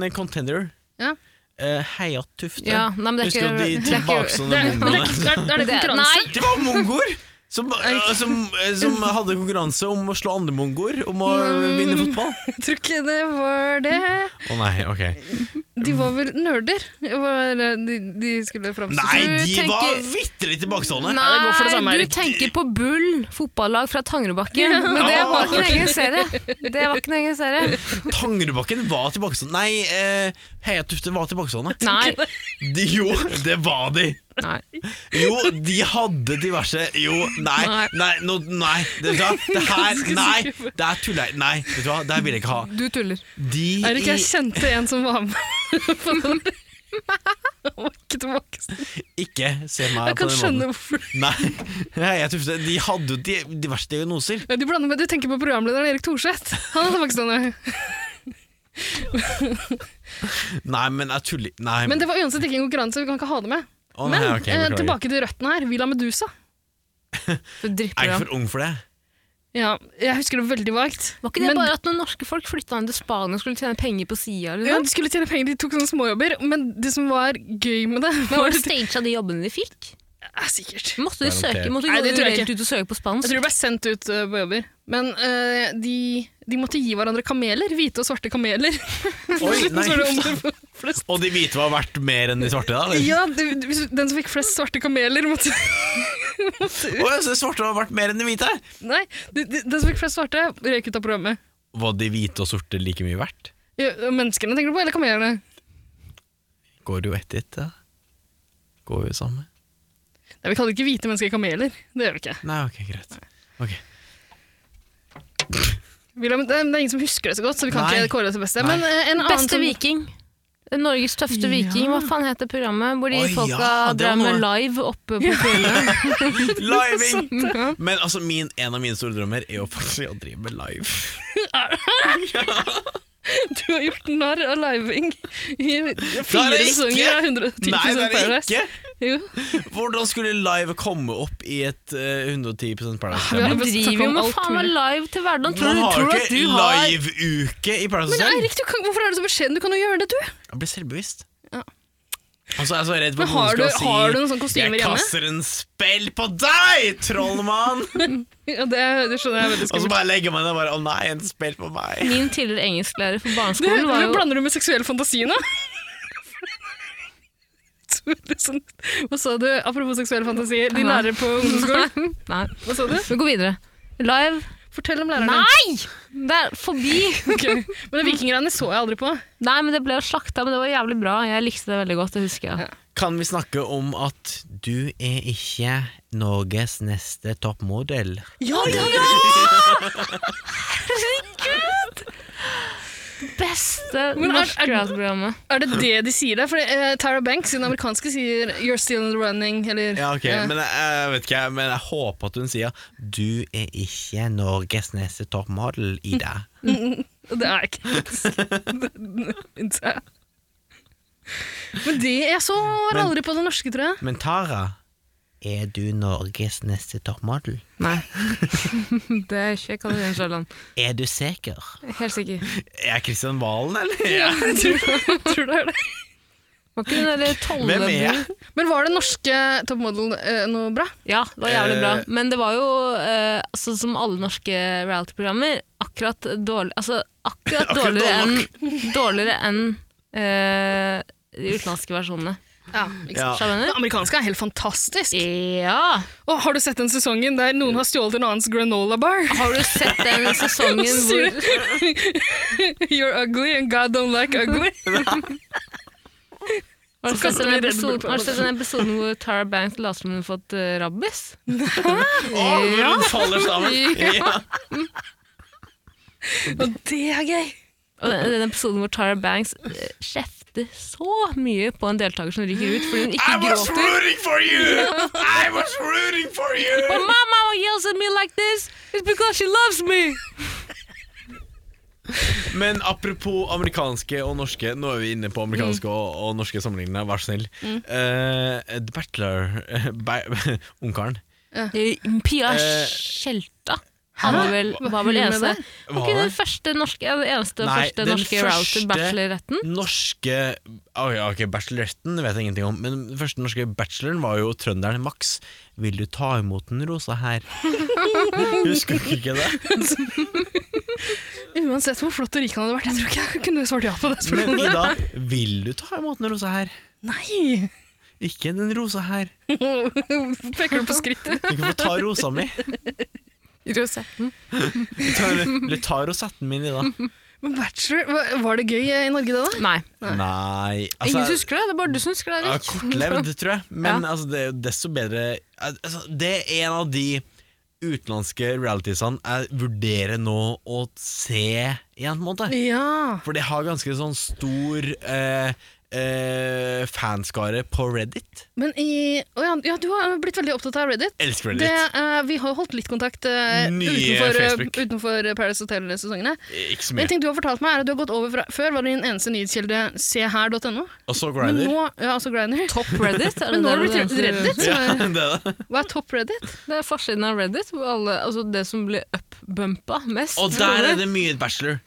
[SPEAKER 1] en contender.
[SPEAKER 2] Ja.
[SPEAKER 1] Eh, Heia Tufte.
[SPEAKER 3] Ja, nei, men det er
[SPEAKER 1] Husker du de
[SPEAKER 3] ikke, det er ikke
[SPEAKER 2] Det
[SPEAKER 1] tilbakestående
[SPEAKER 2] er, men det
[SPEAKER 1] mongolene?
[SPEAKER 2] er, ikke- er, er det
[SPEAKER 3] Det-
[SPEAKER 2] konkurranse?
[SPEAKER 3] nei.
[SPEAKER 1] Det var mongoer! Som, eh, som, eh, som hadde konkurranse om å slå andre mongoer om å vinne fotball.
[SPEAKER 2] Jeg tror ikke det var det.
[SPEAKER 1] Å nei, ok
[SPEAKER 2] De var vel nerder? Var, eh, de, de skulle framstå
[SPEAKER 1] Nei,
[SPEAKER 3] du
[SPEAKER 1] de
[SPEAKER 3] tenker-
[SPEAKER 1] var vitterlig tilbakestående!
[SPEAKER 3] Nei,
[SPEAKER 2] det går for det samme,
[SPEAKER 3] du
[SPEAKER 2] Erik.
[SPEAKER 3] tenker på Bull, fotballag fra
[SPEAKER 2] (laughs)
[SPEAKER 3] Tangerudbakken. Men det var ikke en egen serie. Det var ikke en egen serie.
[SPEAKER 1] Tangerudbakken var tilbakestående. Nei, eh, Heia Tufte var tilbakestående.
[SPEAKER 3] Nei.
[SPEAKER 1] De, jo, det var de!
[SPEAKER 3] Nei.
[SPEAKER 1] Jo, de hadde diverse Jo, nei,
[SPEAKER 3] Nei.
[SPEAKER 1] nei, nå, nei det, vet du hva? det her Nei, det er tulleir. Nei, vet du hva, det her vil jeg ikke ha.
[SPEAKER 3] Du tuller.
[SPEAKER 1] De
[SPEAKER 2] Erik, jeg
[SPEAKER 1] i
[SPEAKER 2] kjente en som var med (laughs) på den. Han var ikke tilbake.
[SPEAKER 1] Ikke se meg på den
[SPEAKER 2] Jeg kan
[SPEAKER 1] måten.
[SPEAKER 2] skjønne hvorfor.
[SPEAKER 1] Nei, (laughs) Heia Tufte, de hadde jo di- diverse diagnoser.
[SPEAKER 2] Ja, Du blander med, du tenker på programlederen Erik Thorseth. Han er tilbakestående.
[SPEAKER 1] Nei, men jeg tuller Nei.
[SPEAKER 2] Men det var uansett ikke en konkurranse, vi kan ikke ha det med.
[SPEAKER 1] Å, nei,
[SPEAKER 2] Men
[SPEAKER 1] ok,
[SPEAKER 2] eh,
[SPEAKER 1] beklager.
[SPEAKER 2] tilbake til røttene her. Villa Medusa.
[SPEAKER 3] Du
[SPEAKER 1] Jeg er
[SPEAKER 3] dripper
[SPEAKER 1] ikke
[SPEAKER 3] av.
[SPEAKER 1] for ung for det.
[SPEAKER 2] Ja, jeg husker det veldig vagt.
[SPEAKER 3] Var ikke det
[SPEAKER 2] Men-
[SPEAKER 3] bare at noen norske folk flytta inn til Spania og skulle tjene penger på sida?
[SPEAKER 2] Ja,
[SPEAKER 3] Liksom?
[SPEAKER 2] de skulle tjene penger, de tok sånne småjobber, men det som var gøy med det
[SPEAKER 3] Men var det staged av de jobbene de fikk?
[SPEAKER 2] Ja, sikkert.
[SPEAKER 3] Måtte de søke? Måtte de
[SPEAKER 2] Nei,
[SPEAKER 3] gå
[SPEAKER 2] det tror jeg
[SPEAKER 3] rett ut og søke på
[SPEAKER 2] Jeg
[SPEAKER 3] spansk?
[SPEAKER 2] tror de ble sendt ut eh, på jobber. Men eh, de, de måtte gi hverandre kameler. Hvite og svarte kameler. (laughs)
[SPEAKER 1] Oi,
[SPEAKER 2] Så var det om
[SPEAKER 1] nei.
[SPEAKER 2] det var flest-
[SPEAKER 1] Og de hvite var verdt mer enn de svarte, da? eller?
[SPEAKER 2] Ja, du, du, hvis- den som fikk flest svarte kameler, måtte (laughs)
[SPEAKER 1] Å, ja, så de svarte var verdt mer enn de hvite?
[SPEAKER 2] Nei, de, de, den som fikk flest svarte, røyk ut av programmet.
[SPEAKER 1] Var de hvite og sorte like mye verdt?
[SPEAKER 2] Ja, menneskene tenker du på, eller kamelene?
[SPEAKER 1] Går jo ett i ett, da. Går jo samme.
[SPEAKER 2] Nei, Vi kaller ikke hvite mennesker kameler. Det gjør vi ikke.
[SPEAKER 1] Nei, ok, greit. Ok.
[SPEAKER 2] William, det, det er ingen som husker det så godt, så vi kan
[SPEAKER 1] Nei.
[SPEAKER 2] ikke kåre det til beste.
[SPEAKER 1] Nei.
[SPEAKER 2] Men eh, en annen
[SPEAKER 3] Beste
[SPEAKER 2] som-
[SPEAKER 3] viking. Norges
[SPEAKER 2] Ja.
[SPEAKER 3] tøffeste viking. Hva faen heter programmet hvor de
[SPEAKER 1] Oi,
[SPEAKER 3] folka
[SPEAKER 1] ja, det var
[SPEAKER 3] drev med
[SPEAKER 1] noe.
[SPEAKER 3] live oppe på fjellet?
[SPEAKER 1] Living!
[SPEAKER 3] Ja.
[SPEAKER 1] Men altså, min, en av mine store drømmer er jo faktisk å drive med live.
[SPEAKER 2] (laughs) Du har gjort narr av living i
[SPEAKER 1] er
[SPEAKER 2] fire
[SPEAKER 1] det ikke!
[SPEAKER 2] sesonger av 110
[SPEAKER 1] Nei, det er det
[SPEAKER 2] Paradise.
[SPEAKER 1] ikke!
[SPEAKER 2] Jo.
[SPEAKER 1] Hvordan skulle live komme opp i et eh, 110
[SPEAKER 2] Vi
[SPEAKER 3] Du
[SPEAKER 2] har-
[SPEAKER 1] Paradise?
[SPEAKER 3] driver jo med faen meg live til hverdagen. Tror
[SPEAKER 1] Man
[SPEAKER 3] du,
[SPEAKER 1] har jo
[SPEAKER 3] tror du at
[SPEAKER 1] ikke
[SPEAKER 3] du har
[SPEAKER 1] live-uke i
[SPEAKER 2] Men
[SPEAKER 1] Paradise.
[SPEAKER 2] Eirik, du kan, hvorfor er du så beskjeden? Du kan jo gjøre
[SPEAKER 1] (laughs)
[SPEAKER 2] det, du!
[SPEAKER 1] Jeg blir selvbevisst.
[SPEAKER 2] Ja.
[SPEAKER 1] Og så er jeg så redd for at
[SPEAKER 2] Men har
[SPEAKER 1] noen skal
[SPEAKER 2] du,
[SPEAKER 1] si
[SPEAKER 2] har du noen sånne kostymer
[SPEAKER 1] Jeg
[SPEAKER 2] hjemme?
[SPEAKER 1] kaster en spell på deg,
[SPEAKER 2] (laughs)
[SPEAKER 1] trollmann!
[SPEAKER 2] Ja, det, det skjønner jeg er veldig
[SPEAKER 1] Og så
[SPEAKER 2] skummelt.
[SPEAKER 1] bare legger man det bare Å nei, en spell på meg.
[SPEAKER 3] Min tidligere engelsklærer for (laughs)
[SPEAKER 1] Altså,
[SPEAKER 2] Det,
[SPEAKER 3] barneskolen var
[SPEAKER 2] men
[SPEAKER 3] jo
[SPEAKER 2] blander du med seksuell fantasi nå? (laughs) Så litt sånn- Hva sa du? Apropos seksuell fantasi, de
[SPEAKER 3] Nei.
[SPEAKER 2] lærer på ungdomsskolen.
[SPEAKER 3] Nei,
[SPEAKER 2] Hva sa du?
[SPEAKER 3] vi går videre. Live
[SPEAKER 2] Fortell om lærerne.
[SPEAKER 3] Nei! Det er forbi.
[SPEAKER 2] (laughs) Ok. Men Vikingerne så jeg aldri på.
[SPEAKER 3] Nei, men det ble jo slakta, men det var jævlig bra. Jeg likte det veldig godt, det husker jeg.
[SPEAKER 1] Kan vi snakke om at du er ikke Norges neste toppmodell?
[SPEAKER 2] Ja, det hadde
[SPEAKER 3] Beste
[SPEAKER 2] Men er-
[SPEAKER 3] norske
[SPEAKER 2] er-
[SPEAKER 3] reality-programmet.
[SPEAKER 2] Er det det de sier der? For eh, Tara Banks, den amerikanske, sier 'you're still in the running'. Eller,
[SPEAKER 1] Ja, ok,
[SPEAKER 2] eh,
[SPEAKER 1] men jeg, jeg vet ikke, men jeg håper at hun sier Du er ikke Norges neste toppmodell, Ida.
[SPEAKER 2] (laughs) Det er ikke (laughs) Det- Men det jeg så, var
[SPEAKER 1] Men-
[SPEAKER 2] aldri på det norske, tror jeg.
[SPEAKER 1] Men Tara, er du Norges neste toppmodell?
[SPEAKER 3] Nei. (laughs) det er ikke Katarina Sjøland.
[SPEAKER 1] Er du sikker?
[SPEAKER 3] Helt (laughs) sikker.
[SPEAKER 1] Er jeg Kristian Valen, eller?
[SPEAKER 2] Jeg tror, tror det er det.
[SPEAKER 3] Var ikke den der
[SPEAKER 1] Hvem er jeg?
[SPEAKER 3] Tollebru
[SPEAKER 2] Men var det norske Top Model eh, noe bra?
[SPEAKER 3] Ja, det var jævlig bra. Men det var jo, eh, altså, som alle norske reality-programmer, akkurat dårlig Altså
[SPEAKER 1] (laughs)
[SPEAKER 3] akkurat
[SPEAKER 1] Akkurat
[SPEAKER 3] dårligere
[SPEAKER 1] dårlig
[SPEAKER 3] enn
[SPEAKER 1] (laughs)
[SPEAKER 3] dårligere enn eh, de utenlandske versjonene.
[SPEAKER 2] Ja,
[SPEAKER 1] Ja.
[SPEAKER 2] Det
[SPEAKER 3] Skjønner du?
[SPEAKER 2] amerikanske er helt fantastisk.
[SPEAKER 3] Ja!
[SPEAKER 2] Og har du sett den sesongen der noen har stjålet en annens granola bar? (laughs)
[SPEAKER 3] Har du sett den
[SPEAKER 1] (laughs)
[SPEAKER 3] sesongen hvor
[SPEAKER 2] You're ugly and God don't like ugly. Så
[SPEAKER 3] Har du sett den
[SPEAKER 2] kaster vi Red Bull
[SPEAKER 3] episoden,
[SPEAKER 2] på
[SPEAKER 3] har du
[SPEAKER 2] alle.
[SPEAKER 3] sett den episoden hvor Tara Banks later som hun har fått eh, rabies?
[SPEAKER 1] Å, hvor hun faller sammen! Ja.
[SPEAKER 2] Og det er gøy!
[SPEAKER 3] Og den, den episoden hvor Tara Banks eh, kjefter så mye på en deltaker som ryker ut fordi hun ikke gråter.
[SPEAKER 1] rooting for you! I was rooting for
[SPEAKER 3] When
[SPEAKER 1] you!
[SPEAKER 3] my mama yells at me like this, it's because she loves me!
[SPEAKER 1] Men apropos amerikanske og norske, nå er vi inne på amerikanske og, og norske sammenligninger, vær så snill. Eh, The Bachelor eh, ba- (laughs) Ungkaren.
[SPEAKER 3] Eh, Pia
[SPEAKER 1] Eh,
[SPEAKER 3] Skjelta hadde vel, var
[SPEAKER 2] hun
[SPEAKER 3] vel
[SPEAKER 2] med
[SPEAKER 3] eneste.
[SPEAKER 2] der?
[SPEAKER 3] Var
[SPEAKER 1] Var
[SPEAKER 3] ikke den
[SPEAKER 1] det?
[SPEAKER 3] første norske, ja, den eneste
[SPEAKER 1] Nei,
[SPEAKER 3] første
[SPEAKER 1] den
[SPEAKER 3] norske
[SPEAKER 1] første-
[SPEAKER 3] første... bachelor-retten?
[SPEAKER 1] Norske oh, ja, Ok, bacheloretten vet jeg ingenting om, men den første norske bacheloren var jo trønderen Max. Vil du ta imot den rosa her? Husker du ikke det?
[SPEAKER 2] Hun Uansett hvor flott og rik han hadde vært, jeg tror ikke jeg kunne svart ja på det
[SPEAKER 1] Men
[SPEAKER 2] spørsmålet.
[SPEAKER 1] Ida, vil du ta imot den rosa her?
[SPEAKER 2] (laughs) Nei!
[SPEAKER 1] Ikke den rosa her.
[SPEAKER 2] Hvorfor (laughs) Peker du på skrittet?
[SPEAKER 1] Du kan få ta rosa mi.
[SPEAKER 3] Rosetten.
[SPEAKER 1] Ta- Eller ta rosetten min, Ida.
[SPEAKER 2] Men bachelor, hva- var det gøy eh, i Norge det, da?
[SPEAKER 3] Nei.
[SPEAKER 1] Nei
[SPEAKER 3] Ingen som husker det, det er bare du som husker det.
[SPEAKER 1] Altså- Ja,
[SPEAKER 3] Erik.
[SPEAKER 1] kortlevd, tror jeg. Men
[SPEAKER 3] Ja.
[SPEAKER 1] altså, det er jo desto bedre altså, Det er en av de utenlandske realitysene jeg vurderer nå å se igjen, på en måte.
[SPEAKER 2] Ja.
[SPEAKER 1] For det har ganske sånn stor eh, eh, fanskare på Reddit.
[SPEAKER 2] Men i Å ja, ja, du har blitt veldig opptatt av Reddit.
[SPEAKER 1] Elsker
[SPEAKER 2] Det,
[SPEAKER 1] Reddit.
[SPEAKER 2] eh, vi har jo holdt litt kontakt eh,
[SPEAKER 1] Nye
[SPEAKER 2] utenfor, eh,
[SPEAKER 1] Facebook.
[SPEAKER 2] utenfor Paradise Hotel-sesongene.
[SPEAKER 1] Ikke så
[SPEAKER 2] Men En
[SPEAKER 1] mye.
[SPEAKER 2] ting du har fortalt meg er at du har gått over fra Før var din eneste nyhetskilde seher.no.
[SPEAKER 1] Og så
[SPEAKER 2] Men
[SPEAKER 1] Grinder.
[SPEAKER 2] nå, ja, altså Grindr.
[SPEAKER 3] Topp Reddit? Er
[SPEAKER 2] Men nå har det
[SPEAKER 3] der
[SPEAKER 2] blitt Reddit.
[SPEAKER 1] Ja,
[SPEAKER 2] Som er,
[SPEAKER 1] (laughs) det er det.
[SPEAKER 2] hva er topp Reddit?
[SPEAKER 3] Det er forsiden av Reddit, hvor alle, altså det som blir upbumpa mest.
[SPEAKER 1] Og der er det mye Bachelor.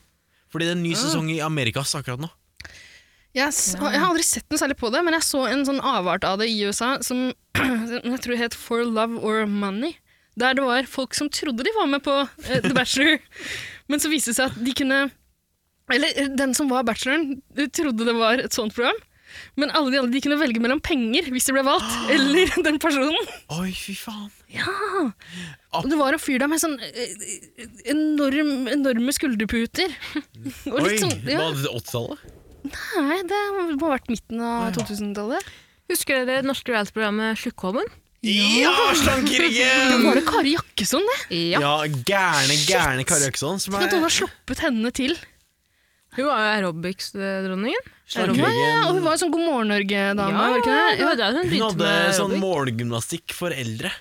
[SPEAKER 1] Fordi det er en
[SPEAKER 3] Ah.
[SPEAKER 1] ny sesong i Amerikas akkurat nå.
[SPEAKER 2] Jeg, s- jeg har aldri sett noe særlig på det, men jeg så en sånn avart av det i USA som (clears throat) jeg tror het For Love or Money. Der det var folk som trodde de var med på eh, The Bachelor, (laughs) men så viste det seg at de kunne Eller eh, den som var bacheloren, eh, trodde det var et sånt program. Men alle de andre de kunne velge mellom penger hvis de ble valgt, eller den personen.
[SPEAKER 1] Oi, fy faen.
[SPEAKER 2] Og det var en fyr der med sånn eh, enorm, enorme skulderputer. Og
[SPEAKER 1] Oi,
[SPEAKER 2] litt sånn, ja,
[SPEAKER 1] Var det 80-tallet?
[SPEAKER 2] nei, det må ha vært midten av 2000-tallet.
[SPEAKER 3] Husker dere det norske reality-programmet Slukkholmen?
[SPEAKER 1] Ja,
[SPEAKER 2] (laughs)
[SPEAKER 1] slankeringen!
[SPEAKER 2] Var det Kari Jakkesson, det?
[SPEAKER 3] Ja.
[SPEAKER 1] Ja, gærne, gærne Kari Økson. Som
[SPEAKER 2] Tenk at hun har sluppet henne til.
[SPEAKER 3] Hun var jo aerobics-dronningen.
[SPEAKER 2] Ja,
[SPEAKER 1] Slankeringen.
[SPEAKER 2] ja, og hun var jo sånn God morgen Norge-dame, var det ikke det?
[SPEAKER 3] det
[SPEAKER 2] Ja.
[SPEAKER 3] var der hun
[SPEAKER 1] Hun
[SPEAKER 3] begynte
[SPEAKER 1] hadde
[SPEAKER 3] med
[SPEAKER 1] sånn
[SPEAKER 3] aerobics.
[SPEAKER 1] målgymnastikk for eldre.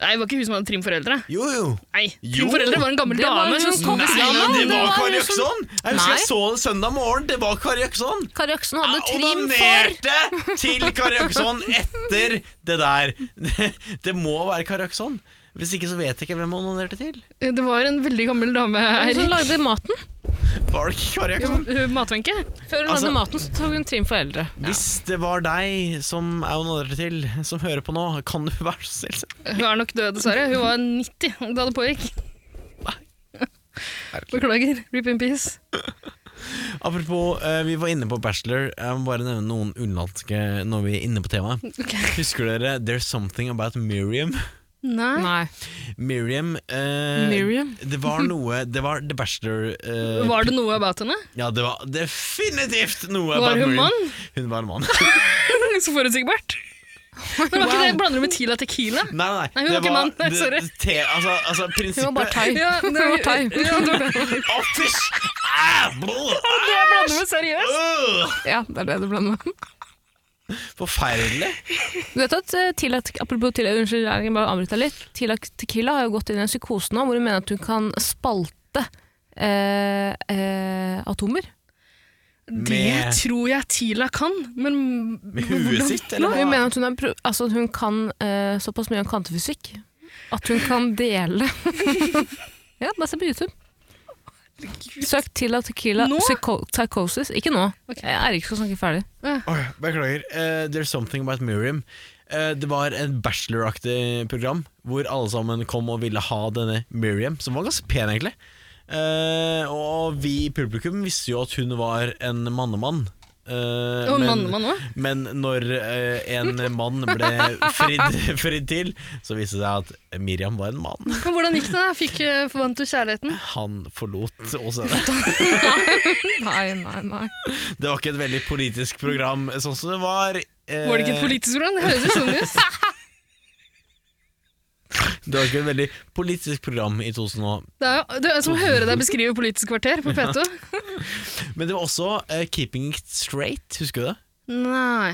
[SPEAKER 2] Nei, det var ikke hun som hadde Trim Foreldre.
[SPEAKER 1] Jo, jo.
[SPEAKER 2] Nei,
[SPEAKER 1] Jo.
[SPEAKER 2] Trim Foreldre var en gammel
[SPEAKER 3] Det var
[SPEAKER 2] dame Sånn-
[SPEAKER 3] hun
[SPEAKER 2] som
[SPEAKER 3] som
[SPEAKER 2] kom ved
[SPEAKER 3] kom-
[SPEAKER 2] siden av.
[SPEAKER 3] Nei,
[SPEAKER 1] det
[SPEAKER 3] det
[SPEAKER 1] var
[SPEAKER 3] var
[SPEAKER 1] Kari
[SPEAKER 3] hun som-
[SPEAKER 1] Økson! Jeg husker
[SPEAKER 3] Nei.
[SPEAKER 1] jeg så det søndag morgen. Det var Kari Økson!
[SPEAKER 3] Kari Øksen hadde
[SPEAKER 1] Jeg
[SPEAKER 3] trim for
[SPEAKER 1] onanerte til Kari Økson etter det der. (laughs) Det må være Kari Økson. Hvis ikke så vet jeg ikke hvem hun onanerte til.
[SPEAKER 2] Det var en veldig gammel dame
[SPEAKER 3] Hun
[SPEAKER 2] her.
[SPEAKER 3] som lagde maten.
[SPEAKER 1] Var det ikke Kari Økson?
[SPEAKER 2] Ja, Matvenke?
[SPEAKER 3] Før hun
[SPEAKER 1] Altså-
[SPEAKER 3] lagde maten, så tok hun trim for eldre.
[SPEAKER 1] Hvis det var deg som jeg onanerte til, som hører på nå, kan du være så snill?
[SPEAKER 2] Hun er nok død, dessverre. Hun var 90 da det pågikk. Beklager. Rip in peace.
[SPEAKER 1] Apropos, eh, vi var inne på Bachelor. Jeg må bare nevne noen utenlandske når vi er inne på temaet.
[SPEAKER 2] (laughs) Ok.
[SPEAKER 1] Husker dere There's Something About Miriam?
[SPEAKER 2] Nei.
[SPEAKER 3] Nei.
[SPEAKER 1] Miriam, eh,
[SPEAKER 3] Miriam?
[SPEAKER 1] Det
[SPEAKER 2] (laughs)
[SPEAKER 1] var noe Det var The Bachelor eh,
[SPEAKER 2] Var det noe about henne?
[SPEAKER 1] Ja, det var definitivt noe
[SPEAKER 2] Var
[SPEAKER 1] about
[SPEAKER 2] hun
[SPEAKER 1] Miriam.
[SPEAKER 2] mann? (laughs)
[SPEAKER 1] Hun var en mann. (laughs)
[SPEAKER 2] Så forutsigbart. Men var ikke det blander du med Tila Tequila?
[SPEAKER 1] Nei, nei,
[SPEAKER 2] Nei, hun var ikke mann. Nei,
[SPEAKER 1] det-
[SPEAKER 2] sorry.
[SPEAKER 1] Te, altså, altså, prinsippet
[SPEAKER 3] Hun var (laughs) bare thai.
[SPEAKER 2] Ja, det
[SPEAKER 3] var thai.
[SPEAKER 2] Ja, det var det.
[SPEAKER 1] Å, fysj! Ah, blå,
[SPEAKER 2] Det jeg blander med (laughs) seriøst.
[SPEAKER 1] ah, øh.
[SPEAKER 3] (laughs) Ja, det er det du blander med.
[SPEAKER 1] Forferdelig.
[SPEAKER 3] Du vet at eh, Tila, apropos Tila, unnskyld, jeg bare avbryter deg litt. Tila Tequila har jo gått inn i en psykose nå, hvor hun mener at hun kan spalte eh, eh, atomer.
[SPEAKER 2] Det tror jeg Tila kan, men
[SPEAKER 1] Med huet sitt, eller
[SPEAKER 3] Hun
[SPEAKER 1] hva?
[SPEAKER 3] mener at hun, er, pro- altså, at hun kan eh, såpass mye om kvantefysikk at hun kan dele (laughs) Ja, bare se på YouTube. Søk Tila Tequila
[SPEAKER 2] Nå?
[SPEAKER 3] psycho psychosis. Ikke nå. Eh, Eirik skal snakke ferdig.
[SPEAKER 1] Oi, beklager. Eh, there's something about Miriam. Eh, det var en bacheloraktig program hvor alle sammen kom og ville ha denne Miriam, som var ganske pen, egentlig. Eh, og vi i publikum visste jo at hun var en mannemann. Eh,
[SPEAKER 2] Og
[SPEAKER 1] men-
[SPEAKER 2] mannemann òg.
[SPEAKER 1] Men når eh, en mann ble fridd, (laughs) fridd til, så viste det seg at Miriam var en mann.
[SPEAKER 2] Men hvordan gikk det? da? Fikk eh, Forvant du kjærligheten?
[SPEAKER 1] Han forlot oss. Det
[SPEAKER 3] Nei, nei, nei.
[SPEAKER 1] var ikke et veldig politisk program, sånn som det var. eh,
[SPEAKER 2] Var det ikke et politisk program? Det høres jo sånn ut.
[SPEAKER 1] det var ikke et veldig politisk program i 2000
[SPEAKER 2] Det er, jo- det er som å høre deg beskrive Politisk kvarter på P2.
[SPEAKER 1] Men det var også eh, Keeping It Straight, husker du det?
[SPEAKER 2] Nei.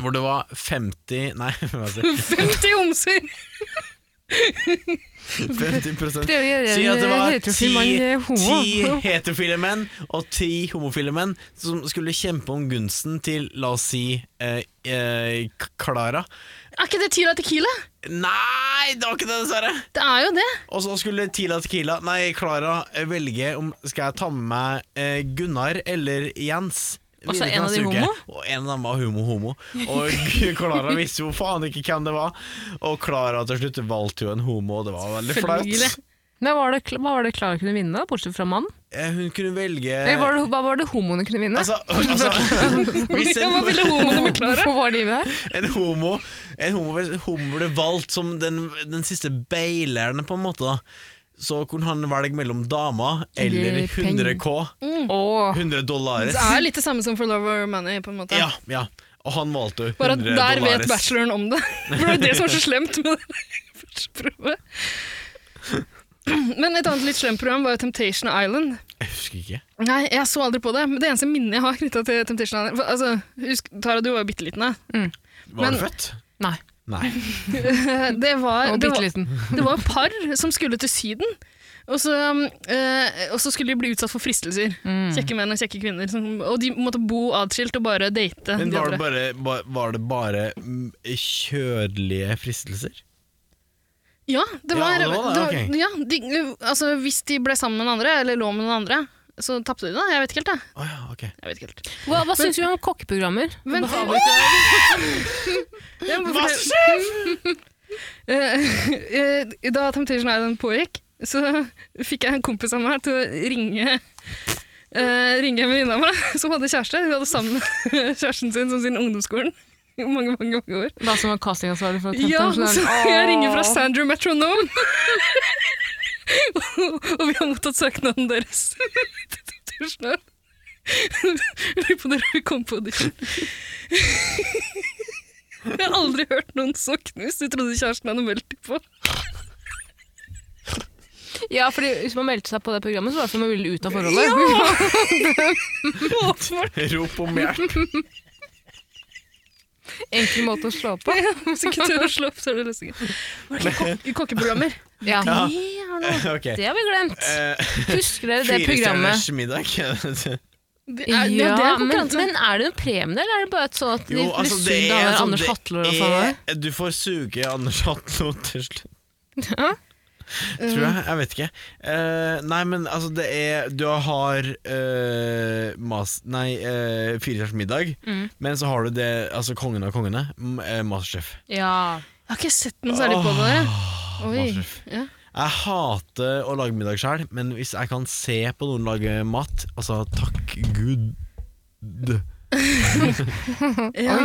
[SPEAKER 1] Hvor det var 50 Nei, (laughs) hva er
[SPEAKER 3] (laughs)
[SPEAKER 1] det?
[SPEAKER 2] 50 homser!
[SPEAKER 1] 50
[SPEAKER 3] Prøv å gjøre
[SPEAKER 1] Si at det var
[SPEAKER 3] heterofil mann eh, homo.
[SPEAKER 1] ti heterofile menn og ti homofile menn som skulle kjempe om gunsten til, la oss si, eh, eh, K- Klara.
[SPEAKER 2] Er ikke det Tila Tequila?
[SPEAKER 1] Nei, det var ikke det, dessverre!
[SPEAKER 2] Det er jo det.
[SPEAKER 1] Og så skulle Tila Tequila, nei, Klara eh, velge om skal jeg ta med meg eh, Gunnar eller Jens.
[SPEAKER 3] Og så
[SPEAKER 1] videre til
[SPEAKER 3] en av
[SPEAKER 1] neste
[SPEAKER 3] de
[SPEAKER 1] uke.
[SPEAKER 3] homo?
[SPEAKER 1] Og en av dem var homo-homo. Og (laughs) Klara visste jo faen ikke hvem det var. Og Klara til slutt valgte jo en homo, og det var veldig flaut.
[SPEAKER 2] Selvfølgelig.
[SPEAKER 3] Nei, var det, kl- hva var det Klara kunne vinne, da, bortsett fra mann?
[SPEAKER 1] Eh, Hun kunne velge
[SPEAKER 3] Eller var det, hva var det homoene kunne vinne? (laughs)
[SPEAKER 1] Altså, altså hvis
[SPEAKER 3] Ja, hva
[SPEAKER 1] en,
[SPEAKER 3] ville homoene med Klara? Hvorfor var de med her?
[SPEAKER 1] (laughs) en homo En homo, hvis homo ble valgt som den, den siste beileren, på en måte, da. så kunne han velge mellom dama eller
[SPEAKER 3] Eller
[SPEAKER 1] 100 K.
[SPEAKER 3] Åh,
[SPEAKER 1] 100 dollar.
[SPEAKER 2] Det er litt det samme som For Love or Money, på en måte.
[SPEAKER 1] Ja, ja. Og han valgte jo 100
[SPEAKER 2] Bare at der vet
[SPEAKER 1] dollares.
[SPEAKER 2] bacheloren om det. (laughs) For det var jo det som var så slemt med det første prøve. Men et annet litt slemt program var jo Temptation Island.
[SPEAKER 1] Jeg husker ikke.
[SPEAKER 2] Nei, jeg så aldri på det. Men det eneste minnet jeg har knytta til Temptation Island for, altså, husk, Tara, du var jo bitte liten da. (laughs)
[SPEAKER 1] Var
[SPEAKER 2] Men-
[SPEAKER 1] du født?
[SPEAKER 3] nei.
[SPEAKER 2] (laughs)
[SPEAKER 1] Nei.
[SPEAKER 2] Det var,
[SPEAKER 3] Og
[SPEAKER 2] det
[SPEAKER 3] bitte
[SPEAKER 2] var,
[SPEAKER 3] liten.
[SPEAKER 2] det var par som skulle til Syden. Og så, um, eh, og så skulle de bli utsatt for fristelser.
[SPEAKER 3] Mm.
[SPEAKER 2] Kjekke menn og kjekke kvinner. Som, og de måtte bo atskilt og bare date.
[SPEAKER 1] Men
[SPEAKER 2] de
[SPEAKER 1] var det
[SPEAKER 2] andre.
[SPEAKER 1] bare, ba- var det bare mm, kjødelige fristelser?
[SPEAKER 2] Ja, det
[SPEAKER 1] Ja,
[SPEAKER 2] var,
[SPEAKER 1] det var det,
[SPEAKER 2] det var- ja, de, altså, hvis de ble sammen med noen andre, eller lå med noen andre, så tapte de, da. Jeg vet ikke helt, jeg.
[SPEAKER 1] Å ja,
[SPEAKER 2] (laughs)
[SPEAKER 1] ok.
[SPEAKER 2] jeg vet ikke helt.
[SPEAKER 3] Hva, hva syns vi om kokkeprogrammer?
[SPEAKER 2] Men, (laughs) Ja, men for det- (laughs) Eh, eh, da Temptation Island pågikk, så fikk jeg en kompis av meg til å ringe eh, Ringe en venninne av meg som hadde kjæreste. Hun hadde sammen med (laughs) kjæresten sin som sin ungdomsskolen. i Mange, mange, mange år.
[SPEAKER 3] Da som var castingansvarlig for
[SPEAKER 2] Ja,
[SPEAKER 3] Temptation
[SPEAKER 2] så
[SPEAKER 3] Island.
[SPEAKER 2] (laughs) jeg ringer fra
[SPEAKER 3] Åh.
[SPEAKER 2] Sandra Metronome. (laughs) og vi har mottatt søknaden deres. (laughs) til Temptation Island. Jeg Lurer på når vi kom på audition. Jeg har aldri hørt noen så knust. Jeg trodde kjæresten hadde meldt dem på.
[SPEAKER 3] Ja, fordi hvis man meldte seg på det programmet, så var det som om man ville ut av forholdet.
[SPEAKER 1] Rop om
[SPEAKER 2] (laughs)
[SPEAKER 1] hjelp.
[SPEAKER 3] (laughs) Enkel måte å slå på.
[SPEAKER 2] Ja, Hvis ikke tør å slå opp, så er det løsningen. Var det kok kokkeprogrammer?
[SPEAKER 3] Ja.
[SPEAKER 1] Ja.
[SPEAKER 2] Det er noe.
[SPEAKER 1] Ok.
[SPEAKER 3] Det har vi glemt.
[SPEAKER 1] Eh,
[SPEAKER 3] Husker dere det
[SPEAKER 1] Fire
[SPEAKER 3] programmet?
[SPEAKER 1] stjerners middag. (laughs)
[SPEAKER 2] Det
[SPEAKER 3] Ja,
[SPEAKER 2] er, ja, det er
[SPEAKER 3] men,
[SPEAKER 2] konkurranse.
[SPEAKER 3] men er det noen premie, eller er det bare et sånn at de
[SPEAKER 1] Jo,
[SPEAKER 3] blir
[SPEAKER 1] altså,
[SPEAKER 3] sugd
[SPEAKER 1] det
[SPEAKER 3] av
[SPEAKER 1] er
[SPEAKER 3] hver
[SPEAKER 1] sånn-
[SPEAKER 3] Anders
[SPEAKER 1] det
[SPEAKER 3] Hatlo og
[SPEAKER 1] er-
[SPEAKER 3] sånn?
[SPEAKER 1] Du får suge Anders Hatlo til
[SPEAKER 3] (laughs)
[SPEAKER 1] slutt. Tror
[SPEAKER 3] Um.
[SPEAKER 1] jeg. Jeg vet ikke. Eh, nei, men altså, det er Du har eh, mas, Nei, uh, Firestjerners middag,
[SPEAKER 3] Mm.
[SPEAKER 1] men så har du det Altså Kongen av kongene. m- eh, Masterchef.
[SPEAKER 3] Ja.
[SPEAKER 2] Jeg har ikke sett noe særlig på det. Oi.
[SPEAKER 1] Masterchef.
[SPEAKER 2] Ja.
[SPEAKER 1] Jeg hater å lage middag sjøl, men hvis jeg kan se på noen lage mat, altså takk gud
[SPEAKER 2] Ja.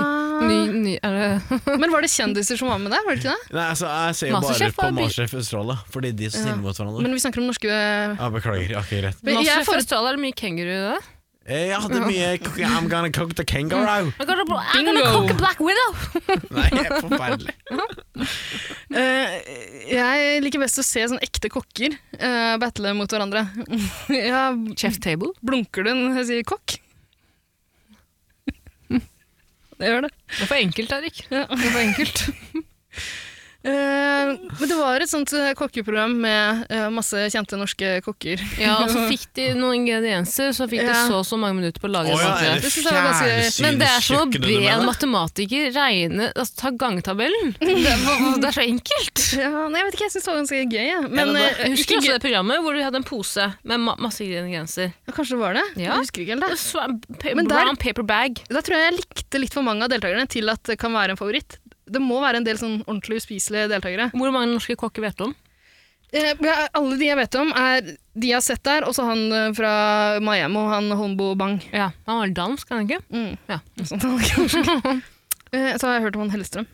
[SPEAKER 3] Ny, ny, er det
[SPEAKER 2] Men var det kjendiser som var med der? var det ikke det?
[SPEAKER 1] Nei, altså, jeg ser jo bare
[SPEAKER 3] Masterchef
[SPEAKER 1] på
[SPEAKER 3] var by-
[SPEAKER 1] Masterchef Australia, fordi de er så
[SPEAKER 2] Ja.
[SPEAKER 1] snille mot hverandre.
[SPEAKER 2] Men vi snakker om norske
[SPEAKER 1] Ja, beklager. Ja, ok, greit.
[SPEAKER 2] Men jeg
[SPEAKER 3] Masterchef
[SPEAKER 2] får-
[SPEAKER 3] Australia er det mye kenguru i det?
[SPEAKER 1] Eh, Ja, det er mye k- I'm gonna cook the kangaroo.
[SPEAKER 3] I'm gonna, I'm
[SPEAKER 2] Bingo!
[SPEAKER 3] gonna cook a black widow!
[SPEAKER 1] Nei, det er forferdelig.
[SPEAKER 2] Eh, Jeg liker best å se sånne ekte kokker eh, battle mot hverandre. (laughs) ja,
[SPEAKER 3] Chef table.
[SPEAKER 2] blunker du når jeg sier kokk? (laughs) Det gjør det.
[SPEAKER 3] Det er for enkelt, Erik.
[SPEAKER 2] Ja.
[SPEAKER 3] Det er for enkelt.
[SPEAKER 2] (laughs) Eh, men det var et sånt eh, kokkeprogram med eh, masse kjente norske
[SPEAKER 3] (laughs)
[SPEAKER 2] kokker.
[SPEAKER 3] Ja, og så fikk de noen ingredienser, så fikk de
[SPEAKER 2] Ja.
[SPEAKER 3] så og så mange minutter på å
[SPEAKER 1] Å
[SPEAKER 3] lage
[SPEAKER 1] ja,
[SPEAKER 3] samtlige.
[SPEAKER 1] er det
[SPEAKER 2] Det synes jeg var ganske-
[SPEAKER 3] Men det er som å
[SPEAKER 1] fjernsynskjøkkenet
[SPEAKER 3] be
[SPEAKER 1] du
[SPEAKER 3] en
[SPEAKER 1] mener?
[SPEAKER 3] matematiker regne altså, Ta gangetabellen. Det er, det er så enkelt.
[SPEAKER 2] (laughs) Ja, nei, jeg vet ikke, jeg syns det var ganske gøy. jeg. Men,
[SPEAKER 1] det
[SPEAKER 2] eh,
[SPEAKER 3] Jeg husker
[SPEAKER 2] ikke
[SPEAKER 3] også
[SPEAKER 2] gøy.
[SPEAKER 3] det programmet hvor de hadde en pose med ma masse ingredienser.
[SPEAKER 2] Ja, Kanskje det var det?
[SPEAKER 3] Ja.
[SPEAKER 2] Jeg husker ikke helt det.
[SPEAKER 3] Swa- pa-
[SPEAKER 2] Men der-
[SPEAKER 3] Brown paper bag.
[SPEAKER 2] Da tror jeg jeg likte litt for mange av deltakerne til at det kan være en favoritt. Det må være en del sånn ordentlig uspiselige deltakere.
[SPEAKER 3] Hvor mange norske kokker vet du om?
[SPEAKER 2] Eh, ja, alle de jeg vet om, er de jeg har sett der, og så han eh, fra Miami, han Honbo Bang.
[SPEAKER 3] Ja, Han var dansk, han ikke?
[SPEAKER 2] Mm.
[SPEAKER 3] Ja.
[SPEAKER 2] Noe sånt, han er kanskje. (laughs) Eh, så har jeg hørt om han Hellstrøm.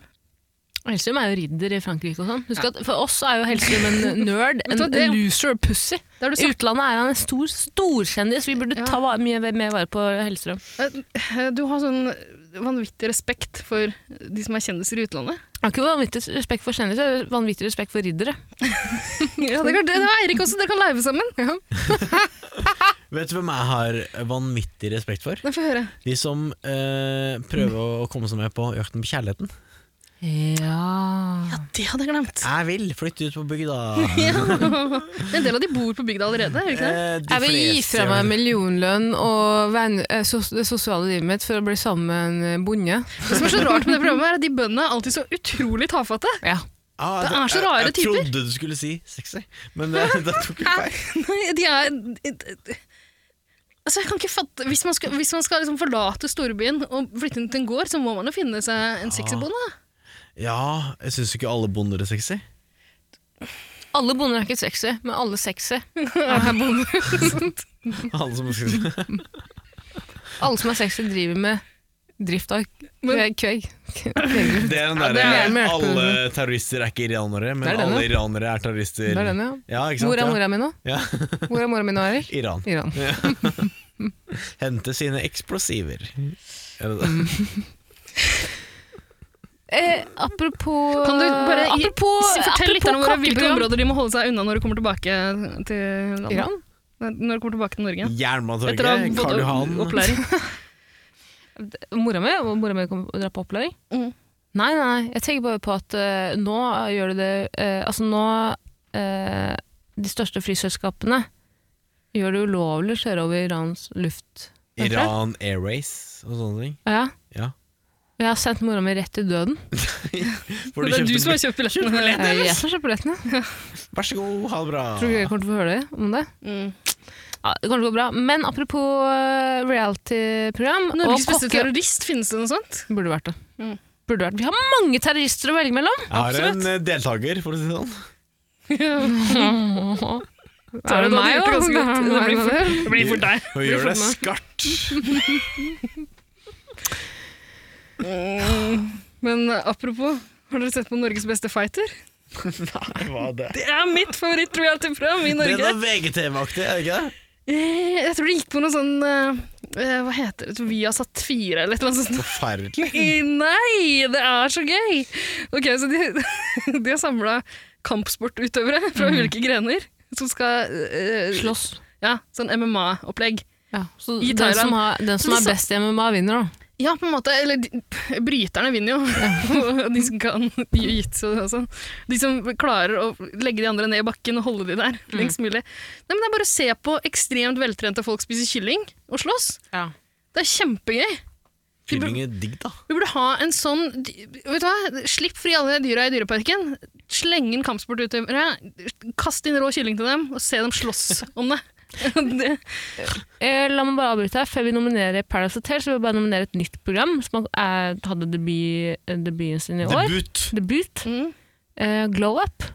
[SPEAKER 3] Hellstrøm er jo ridder i Frankrike og sånn. Husk at For oss er jo Hellstrøm en (laughs) nerd.
[SPEAKER 2] Vet du
[SPEAKER 3] En
[SPEAKER 2] hva, det-
[SPEAKER 3] loser og pussy.
[SPEAKER 2] Det har du
[SPEAKER 3] I
[SPEAKER 2] sagt.
[SPEAKER 3] utlandet er han en stor storkjendis. Vi burde
[SPEAKER 2] Ja.
[SPEAKER 3] ta va- mye mer vare på Hellstrøm.
[SPEAKER 2] Eh, Du har sånn vanvittig respekt for de som er kjendiser i utlandet.
[SPEAKER 3] Jeg har ikke vanvittig respekt for kjendiser, vanvittig respekt for (laughs) riddere.
[SPEAKER 2] Ja, det, kan, det har Eirik også, dere kan live sammen.
[SPEAKER 1] Vet du hvem jeg har vanvittig respekt for?
[SPEAKER 2] Nei, Få høre.
[SPEAKER 1] De som eh, prøver å komme seg med på jakten på kjærligheten.
[SPEAKER 3] Ja
[SPEAKER 2] Ja, det hadde jeg glemt.
[SPEAKER 1] Jeg vil flytte ut på bygda.
[SPEAKER 2] (laughs) Ja. En del av de bor på bygda allerede, er det (laughs) ikke det?
[SPEAKER 1] Eh, de
[SPEAKER 3] Jeg vil gi
[SPEAKER 1] fleste-
[SPEAKER 3] fra meg millionlønn og venn- eh, sos- det sosiale livet mitt for å bli sammen med en eh, bonde.
[SPEAKER 2] Det som er så rart med det programmet, er at de bøndene er alltid så utrolig tafatte.
[SPEAKER 3] Ja.
[SPEAKER 1] Ah,
[SPEAKER 2] Det
[SPEAKER 1] jeg-
[SPEAKER 2] er så
[SPEAKER 1] jeg-
[SPEAKER 2] rare typer.
[SPEAKER 1] Jeg trodde du skulle si sexy, men (laughs) det, det tok jeg feil.
[SPEAKER 2] Nei, de er Altså, jeg kan ikke fatte Hvis man skal, hvis man skal liksom forlate storbyen og flytte inn til en gård, så må man jo finne seg en sexy bonde. da.
[SPEAKER 1] Ja, jeg syns ikke alle bonder er sexy.
[SPEAKER 3] Alle bonder er ikke sexy, men alle sexy er bonder.
[SPEAKER 2] Ah.
[SPEAKER 1] Alle som skal
[SPEAKER 3] Alle som er sexy, driver med drift av
[SPEAKER 2] (laughs) Men-
[SPEAKER 3] kveg.
[SPEAKER 1] Det er den
[SPEAKER 2] Ja,
[SPEAKER 1] derre
[SPEAKER 2] det er
[SPEAKER 3] mer
[SPEAKER 1] Alle
[SPEAKER 3] alkohol.
[SPEAKER 1] terrorister er ikke iranere, men
[SPEAKER 3] Det er denne.
[SPEAKER 1] alle iranere er terrorister.
[SPEAKER 3] Det er den, ja.
[SPEAKER 1] Ja, ikke sant?
[SPEAKER 3] Hvor er
[SPEAKER 1] ja.
[SPEAKER 3] mora mi nå?
[SPEAKER 1] Ja. (laughs)
[SPEAKER 3] Hvor er mora mi nå, Erik?
[SPEAKER 1] Iran.
[SPEAKER 3] Iran.
[SPEAKER 1] Hente sine eksplosiver. Er det det?
[SPEAKER 2] Mm,
[SPEAKER 3] Eh, apropos
[SPEAKER 2] Kan du bare i-
[SPEAKER 3] apropos,
[SPEAKER 2] Si- Fortell
[SPEAKER 3] apropos
[SPEAKER 2] lytterne våre hvilke
[SPEAKER 3] kakkeprogram.
[SPEAKER 2] områder de må holde seg unna når de kommer tilbake til landet.
[SPEAKER 3] Iran?
[SPEAKER 2] Nei, Når de kommer tilbake til Norge. Etter å ha
[SPEAKER 1] Jernbanetorget,
[SPEAKER 2] fått
[SPEAKER 1] Karl Johan.
[SPEAKER 2] opp- opplæring.
[SPEAKER 3] Mora mi, og mora mi kom og drar på opplæring.
[SPEAKER 2] (laughs) Mm.
[SPEAKER 3] Nei, nei, nei, jeg tenker bare på at eh, nå gjør du det eh, Altså nå eh, De største flyselskapene gjør det ulovlig å kjøre over Irans luft.
[SPEAKER 1] Iran Airways og sånne ting.
[SPEAKER 3] Ja.
[SPEAKER 1] Ja.
[SPEAKER 3] Og Jeg har sendt mora mi rett til døden.
[SPEAKER 1] Hvor
[SPEAKER 2] det er du
[SPEAKER 1] kjøpte
[SPEAKER 2] som har kjøpt billettene.
[SPEAKER 3] Eh, Jeg som kjøper billettene.
[SPEAKER 1] Vær så god, ha det bra.
[SPEAKER 3] Tror du jeg kommer til å få høre det om det?
[SPEAKER 2] Mm.
[SPEAKER 3] Ja, det kommer til å gå bra. Men apropos eh, reality-program og
[SPEAKER 2] Norges beste
[SPEAKER 3] kokke-
[SPEAKER 2] terrorist, finnes det noe sånt? (laughs)
[SPEAKER 3] Burde vært det.
[SPEAKER 2] Mm.
[SPEAKER 3] Burde vært. Vi har mange terrorister å velge (laughs) mellom!
[SPEAKER 1] Jeg har en eh, deltaker, for å si det sånn.
[SPEAKER 3] er
[SPEAKER 2] Tara,
[SPEAKER 3] det
[SPEAKER 2] du hadde
[SPEAKER 3] meg,
[SPEAKER 2] gjort det
[SPEAKER 3] da?
[SPEAKER 2] ganske godt. Det blir fort-
[SPEAKER 3] Det
[SPEAKER 2] Det blir fort deg.
[SPEAKER 1] Hun
[SPEAKER 3] Vi
[SPEAKER 1] gjør
[SPEAKER 3] får
[SPEAKER 1] det
[SPEAKER 3] med.
[SPEAKER 1] skarpt.
[SPEAKER 2] Men eh, apropos, har dere sett på Norges beste fighter?
[SPEAKER 1] Nei, hva er det?
[SPEAKER 2] Det er mitt favoritt-reality-program i
[SPEAKER 1] Den
[SPEAKER 2] (laughs) Norge.
[SPEAKER 1] er VGTV-aktig, er det ikke det?
[SPEAKER 2] Eh, Jeg tror det gikk på noe sånn eh, eh, Hva heter det? Viasat 4 eller et eller annet sånt. (laughs)
[SPEAKER 1] Forferdelig.
[SPEAKER 2] Eh, Nei, det er så gøy! Ok, så De, (laughs) de har samla kampsportutøvere fra
[SPEAKER 1] Mm.
[SPEAKER 2] ulike grener som skal eh,
[SPEAKER 3] Slåss.
[SPEAKER 2] Ja, sånn MMA-opplegg.
[SPEAKER 3] Ja, så
[SPEAKER 2] I
[SPEAKER 3] den
[SPEAKER 2] Thailand.
[SPEAKER 3] som, har, den som
[SPEAKER 2] Så
[SPEAKER 3] er
[SPEAKER 2] disse-
[SPEAKER 3] best i MMA, vinner, da.
[SPEAKER 2] Ja, på en måte. Eller de, bryterne vinner jo. (laughs) Og de som kan jiu-jitsu og sånn. De som klarer å legge de andre ned i bakken og holde de der lengst mulig. Nei, men Det er bare å se på ekstremt veltrente folk spise kylling og slåss. Det er kjempegøy.
[SPEAKER 1] Filming er digg, da.
[SPEAKER 2] Vi burde ha en sånn Vet du hva? Slipp fri alle dyra i dyreparken. Sleng inn kampsportutøvere. Kast inn rå kylling til dem, og se dem slåss om det. (laughs) det
[SPEAKER 3] Eh, la meg bare avbryte her. Før vi nominerer Paradise Hotel, så vil jeg bare nominere et nytt program som er, hadde debut, eh, debuten sin i år.
[SPEAKER 1] Debut.
[SPEAKER 3] Debut.
[SPEAKER 2] mm,
[SPEAKER 3] Eh, glow Up.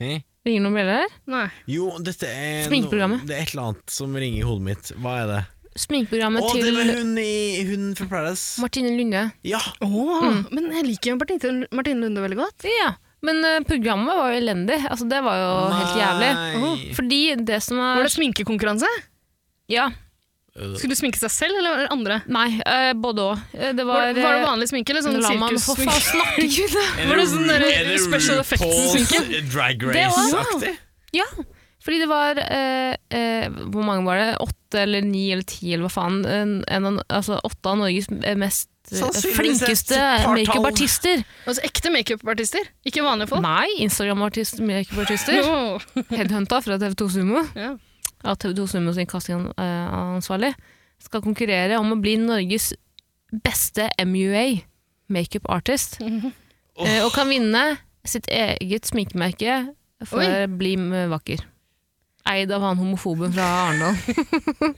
[SPEAKER 1] Hei.
[SPEAKER 3] Ringer noen bjeller her?
[SPEAKER 2] nei.
[SPEAKER 1] Jo, dette er no-
[SPEAKER 3] Sminkeprogrammet.
[SPEAKER 1] Det er et eller annet som ringer i hodet mitt. Hva er det? Å,
[SPEAKER 3] Sminkeprogrammet
[SPEAKER 1] det var
[SPEAKER 3] til
[SPEAKER 1] hun, i, hun fra Paradise.
[SPEAKER 3] Martine Lunde.
[SPEAKER 1] Ja!
[SPEAKER 2] Åh, Mm. Men jeg liker jo Martine, Martine Lunde veldig godt.
[SPEAKER 3] Ja, men eh, programmet var jo elendig. Altså, det var jo helt jævlig.
[SPEAKER 1] Nei.
[SPEAKER 3] Fordi det som
[SPEAKER 2] Var
[SPEAKER 3] er
[SPEAKER 2] det sminkekonkurranse?
[SPEAKER 3] Ja,
[SPEAKER 2] Skulle du sminke seg selv eller var det andre?
[SPEAKER 3] nei, eh, både òg. Det var, eh,
[SPEAKER 2] Var, var det vanlig sminke eller sånn
[SPEAKER 3] La meg få faen
[SPEAKER 2] sirkussminke?
[SPEAKER 3] snakke, kvinne!
[SPEAKER 1] (laughs)
[SPEAKER 2] Var det sånn der
[SPEAKER 1] Eller
[SPEAKER 2] special
[SPEAKER 1] RuPaul's
[SPEAKER 2] effects-sminke?
[SPEAKER 1] Drag
[SPEAKER 3] også.
[SPEAKER 1] Race-aktig.
[SPEAKER 3] Ja, fordi det var eh, eh, Hvor mange var det? Åtte eller ni eller ti eller hva faen? En, en, av- altså åtte av Norges eh, mest eh,
[SPEAKER 1] Sannsynligvis
[SPEAKER 3] flinkeste
[SPEAKER 1] et partall.
[SPEAKER 3] makeupartister.
[SPEAKER 2] (laughs) Altså ekte makeupartister? Ikke vanlige folk?
[SPEAKER 3] Nei, Instagram-artister, makeupartister.
[SPEAKER 2] Åh,
[SPEAKER 3] Headhunta fra TV2 Sumo.
[SPEAKER 2] ja.
[SPEAKER 3] Av TV2 Sumo sin castingansvarlig. Skal konkurrere om å bli Norges beste MUA, makeup
[SPEAKER 1] (laughs)
[SPEAKER 3] artist. eh, og kan vinne sitt eget sminkemerke for
[SPEAKER 2] Oi.
[SPEAKER 3] Bli vakker. Eid av han homofoben fra Arendal.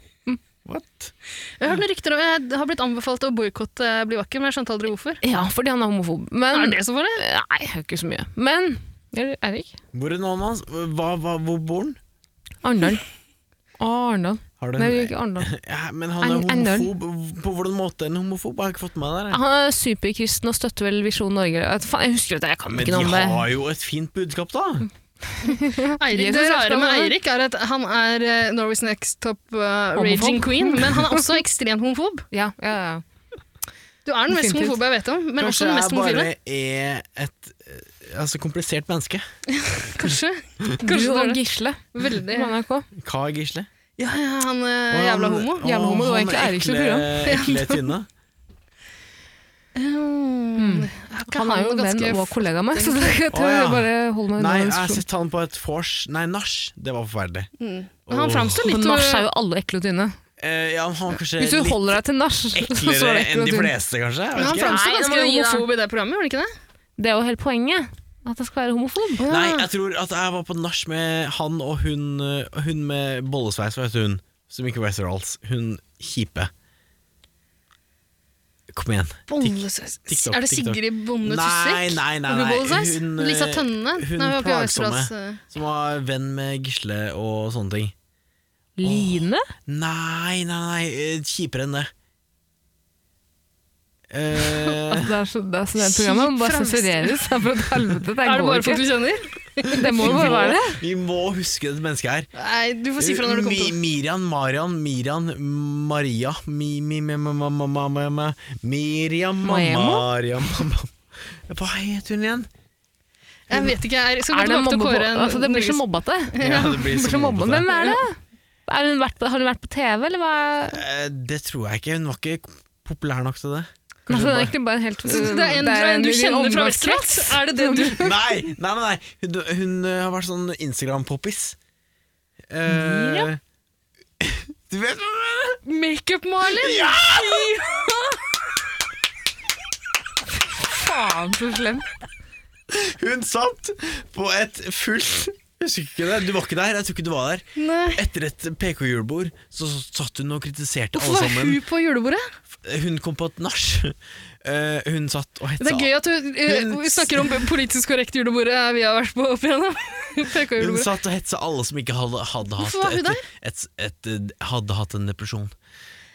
[SPEAKER 1] What?
[SPEAKER 2] Jeg har hørt noen rykter om Jeg har blitt anbefalt å boikotte Bli vakker, men jeg skjønte aldri hvorfor.
[SPEAKER 3] (laughs) Ja, fordi han er homofob. Men,
[SPEAKER 2] Er det så farlig?
[SPEAKER 3] Nei, ikke så mye. Men Er- Erik?
[SPEAKER 1] Hvor er navnet hans? Hva, hva, hvor bor han?
[SPEAKER 3] Arendal. (laughs) Arendal.
[SPEAKER 1] Har du en-
[SPEAKER 3] Nei,
[SPEAKER 1] (laughs)
[SPEAKER 3] ikke Arendal.
[SPEAKER 1] Ja, men han er
[SPEAKER 3] En- en null.
[SPEAKER 1] homofob. På hvordan måte er han homofob? Jeg har ikke fått med meg det.
[SPEAKER 3] Han er superkristen og støtter vel Visjon Norge. Jeg vet faen, jeg husker det, jeg kan
[SPEAKER 1] Men
[SPEAKER 3] ikke
[SPEAKER 1] de
[SPEAKER 3] noe om det.
[SPEAKER 1] har jo et fint budskap, da.
[SPEAKER 2] Eirik, det
[SPEAKER 3] Jesus, jeg
[SPEAKER 2] rare
[SPEAKER 3] skal
[SPEAKER 2] med
[SPEAKER 3] være.
[SPEAKER 2] Eirik er at han er eh, Norway's next top eh, raging queen,
[SPEAKER 3] (laughs)
[SPEAKER 2] men han er også ekstremt homofob.
[SPEAKER 3] Ja, ja, ja.
[SPEAKER 2] Du er den mest
[SPEAKER 3] Definitivt.
[SPEAKER 2] homofobe jeg vet om, men
[SPEAKER 1] Kanskje
[SPEAKER 2] også den
[SPEAKER 1] jeg
[SPEAKER 2] mest homofile.
[SPEAKER 1] bare er et eh, altså, komplisert menneske.
[SPEAKER 2] Kanskje.
[SPEAKER 3] Du
[SPEAKER 2] Kanskje
[SPEAKER 3] og
[SPEAKER 2] det er det.
[SPEAKER 3] Gisle
[SPEAKER 2] Veldig.
[SPEAKER 3] på NRK.
[SPEAKER 1] Hva er Gisle?
[SPEAKER 2] Ja, ja, han er
[SPEAKER 1] Å,
[SPEAKER 2] jævla
[SPEAKER 1] han-
[SPEAKER 2] homo.
[SPEAKER 1] å,
[SPEAKER 3] Eh, Jævla homo, det var
[SPEAKER 1] han
[SPEAKER 3] egentlig
[SPEAKER 1] er
[SPEAKER 3] Eiriks (laughs)
[SPEAKER 1] Ekle, ekle tynne.
[SPEAKER 2] Mm.
[SPEAKER 3] Han er jo venn og kollega av meg, så det (laughs) jeg tror
[SPEAKER 1] Å, ja.
[SPEAKER 3] jeg bare holder meg unna.
[SPEAKER 1] Nei, jeg
[SPEAKER 3] den
[SPEAKER 1] har
[SPEAKER 3] diskusjonen.
[SPEAKER 1] sett han på et vors Nei, nach. Det var forferdelig.
[SPEAKER 2] Men mm. han framstår
[SPEAKER 3] Men
[SPEAKER 2] litt
[SPEAKER 3] nach er jo alle ekle og tynne.
[SPEAKER 1] Eh, ja, han var kanskje
[SPEAKER 3] Hvis du
[SPEAKER 1] litt
[SPEAKER 3] holder deg til nach, så er
[SPEAKER 1] eklere
[SPEAKER 3] det ekle
[SPEAKER 1] enn
[SPEAKER 3] og
[SPEAKER 1] de
[SPEAKER 3] tynne.
[SPEAKER 1] fleste, kanskje.
[SPEAKER 2] men
[SPEAKER 1] Jeg
[SPEAKER 2] han
[SPEAKER 1] vet ikke.
[SPEAKER 3] Nei,
[SPEAKER 2] framstår
[SPEAKER 3] det
[SPEAKER 2] ganske
[SPEAKER 3] må du gi deg.
[SPEAKER 2] homofob i det programmet, gjør han ikke det?
[SPEAKER 3] Det er jo hele poenget. At jeg skal være homofob.
[SPEAKER 1] Nei, jeg tror at jeg var på nach med han og hun eh, Hun med bollesveis, vet du hun. Som ikke Wetheralls. Hun kjipe. Kom igjen.
[SPEAKER 2] Bondesus-
[SPEAKER 1] TikTok,
[SPEAKER 2] Er det
[SPEAKER 1] TikTok.
[SPEAKER 2] Sigrid Bonde
[SPEAKER 1] Nei,
[SPEAKER 2] Tusvik?
[SPEAKER 1] nei, nei, nei.
[SPEAKER 2] Rubollesaus?
[SPEAKER 1] Hun, eh,
[SPEAKER 2] Lisa Tønne?
[SPEAKER 1] hun
[SPEAKER 2] Nei, hun er ikke
[SPEAKER 1] plagsomme.
[SPEAKER 2] Østerdals, eh.
[SPEAKER 1] Som var venn med Gisle og sånne ting.
[SPEAKER 3] Line?
[SPEAKER 1] Nei, nei, nei. eh, Kjipere enn det. Eh,
[SPEAKER 3] (laughs) Altså, det er så, det er sånn det programmet må bare
[SPEAKER 2] Fransk.
[SPEAKER 3] sensureres. det er For et helvete, det
[SPEAKER 2] Er det
[SPEAKER 3] går
[SPEAKER 2] bare
[SPEAKER 3] ikke.
[SPEAKER 2] folk du kjenner?
[SPEAKER 3] Det må jo bare være det.
[SPEAKER 1] vi må huske dette mennesket her.
[SPEAKER 2] Nei, du får si fra når du kommer på det.
[SPEAKER 1] Mi- Miriam, Marian, Miriam, Maria mi, mi, mi, ma, ma, ma, ma, ma, ma, Miriam, ma,
[SPEAKER 3] Maemo?
[SPEAKER 1] Mariam ma, ma. Hva het hun igjen?
[SPEAKER 2] Jeg vet ikke, jeg skal gå
[SPEAKER 3] Er det,
[SPEAKER 2] tilbake til
[SPEAKER 3] mobbe,
[SPEAKER 2] Kåre.
[SPEAKER 3] altså, det blir så mobbete.
[SPEAKER 1] Ja, det blir
[SPEAKER 3] Det blir så mobbete.
[SPEAKER 1] mobbete.
[SPEAKER 3] Hvem er det? Er hun vært, har hun vært på TV, eller hva?
[SPEAKER 1] Eh, Det tror jeg ikke. Hun var ikke populær nok til det. Kanskje
[SPEAKER 3] Nei, Altså, det er
[SPEAKER 1] bare-
[SPEAKER 3] egentlig bare en helt
[SPEAKER 2] Så det er en, du, du kjenner fra Vesterålen? Er det det du
[SPEAKER 1] Nei, nei, nei, nei. Hun, hun eh, har vært sånn Instagram-poppis. Eh,
[SPEAKER 3] Miriam?
[SPEAKER 1] (laughs) du vet hva jeg mener?
[SPEAKER 2] Makeup-maler?
[SPEAKER 1] Ja!
[SPEAKER 3] Faen, så slemt.
[SPEAKER 1] Hun satt på et fullt Jeg husker ikke det, Du var ikke der. jeg tror ikke du var der
[SPEAKER 2] Nei.
[SPEAKER 1] Etter et PK-julebord så så satt hun og kritiserte
[SPEAKER 2] Hvorfor
[SPEAKER 1] alle
[SPEAKER 2] var
[SPEAKER 1] sammen.
[SPEAKER 2] hun på julebordet?
[SPEAKER 1] Hun kom på et nach. (laughs) Eh, hun satt og
[SPEAKER 2] Det
[SPEAKER 1] hetsa.
[SPEAKER 2] er gøy at du eh,
[SPEAKER 1] Hun-
[SPEAKER 2] vi snakker om politisk korrekt julebordet eh, vi har vært på opp igjennom. (laughs)
[SPEAKER 1] Hun
[SPEAKER 2] PK-julebordet.
[SPEAKER 1] satt og hetsa alle som ikke hadde, hadde,
[SPEAKER 2] Hvorfor var
[SPEAKER 1] hatt,
[SPEAKER 2] hun
[SPEAKER 1] et, et, et, hadde hatt en depresjon.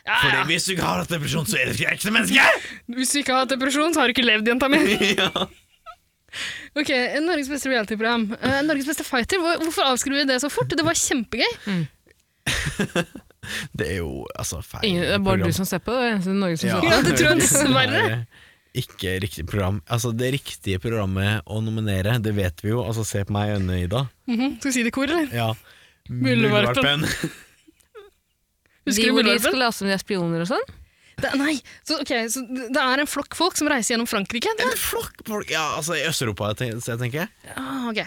[SPEAKER 2] Ja,
[SPEAKER 1] Fordi
[SPEAKER 2] ja.
[SPEAKER 1] hvis du ikke har hatt depresjon, så er du ikke ekte
[SPEAKER 2] (laughs)
[SPEAKER 1] menneske!
[SPEAKER 2] Hvis du ikke har hatt depresjon, så har du ikke levd, jenta mi. Ok, Norges beste reality-program. Eh, Norges beste fighter. Hvor- Hvorfor avskriver vi det så fort? Det var kjempegøy.
[SPEAKER 1] Det er jo altså feil.
[SPEAKER 3] Ingen, det er bare
[SPEAKER 1] program.
[SPEAKER 3] du som ser på, det er eneste i Norge som
[SPEAKER 1] Ja.
[SPEAKER 3] ser på.
[SPEAKER 2] Ja, det tror jeg
[SPEAKER 1] Det
[SPEAKER 2] dessverre.
[SPEAKER 1] er Ikke riktig program. Altså, det riktige programmet å nominere, det vet vi jo. Altså, se på meg i øynene, Ida.
[SPEAKER 2] Mhm, Skal vi si det i kor, eller?
[SPEAKER 1] Ja.
[SPEAKER 2] Muldvarpen. Husker
[SPEAKER 3] De
[SPEAKER 2] du
[SPEAKER 3] hvor de
[SPEAKER 2] Muldvarpen?
[SPEAKER 3] skal late som de er spioner og sånn.
[SPEAKER 2] Det, nei, så, ok, så det er en flokk folk som reiser gjennom Frankrike?
[SPEAKER 1] En (laughs) flokk folk Ja, altså, i Øst-Europa, jeg ten- så jeg tenker jeg.
[SPEAKER 2] Ah, ok.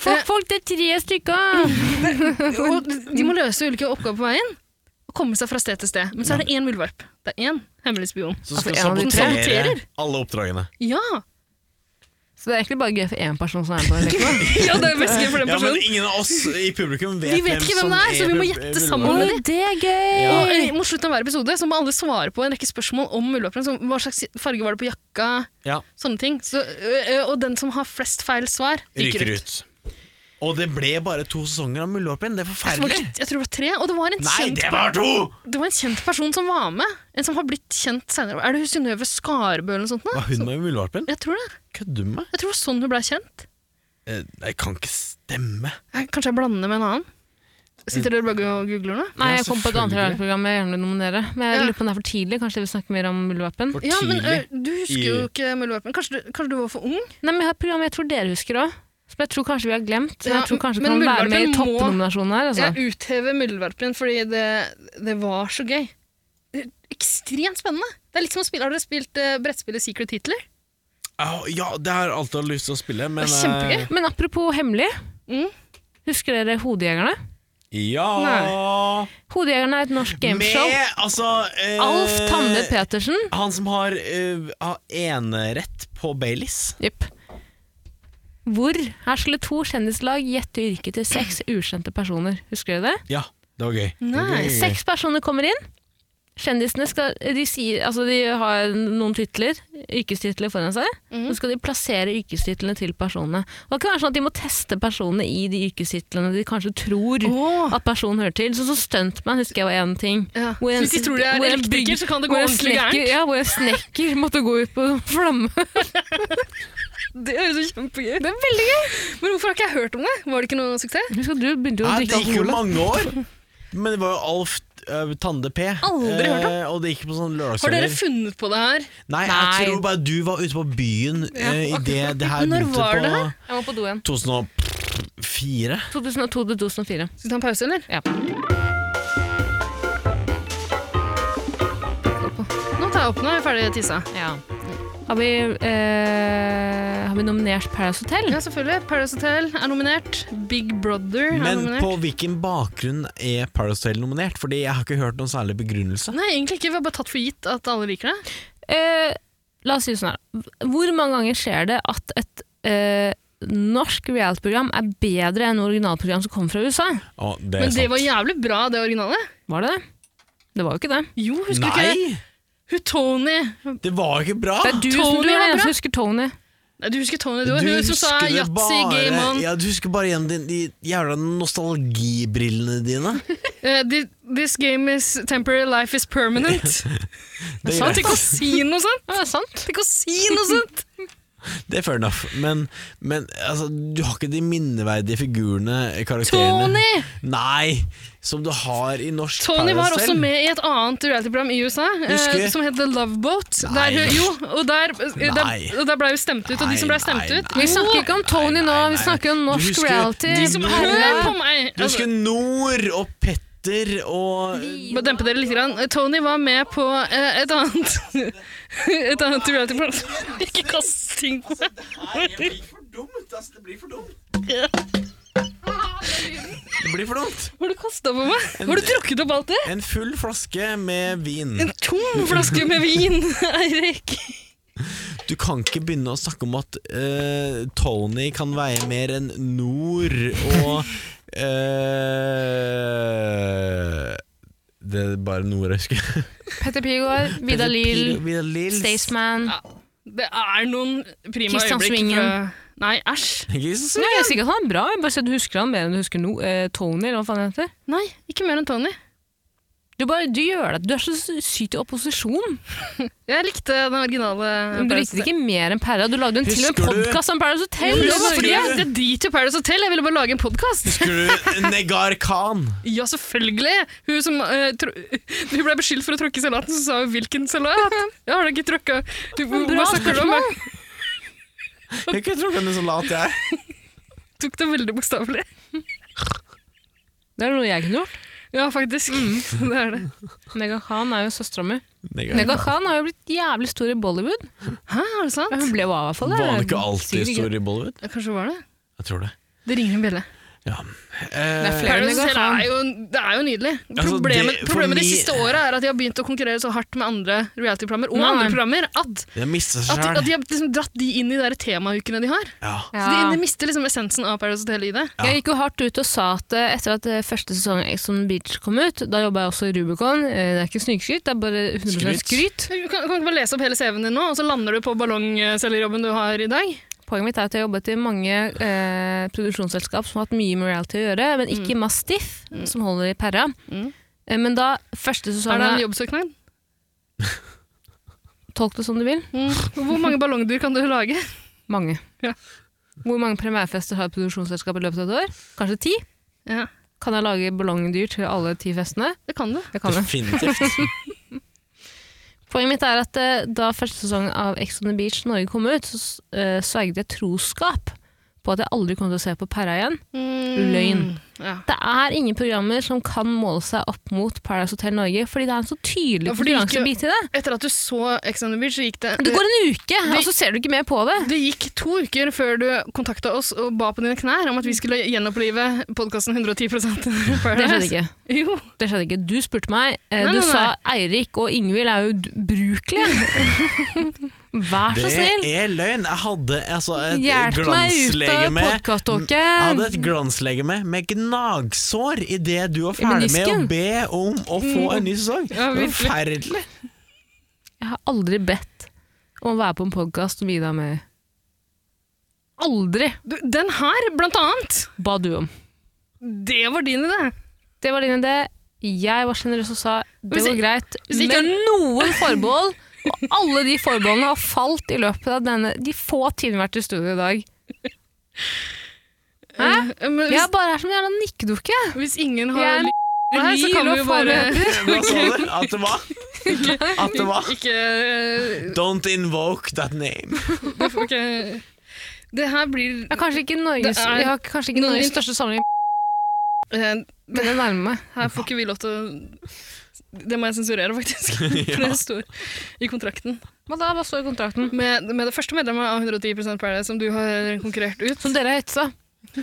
[SPEAKER 3] Folk, folk, det er tre stykker!
[SPEAKER 2] Og de må løse ulike oppgaver på veien og komme seg fra sted til sted. Men så er det én muldvarp. Det er én hemmelig spion.
[SPEAKER 1] Så skal
[SPEAKER 3] Altså, en av de
[SPEAKER 1] vi
[SPEAKER 3] tre.
[SPEAKER 1] sabotere
[SPEAKER 2] Saboterer.
[SPEAKER 1] alle oppdragene.
[SPEAKER 2] Ja!
[SPEAKER 3] Så det er egentlig bare gøy for én person som er på den leken.
[SPEAKER 2] ja det er mest gøy for den
[SPEAKER 1] Ja, men
[SPEAKER 2] personen.
[SPEAKER 1] ingen av oss i publikum vet,
[SPEAKER 2] Vi vet ikke
[SPEAKER 1] som
[SPEAKER 2] hvem det er, så vi må
[SPEAKER 1] pub-
[SPEAKER 2] gjette
[SPEAKER 1] muldvarpen.
[SPEAKER 2] sammen. Oi,
[SPEAKER 3] det er gøy!
[SPEAKER 1] Ja.
[SPEAKER 2] Og, eh, Mot slutten av hver episode så må alle svare på en rekke spørsmål om muldvarpen. Som hva slags farge var det på jakka?
[SPEAKER 1] Ja.
[SPEAKER 2] Sånne ting. Så, ø, ø, og den som har flest feil svar, ryker,
[SPEAKER 1] Ryker
[SPEAKER 2] ut.
[SPEAKER 1] ut. Og det ble bare to sesonger av Muldvarpen. Det er
[SPEAKER 2] Det var, ikke-
[SPEAKER 1] forferdelig.
[SPEAKER 2] jeg tror det var tre, og det var, en
[SPEAKER 1] Nei,
[SPEAKER 2] kjent,
[SPEAKER 1] det var to!
[SPEAKER 2] det var en kjent person som var med. En som har blitt kjent senere. Er det hun Synnøve Skarbø eller noe sånt? nå?
[SPEAKER 1] Var hun med i Muldvarpen?
[SPEAKER 2] Jeg tror det.
[SPEAKER 1] Kødder du med meg?
[SPEAKER 2] Jeg tror det var sånn hun ble kjent.
[SPEAKER 1] Eh, Det kan ikke stemme.
[SPEAKER 2] Jeg, kanskje jeg blander det med en annen. Sitter dere begge og googler nå?
[SPEAKER 3] Nei,
[SPEAKER 1] Ja,
[SPEAKER 3] jeg kom på et
[SPEAKER 1] selvfølgelig.
[SPEAKER 3] annet radioprogram jeg gjerne vil nominere. Men jeg
[SPEAKER 2] Ja.
[SPEAKER 3] lurer på om det er for tidlig. Kanskje vi snakker mer om Muldvarpen?
[SPEAKER 1] For
[SPEAKER 2] Ja, men ø,
[SPEAKER 1] tidlig.
[SPEAKER 2] Du husker jo ikke muldvarpen. Kanskje, du- kanskje du var for ung?
[SPEAKER 3] Nei, men jeg har et program jeg tror dere husker òg. Som jeg tror kanskje vi har glemt. Men
[SPEAKER 2] Ja,
[SPEAKER 3] jeg tror kanskje vi
[SPEAKER 2] men
[SPEAKER 3] kan være med i
[SPEAKER 2] Muldvarpen må-
[SPEAKER 3] toppnominasjonen her. Altså.
[SPEAKER 2] Jeg uthever muldvarpen fordi det, det var så gøy. Det er ekstremt spennende. Det er litt som å spille, Har dere spilt eh, brettspillet Secret Hitler?
[SPEAKER 1] Au, Ja, det har jeg alltid hatt lyst til å spille, men eh,
[SPEAKER 2] Det er kjempegøy.
[SPEAKER 3] Men apropos hemmelig.
[SPEAKER 2] Mm.
[SPEAKER 3] Husker dere Hodejegerne?
[SPEAKER 1] eh, Ja
[SPEAKER 3] Hodejegerne er et norsk gameshow.
[SPEAKER 1] Med altså eh,
[SPEAKER 3] Alf Tanne Petersen.
[SPEAKER 1] Han som har eh, har enerett på Baileys.
[SPEAKER 3] Jepp. Hvor her skulle to kjendislag gjette yrket til seks ukjente personer. Husker dere det?
[SPEAKER 1] Ja, det var gøy. Det
[SPEAKER 2] Nei,
[SPEAKER 1] var gøy.
[SPEAKER 3] Seks personer kommer inn. Kjendisene skal, de sier, altså de har noen titler, yrkestitler foran seg.
[SPEAKER 2] Mhm.
[SPEAKER 3] Så skal de plassere yrkestitlene til personene. Og det kan være sånn at De må teste personene i de yrkestitlene de kanskje tror
[SPEAKER 2] Åh.
[SPEAKER 3] at personen hører til. Sånn som stuntman husker jeg var én ting.
[SPEAKER 2] Ja.
[SPEAKER 3] Hvor en-
[SPEAKER 2] Så hvis de tror de er
[SPEAKER 3] hvor en
[SPEAKER 2] elektriker,
[SPEAKER 3] bygg-
[SPEAKER 2] så kan det gå
[SPEAKER 3] hvor en
[SPEAKER 2] ordentlig
[SPEAKER 3] snekker-
[SPEAKER 2] gærent.
[SPEAKER 3] Ja, hvor en snekker måtte gå ut på flamme.
[SPEAKER 2] det høres jo kjempegøy Det er veldig gøy! Men hvorfor har ikke jeg hørt om det? Var det ikke noe suksess?
[SPEAKER 3] Husk at du begynte å
[SPEAKER 1] Nei,
[SPEAKER 3] drikke
[SPEAKER 1] det gikk jo
[SPEAKER 3] alkohol. da.
[SPEAKER 1] mange år. Men det var jo Alf eh, Tande P.
[SPEAKER 2] Aldri hørt om.
[SPEAKER 1] Eh, og det gikk på sånn
[SPEAKER 2] Har dere
[SPEAKER 1] lørdagskvelder.
[SPEAKER 2] funnet på det her?
[SPEAKER 1] Nei,
[SPEAKER 3] Nei.
[SPEAKER 1] jeg tror bare du var ute på byen eh, i det det her
[SPEAKER 2] Når
[SPEAKER 1] begynte
[SPEAKER 2] var
[SPEAKER 1] på
[SPEAKER 2] det her?
[SPEAKER 3] Jeg var på do igjen.
[SPEAKER 1] 2004.
[SPEAKER 3] 2002 til 2004.
[SPEAKER 2] Skal vi ta en pause, eller?
[SPEAKER 3] Ja.
[SPEAKER 2] Nå tar jeg opp, nå er vi ferdig tissa.
[SPEAKER 3] Ja. Har vi, eh, har vi nominert Paradise Hotel?
[SPEAKER 2] Ja, selvfølgelig. Paradise Hotel er nominert. Big Brother er
[SPEAKER 1] Men
[SPEAKER 2] nominert.
[SPEAKER 1] på hvilken bakgrunn er Paradise Hotel nominert? Fordi jeg har ikke hørt noen særlig begrunnelse.
[SPEAKER 2] Nei, egentlig ikke. Vi har bare tatt for gitt at alle liker det.
[SPEAKER 3] Eh, la oss si det sånn her. Hvor mange ganger skjer det at et eh, norsk reality-program er bedre enn originalprogram som kommer fra USA?
[SPEAKER 1] Å, det er
[SPEAKER 2] Men det
[SPEAKER 1] sant.
[SPEAKER 2] var jævlig bra, det originale.
[SPEAKER 3] Var det det? Det var jo ikke det.
[SPEAKER 2] Jo, husker
[SPEAKER 1] Nei!
[SPEAKER 2] du ikke det? Hun Tony
[SPEAKER 1] Det var ikke bra!
[SPEAKER 3] Det er du som
[SPEAKER 2] Tony
[SPEAKER 3] du er
[SPEAKER 2] var
[SPEAKER 3] den
[SPEAKER 2] bra.
[SPEAKER 3] eneste som husker Tony.
[SPEAKER 2] Nei, Du husker Tony, det var hun som sa
[SPEAKER 1] husker det
[SPEAKER 2] yatzy,
[SPEAKER 1] bare-
[SPEAKER 2] game on.
[SPEAKER 1] Ja, du husker bare igjen de, de jævla nostalgibrillene dine.
[SPEAKER 2] (laughs) Eh, thi- this game is temporary, life is
[SPEAKER 1] (laughs)
[SPEAKER 2] permanent.
[SPEAKER 1] Det,
[SPEAKER 2] Sant?
[SPEAKER 1] er
[SPEAKER 2] Tenk å si noe sånt!
[SPEAKER 3] Ja, det er sant.
[SPEAKER 2] Tenk å si noe sånt!
[SPEAKER 1] greit. det er fair enough, men, men altså, du har ikke de minneverdige figurene, karakterene,
[SPEAKER 2] Tony!
[SPEAKER 1] Nei, som du har i norsk
[SPEAKER 2] Tony var
[SPEAKER 1] Paradise
[SPEAKER 2] også
[SPEAKER 1] Hotel.
[SPEAKER 2] med i et annet reality-program i USA
[SPEAKER 1] Husker.
[SPEAKER 2] eh, som het The Love Boat.
[SPEAKER 1] Nei.
[SPEAKER 2] Der, hun- jo, og der, eh,
[SPEAKER 1] Nei.
[SPEAKER 2] der, og der ble hun stemt ut, og
[SPEAKER 1] Nei,
[SPEAKER 2] de som ble stemt
[SPEAKER 1] nei,
[SPEAKER 2] ut
[SPEAKER 3] Vi snakker ikke om Tony
[SPEAKER 1] Nei,
[SPEAKER 3] nå,
[SPEAKER 1] nei,
[SPEAKER 3] vi
[SPEAKER 1] nei.
[SPEAKER 3] snakker om
[SPEAKER 1] Du
[SPEAKER 3] norsk
[SPEAKER 1] husker-
[SPEAKER 3] reality.
[SPEAKER 1] De
[SPEAKER 2] som,
[SPEAKER 1] Herre.
[SPEAKER 2] Hør på meg!
[SPEAKER 1] Du husker Nord og Petter og
[SPEAKER 2] Altså, Bare dempe dere litt. Grann. Tony var med på eh, et annet (laughs) Et annet reality-program. Ikke kast ting på meg.
[SPEAKER 1] Det blir for dumt.
[SPEAKER 2] Har du kasta på meg? Har du drukket opp alt det?
[SPEAKER 1] En full flaske med vin.
[SPEAKER 2] En tom flaske med vin, (laughs) Eirik.
[SPEAKER 1] Du kan ikke begynne å snakke om at eh, Tony kan veie mer enn Nord og eh, Det er bare Nord jeg husker.
[SPEAKER 3] Petter Pilgaard, Vidar Lill,
[SPEAKER 1] Vidar Lill.
[SPEAKER 3] Staysman
[SPEAKER 2] Det er noen prima
[SPEAKER 3] Kristian
[SPEAKER 2] øyeblikk.
[SPEAKER 3] Svingen.
[SPEAKER 2] fra- Nei, æsj.
[SPEAKER 1] Staysman.
[SPEAKER 3] (laughs) Nei, jeg er sikker på at han er bra, jeg bare sier at du husker han mer enn du husker no, eh, Tony. eller hva faen han heter.
[SPEAKER 2] Nei, ikke mer enn Tony.
[SPEAKER 3] Du, bare, du gjør det. Du er så syk til opposisjon.
[SPEAKER 2] Jeg likte den originale.
[SPEAKER 3] Men du likte det ikke mer enn Perra. Du lagde en til og med
[SPEAKER 1] Husker du-
[SPEAKER 3] podkast om Paradise
[SPEAKER 2] Jo,
[SPEAKER 3] Hotel.
[SPEAKER 2] men
[SPEAKER 3] i
[SPEAKER 2] det var fordi
[SPEAKER 3] Norge.
[SPEAKER 2] jeg, jeg driter i Paradise Hotel, jeg ville bare lage en podkast.
[SPEAKER 1] Husker du Negar Khan?
[SPEAKER 2] Ja, selvfølgelig! Hun som eh, tro, (laughs) Hun ble beskyldt for å tråkke i salaten, så sa hun 'hvilken salat?' Jeg har da ikke tråkka Du, Hva
[SPEAKER 3] Bra
[SPEAKER 2] snakker du om?
[SPEAKER 3] spørsmål.
[SPEAKER 2] Jeg
[SPEAKER 1] Jeg kunne tro henne så lat jeg er.
[SPEAKER 2] tok det veldig bokstavelig.
[SPEAKER 3] Det er noe jeg kunne gjort.
[SPEAKER 2] Ja, faktisk. Mm. (laughs) Det er det.
[SPEAKER 3] Nega Khan er jo søstera mi.
[SPEAKER 1] Negar
[SPEAKER 3] Nega
[SPEAKER 1] Khan.
[SPEAKER 3] Khan har jo blitt jævlig stor i Bollywood.
[SPEAKER 2] Hæ, er det sant?
[SPEAKER 3] Ja, Hun ble jo av, i hvert fall.
[SPEAKER 1] Var
[SPEAKER 3] Det
[SPEAKER 1] han
[SPEAKER 3] er
[SPEAKER 1] ikke alltid
[SPEAKER 3] sikkert ikke-
[SPEAKER 1] stor i Bollywood?
[SPEAKER 2] Ja, Kanskje det var det?
[SPEAKER 1] Jeg tror det.
[SPEAKER 2] Det ringer en bjelle.
[SPEAKER 1] Eh,
[SPEAKER 3] flere
[SPEAKER 2] Paradise
[SPEAKER 3] Nega
[SPEAKER 2] Hotel
[SPEAKER 3] Khan.
[SPEAKER 2] er jo, det er jo nydelig.
[SPEAKER 1] Altså,
[SPEAKER 2] Problemet,
[SPEAKER 1] det- for
[SPEAKER 2] problemet de
[SPEAKER 1] mi-
[SPEAKER 2] siste åra er at de har begynt å konkurrere så hardt med andre reality-programmer og
[SPEAKER 3] Nei.
[SPEAKER 2] andre programmer at,
[SPEAKER 1] jeg mista
[SPEAKER 2] at,
[SPEAKER 1] seg
[SPEAKER 2] de- at
[SPEAKER 1] sjæl.
[SPEAKER 2] de har liksom dratt de inn i de der temaukene de har.
[SPEAKER 1] Ja.
[SPEAKER 2] Så de,
[SPEAKER 3] Ja.
[SPEAKER 2] de mister liksom essensen av Paradise Hotel i det.
[SPEAKER 3] Jeg gikk jo hardt ut og sa at eh, etter at eh, første sesong av Ex on the Beach kom ut, da jobba jeg også i Rubicon. Eh, Det er ikke snikskryt, det er bare 100 skryt.
[SPEAKER 1] Skryt.
[SPEAKER 2] Du kan, kan ikke bare lese opp hele CV-en din nå, og så lander du på ballongselgerjobben du har i dag?
[SPEAKER 3] Poenget mitt er at jeg har jobbet i mange eh, produksjonsselskap som har hatt mye med reality å gjøre, men ikke Mastiff, som holder i perra.
[SPEAKER 2] Mm.
[SPEAKER 3] Eh, men da første
[SPEAKER 2] Er det en
[SPEAKER 3] sesongen
[SPEAKER 2] jobbsøknad?
[SPEAKER 3] Tolk det som du vil.
[SPEAKER 2] Mm. Hvor mange ballongdyr kan du lage? (laughs)
[SPEAKER 3] Mange.
[SPEAKER 2] Ja.
[SPEAKER 3] Hvor mange premierefester har et produksjonsselskap i løpet av et år? Kanskje ti?
[SPEAKER 2] Ja,
[SPEAKER 3] Kan jeg lage ballongdyr til alle ti festene?
[SPEAKER 2] det kan du.
[SPEAKER 3] Det kan jeg. (laughs)
[SPEAKER 1] Definitivt.
[SPEAKER 3] Poenget mitt er at eh, da første sesong av Ex on the Beach Norge kom ut, så s- eh, sverget jeg troskap på at jeg aldri kommer til å se på Perra igjen.
[SPEAKER 2] Mm.
[SPEAKER 3] Løgn.
[SPEAKER 2] Ja.
[SPEAKER 3] Det er ingen programmer som kan måle seg opp mot Paradise Hotel Norge, fordi det er en så tydelig
[SPEAKER 2] Ja, for det gikk jo-
[SPEAKER 3] konkurransebit i det.
[SPEAKER 2] Etter at du så Ex on the Beach, så gikk det
[SPEAKER 3] Det går en uke,
[SPEAKER 2] Vi-
[SPEAKER 3] og så ser du ikke mer på det.
[SPEAKER 2] Det gikk to uker før du kontakta oss og ba på dine knær om at vi skulle gjenopplive podkasten 110
[SPEAKER 3] (laughs) Det skjedde
[SPEAKER 2] Paradise.
[SPEAKER 3] ikke.
[SPEAKER 2] Jo.
[SPEAKER 3] Det skjedde ikke. Du spurte meg. eh,
[SPEAKER 2] Nei,
[SPEAKER 3] Du
[SPEAKER 2] nei, nei.
[SPEAKER 3] sa Eirik og Ingvild er jo d- ubrukelige.
[SPEAKER 2] (laughs)
[SPEAKER 3] Vær så snill.
[SPEAKER 1] Det er løgn. Jeg hadde altså, et
[SPEAKER 3] Hjelp meg ut
[SPEAKER 1] glanslegeme
[SPEAKER 3] av
[SPEAKER 1] Mm, Jeg hadde
[SPEAKER 3] podkasttåken.
[SPEAKER 1] et glanslegeme med gnagsår idet du var
[SPEAKER 3] I
[SPEAKER 1] ferdig med å
[SPEAKER 3] menisken?
[SPEAKER 1] be om å få en ny sesong.
[SPEAKER 2] Ja,
[SPEAKER 1] Det var
[SPEAKER 2] virkelig.
[SPEAKER 1] Forferdelig.
[SPEAKER 3] Jeg har aldri bedt om å være på en podkast som Vida er med i. Aldri
[SPEAKER 2] Du, den her, blant annet.
[SPEAKER 3] ba du om.
[SPEAKER 2] Det var din idé.
[SPEAKER 3] Det var din idé. Jeg var sjenerøs og sa det
[SPEAKER 2] Hvis
[SPEAKER 3] var
[SPEAKER 2] ikke-
[SPEAKER 3] greit,
[SPEAKER 2] hvis ikke-
[SPEAKER 3] med noen forbehold. Og alle de forbeholdene har falt i løpet av denne, de få timene vi har vært i studio
[SPEAKER 2] (laughs)
[SPEAKER 3] i dag. Hæ?
[SPEAKER 2] Eh, Men hvis,
[SPEAKER 3] Jeg er bare her som en jævla nikkedukke.
[SPEAKER 2] hvis ingen
[SPEAKER 3] Jeg
[SPEAKER 2] har
[SPEAKER 3] er
[SPEAKER 2] her, så kan vi
[SPEAKER 3] Lyl og
[SPEAKER 2] jo bare
[SPEAKER 1] Hva sa du? At det var?
[SPEAKER 3] (laughs)
[SPEAKER 1] At det var?
[SPEAKER 2] (laughs) Ikke eh,
[SPEAKER 1] Don't invoke that name.
[SPEAKER 2] du får ikke- Det her blir
[SPEAKER 3] Jeg har kanskje ikke Norges,
[SPEAKER 2] Det er-
[SPEAKER 3] jeg har kanskje ikke
[SPEAKER 2] Noen-
[SPEAKER 3] Norges største samling,
[SPEAKER 2] eh,
[SPEAKER 3] men jeg nærmer meg.
[SPEAKER 2] Her får ikke vi lov til å Det må jeg sensurere, faktisk. For det står i kontrakten.
[SPEAKER 3] Men da, hva står i kontrakten?
[SPEAKER 2] Med, med det første medlemmet av 110 Paradise som du har konkurrert ut.
[SPEAKER 3] Som dere har hetsa.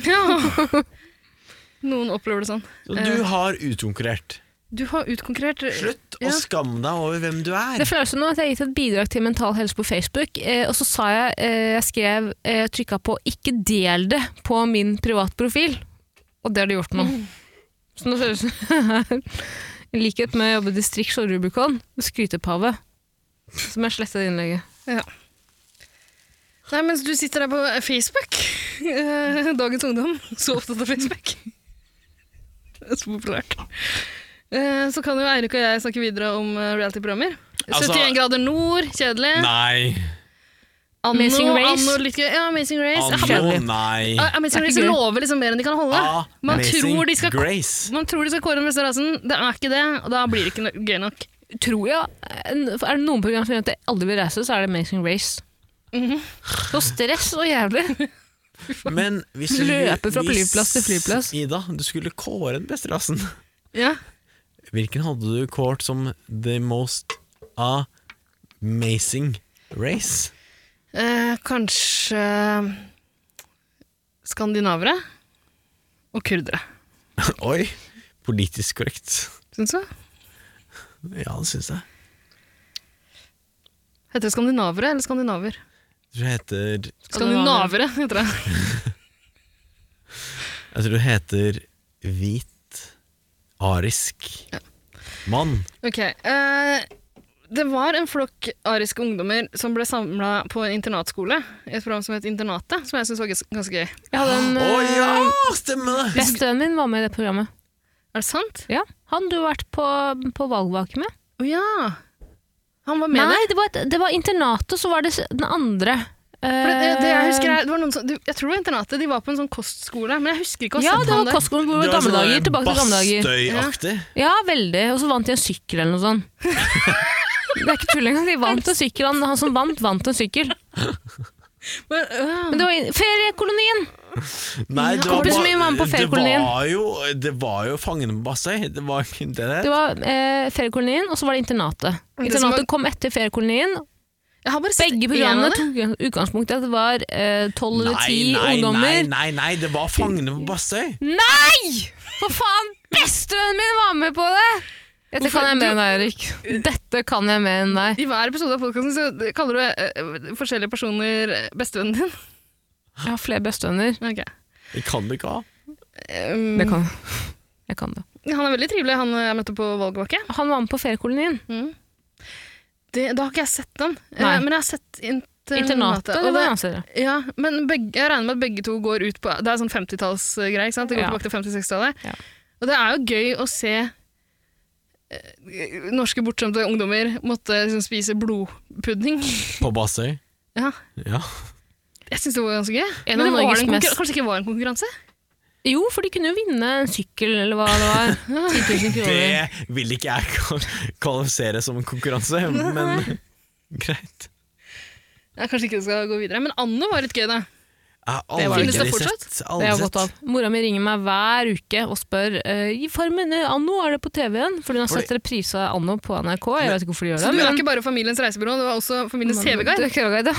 [SPEAKER 2] Ja. (laughs) Noen opplever det sånn.
[SPEAKER 1] Så du har utkonkurrert.
[SPEAKER 2] Du har utkonkurrert
[SPEAKER 1] Slutt
[SPEAKER 2] Ja.
[SPEAKER 1] å skamme deg over hvem du er.
[SPEAKER 3] Det føles som nå at jeg har gitt et bidrag til Mental Helse på Facebook, eh, og så sa jeg, eh, jeg skrev, eh, trykket på ikke del det på min privatprofil, og det har de gjort nå. Så (laughs) nå ser det ut som, i likhet med å jobbe i distrikts- og Rubicon, skrytepave. Som jeg slettet innlegget.
[SPEAKER 2] Nei, mens du sitter der på Facebook, eh, dagens ungdom, så opptatt av Facebook. Det er så populært. Eh, Så kan jo Eirik og jeg snakke videre om eh, reality-programmer.
[SPEAKER 1] Altså-
[SPEAKER 2] 71 grader nord, kjedelig.
[SPEAKER 1] Nei.
[SPEAKER 2] Anno,
[SPEAKER 3] Amazing Race.
[SPEAKER 2] Anno, litt, gøy. ja, Amazing Race. Jeg har-
[SPEAKER 1] Anno, nei.
[SPEAKER 2] Ah, Amazing
[SPEAKER 3] Det er
[SPEAKER 2] Race
[SPEAKER 3] ikke gøy.
[SPEAKER 2] lover liksom mer enn de kan holde. Man
[SPEAKER 1] Amazing
[SPEAKER 2] tror de skal-
[SPEAKER 1] Grace.
[SPEAKER 2] Man tror de skal kåre den beste rasen, det er ikke det, og da blir det ikke no- gøy nok.
[SPEAKER 3] Tror jeg, Er det noen program som gjør at jeg aldri vil reise, så er det Amazing Race.
[SPEAKER 2] Mhm.
[SPEAKER 3] Så stress og jævlig.
[SPEAKER 1] Men hvis du
[SPEAKER 3] Løpe fra flyplass til flyplass.
[SPEAKER 1] Ida, du skulle kåre den beste rasen.
[SPEAKER 2] Ja.
[SPEAKER 1] Hvilken hadde du kårt som the most amazing race? (laughs)
[SPEAKER 2] Eh, kanskje skandinavere og kurdere,
[SPEAKER 1] Oi! Politisk korrekt.
[SPEAKER 2] syns du?
[SPEAKER 1] Ja, det syns jeg.
[SPEAKER 2] Heter det skandinavere eller skandinaver?
[SPEAKER 1] Jeg tror det heter
[SPEAKER 2] Skandinavere, heter det.
[SPEAKER 3] (laughs)
[SPEAKER 1] Jeg tror det heter hvit arisk mann.
[SPEAKER 2] Ok, eh, Det var en flokk ariske ungdommer som ble samla på en internatskole. i Et program som het Internatet, som jeg syns var gans- ganske gøy.
[SPEAKER 3] Jeg hadde en
[SPEAKER 1] Å
[SPEAKER 3] eh,
[SPEAKER 1] ja, stemmer det!
[SPEAKER 3] Bestevennen min var med i det programmet.
[SPEAKER 2] Er det sant?
[SPEAKER 3] Ja. Han du har vært på, på valgvake med.
[SPEAKER 2] Å ja! Han var med
[SPEAKER 3] Nei,
[SPEAKER 2] der.
[SPEAKER 3] det var, et, det var internatet, og så var det s- den andre.
[SPEAKER 2] For det, det jeg husker
[SPEAKER 3] eh.
[SPEAKER 2] er, det var noen som, du- jeg tror det var Internatet. De var på en sånn kostskole, men jeg husker ikke å ha
[SPEAKER 3] Eh, ja,
[SPEAKER 2] sett
[SPEAKER 3] det
[SPEAKER 2] han
[SPEAKER 3] var
[SPEAKER 2] der.
[SPEAKER 3] kostskolen hvor det var gamle dager. Tilbake til gamle dager.
[SPEAKER 1] sånn Bastøy-aktig.
[SPEAKER 3] Ja, veldig. Og så vant de en sykkel eller noe
[SPEAKER 2] (laughs)
[SPEAKER 3] sånt. Det er ikke tull engang. De vant en sykkel. Han, han som vant, vant en sykkel.
[SPEAKER 2] Men, øh,
[SPEAKER 3] Men det var i- feriekolonien!
[SPEAKER 1] Nei, det var,
[SPEAKER 3] Kompisen min var med på
[SPEAKER 1] det
[SPEAKER 3] feriekolonien.
[SPEAKER 1] var jo, det var jo fangene på Bastøy. Det var ikke det der.
[SPEAKER 3] Det var eh, feriekolonien, og så var Mm. det internatet.
[SPEAKER 2] Det som var-
[SPEAKER 3] Internatet kom etter feriekolonien.
[SPEAKER 2] jeg har bare sett
[SPEAKER 3] Begge
[SPEAKER 2] en av
[SPEAKER 3] programmene
[SPEAKER 2] dem.
[SPEAKER 3] tok utgangspunkt i at det var eh, tolv eller
[SPEAKER 1] Nei,
[SPEAKER 3] ti
[SPEAKER 1] nei, nei,
[SPEAKER 3] ungdommer.
[SPEAKER 1] nei, nei, det var fangene på Bastøy.
[SPEAKER 3] Nei! For faen! Bestevennen min var med på det! Dette
[SPEAKER 2] Hvorfor-
[SPEAKER 3] kan jeg mer enn deg, Erik. Dette kan jeg mer enn deg.
[SPEAKER 2] I hver episode av podkasten så kaller du øh, forskjellige personer øh, bestevennen din. (laughs)
[SPEAKER 3] Jeg har flere bestevenner.
[SPEAKER 2] Ok.
[SPEAKER 1] Det kan du ikke ha.
[SPEAKER 2] Um,
[SPEAKER 3] Det kan jeg. kan det.
[SPEAKER 2] Han er veldig trivelig, han jeg møtte på valgvake.
[SPEAKER 3] Han var med på feriekolonien.
[SPEAKER 2] Det, da har ikke jeg sett den, Eh,
[SPEAKER 3] Nei.
[SPEAKER 2] men jeg har sett internatet.
[SPEAKER 3] Internatet.
[SPEAKER 2] og
[SPEAKER 3] Det var
[SPEAKER 2] det-
[SPEAKER 3] en annen serie.
[SPEAKER 2] Ja, men begge, jeg regner med at begge to går ut på Det er sånn 50-tallsgreie, ikke sant? Det går
[SPEAKER 3] Ja.
[SPEAKER 2] tilbake til 50-60-tallet.
[SPEAKER 3] Ja.
[SPEAKER 2] Og det er jo gøy å se eh, norske bortskjemte ungdommer måtte liksom, spise blodpudding. (laughs)
[SPEAKER 1] På Bastøy.
[SPEAKER 2] Ja,
[SPEAKER 1] Ja.
[SPEAKER 2] jeg syns det var ganske gøy. Men
[SPEAKER 3] En av
[SPEAKER 2] det var
[SPEAKER 3] Norges
[SPEAKER 2] en konkurran-
[SPEAKER 3] mest-
[SPEAKER 2] Kanskje ikke var en konkurranse?
[SPEAKER 3] Jo, for de kunne jo vinne en sykkel eller hva det var. (laughs) 10 000 kroner.
[SPEAKER 1] Det vil ikke jeg kval- kvalifisere som en konkurranse, men greit.
[SPEAKER 2] Ja, kanskje ikke det skal gå videre. Men Anno var litt gøy, da.
[SPEAKER 1] Jeg har
[SPEAKER 3] Det var
[SPEAKER 1] aldri
[SPEAKER 2] Finnes
[SPEAKER 3] det.
[SPEAKER 2] det
[SPEAKER 1] sett- aldri
[SPEAKER 3] Det har jeg
[SPEAKER 1] sett.
[SPEAKER 3] gått av. Mora mi ringer meg hver uke og spør eh, I Farmen eh, Anno, er det på TV-en? For hun har
[SPEAKER 1] Fordi-
[SPEAKER 3] sett reprise av Anno på NRK. Jeg vet ikke hvorfor de gjør
[SPEAKER 2] Så
[SPEAKER 3] det.
[SPEAKER 2] du var
[SPEAKER 3] men-
[SPEAKER 2] ikke bare Familiens reisebyrå, det var også Familiens
[SPEAKER 3] Men-
[SPEAKER 2] TV-guide.
[SPEAKER 3] Det er TV-guide, ja.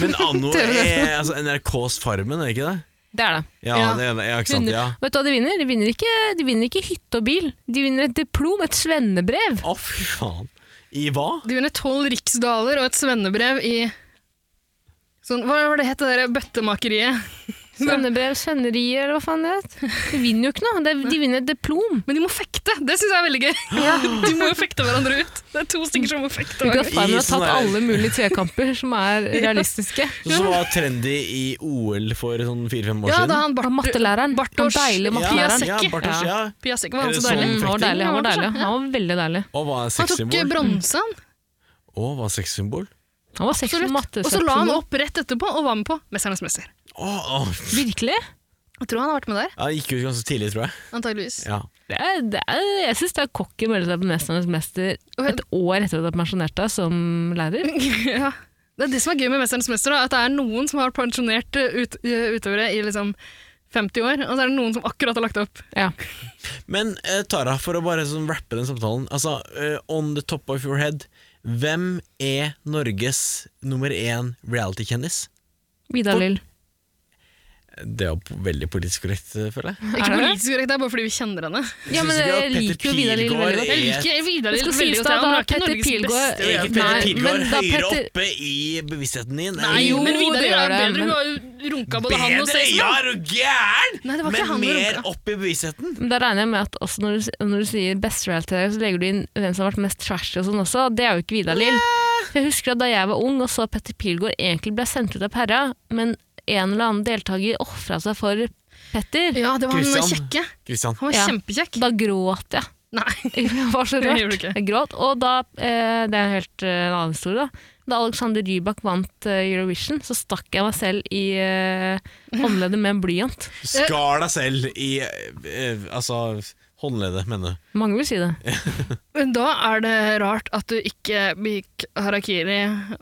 [SPEAKER 2] (laughs)
[SPEAKER 1] Men
[SPEAKER 3] (laughs)
[SPEAKER 1] Anno er altså, NRKs Farmen, er det ikke det?
[SPEAKER 3] Det er det.
[SPEAKER 1] Ja,
[SPEAKER 2] Ja.
[SPEAKER 1] det er det. Ja, ikke sant?
[SPEAKER 3] Vinner-
[SPEAKER 1] Ja.
[SPEAKER 3] Vet du hva de vinner? De vinner, ikke, de vinner ikke hytte og bil. De vinner et diplom, et svennebrev.
[SPEAKER 1] Å, fy faen. I hva?
[SPEAKER 2] Du vinner tolv riksdaler og et svennebrev i sånn, Hva var det het, det der bøttemakeriet?
[SPEAKER 3] Svennebrev, svenneriet, eller hva faen det heter. De vinner jo ikke noe. Det- De vinner et diplom.
[SPEAKER 2] Men de må fekte! Det syns jeg er veldig gøy. De må jo fekte hverandre ut. Det er to stykker som må fekte hverandre ut.
[SPEAKER 3] Farmen har
[SPEAKER 1] sånn
[SPEAKER 3] tatt
[SPEAKER 1] der-
[SPEAKER 3] alle mulige tvekamper som
[SPEAKER 2] (laughs)
[SPEAKER 3] er realistiske.
[SPEAKER 1] Så som var trendy i OL for sånn fire-fem år
[SPEAKER 2] Ja,
[SPEAKER 1] siden.
[SPEAKER 2] da han
[SPEAKER 3] Han
[SPEAKER 2] Bartos
[SPEAKER 3] mattelæreren. Han
[SPEAKER 2] Bartosz
[SPEAKER 3] deilige
[SPEAKER 1] ja,
[SPEAKER 3] mattelæreren.
[SPEAKER 1] ja,
[SPEAKER 2] Piasecki.
[SPEAKER 1] Bartosz, ja.
[SPEAKER 2] Piasek var
[SPEAKER 1] Er
[SPEAKER 2] han
[SPEAKER 1] det
[SPEAKER 2] så
[SPEAKER 1] sånn
[SPEAKER 2] deilig.
[SPEAKER 3] Mm, han var
[SPEAKER 1] Perfekt.
[SPEAKER 3] deilig, han var deilig. Han var veldig deilig.
[SPEAKER 1] Og var
[SPEAKER 2] Han tok
[SPEAKER 1] sexsymbol.
[SPEAKER 2] bronsen,
[SPEAKER 1] Å, var sexsymbol.
[SPEAKER 3] Han var sexy
[SPEAKER 2] absolutt.
[SPEAKER 3] matte.
[SPEAKER 2] Og så la han opp rett etterpå og var med på 'Mesternes mester'.
[SPEAKER 1] Å, å.
[SPEAKER 3] Virkelig?
[SPEAKER 2] Jeg tror han har vært med der,
[SPEAKER 1] Ja, det gikk ut ganske tidlig, tror jeg.
[SPEAKER 2] antageligvis.
[SPEAKER 1] Ja.
[SPEAKER 3] Det er, det er, jeg syns det er cocky å melde seg på Mesternes mester et år etter at du har pensjonert deg som lærer.
[SPEAKER 2] (laughs) ja. Det er det som er gøy med 'Mesternes mester', da, at det er noen som har pensjonert eh, ut, eh, utøvere i liksom 50 år, og så er det noen som akkurat har lagt opp.
[SPEAKER 3] Ja.
[SPEAKER 1] Men eh, Tara, for å bare sånn rappe den samtalen Altså, eh, on the top of your head Hvem er Norges nummer én reality-kjendis?
[SPEAKER 3] Vidar Lill.
[SPEAKER 1] Det er jo po- veldig politisk korrekt, eh, føler jeg.
[SPEAKER 2] Ikke
[SPEAKER 3] det det?
[SPEAKER 2] politisk korrekt, det (laughs) er bare fordi vi kjenner henne.
[SPEAKER 3] Ja, men
[SPEAKER 1] Synes ikke
[SPEAKER 3] jeg
[SPEAKER 1] at Petter
[SPEAKER 3] liker jo
[SPEAKER 1] Pilgaard er-
[SPEAKER 2] Jeg
[SPEAKER 3] Vidar Lill veldig godt.
[SPEAKER 2] liker Vidar
[SPEAKER 3] Det
[SPEAKER 2] Lill
[SPEAKER 3] skal
[SPEAKER 2] veldig
[SPEAKER 3] sies
[SPEAKER 2] godt,
[SPEAKER 3] da,
[SPEAKER 2] ja, men
[SPEAKER 3] da
[SPEAKER 2] hun er ikke
[SPEAKER 3] Petter
[SPEAKER 2] Norges
[SPEAKER 3] Pilgaard-
[SPEAKER 2] beste.
[SPEAKER 1] Er ikke
[SPEAKER 2] reality-
[SPEAKER 3] Nei,
[SPEAKER 1] Petter
[SPEAKER 3] men
[SPEAKER 1] Pilgaard
[SPEAKER 3] da
[SPEAKER 1] høyere
[SPEAKER 3] Petter-
[SPEAKER 1] oppe i bevisstheten din?
[SPEAKER 2] Nei,
[SPEAKER 3] Jo,
[SPEAKER 2] men Vidar
[SPEAKER 3] det
[SPEAKER 2] Lill er
[SPEAKER 3] gjør
[SPEAKER 2] bedre.
[SPEAKER 3] det,
[SPEAKER 2] Hun har jo runka både han og
[SPEAKER 1] Bedre, ja,
[SPEAKER 2] Staysman.
[SPEAKER 1] er du gæren!
[SPEAKER 2] Nei, det var ikke
[SPEAKER 1] Men
[SPEAKER 2] han med
[SPEAKER 1] mer
[SPEAKER 2] rumpa.
[SPEAKER 1] opp i bevisstheten.
[SPEAKER 3] Men da regner jeg med at også når, du, når du sier best reality, så legger du inn hvem som har vært mest trashy og sånn også. Det er jo ikke Vidar Lill. For jeg husker at da jeg var ung og så Petter Pilgaard egentlig ble sendt ut av perra, men en eller annen deltaker ofra seg for Petter,
[SPEAKER 2] Ja, det var han
[SPEAKER 1] Christian.
[SPEAKER 2] kjekke.
[SPEAKER 1] Kristian.
[SPEAKER 2] Han var
[SPEAKER 3] Ja.
[SPEAKER 2] kjempekjekk.
[SPEAKER 3] da gråt jeg.
[SPEAKER 2] Nei.
[SPEAKER 3] Jeg (laughs) var så
[SPEAKER 2] Det gjorde du
[SPEAKER 3] rørt.
[SPEAKER 2] ikke.
[SPEAKER 3] Jeg gråt. Og da, eh, det er en helt eh, en annen historie, da. Da Alexander Rybak vant eh, Eurovision, så stakk jeg meg selv i eh, håndleddet med en blyant.
[SPEAKER 1] Skar deg selv i eh, Altså, håndleddet, mener du.
[SPEAKER 3] Mange vil si det.
[SPEAKER 2] Men da er det rart at du ikke begikk harakiri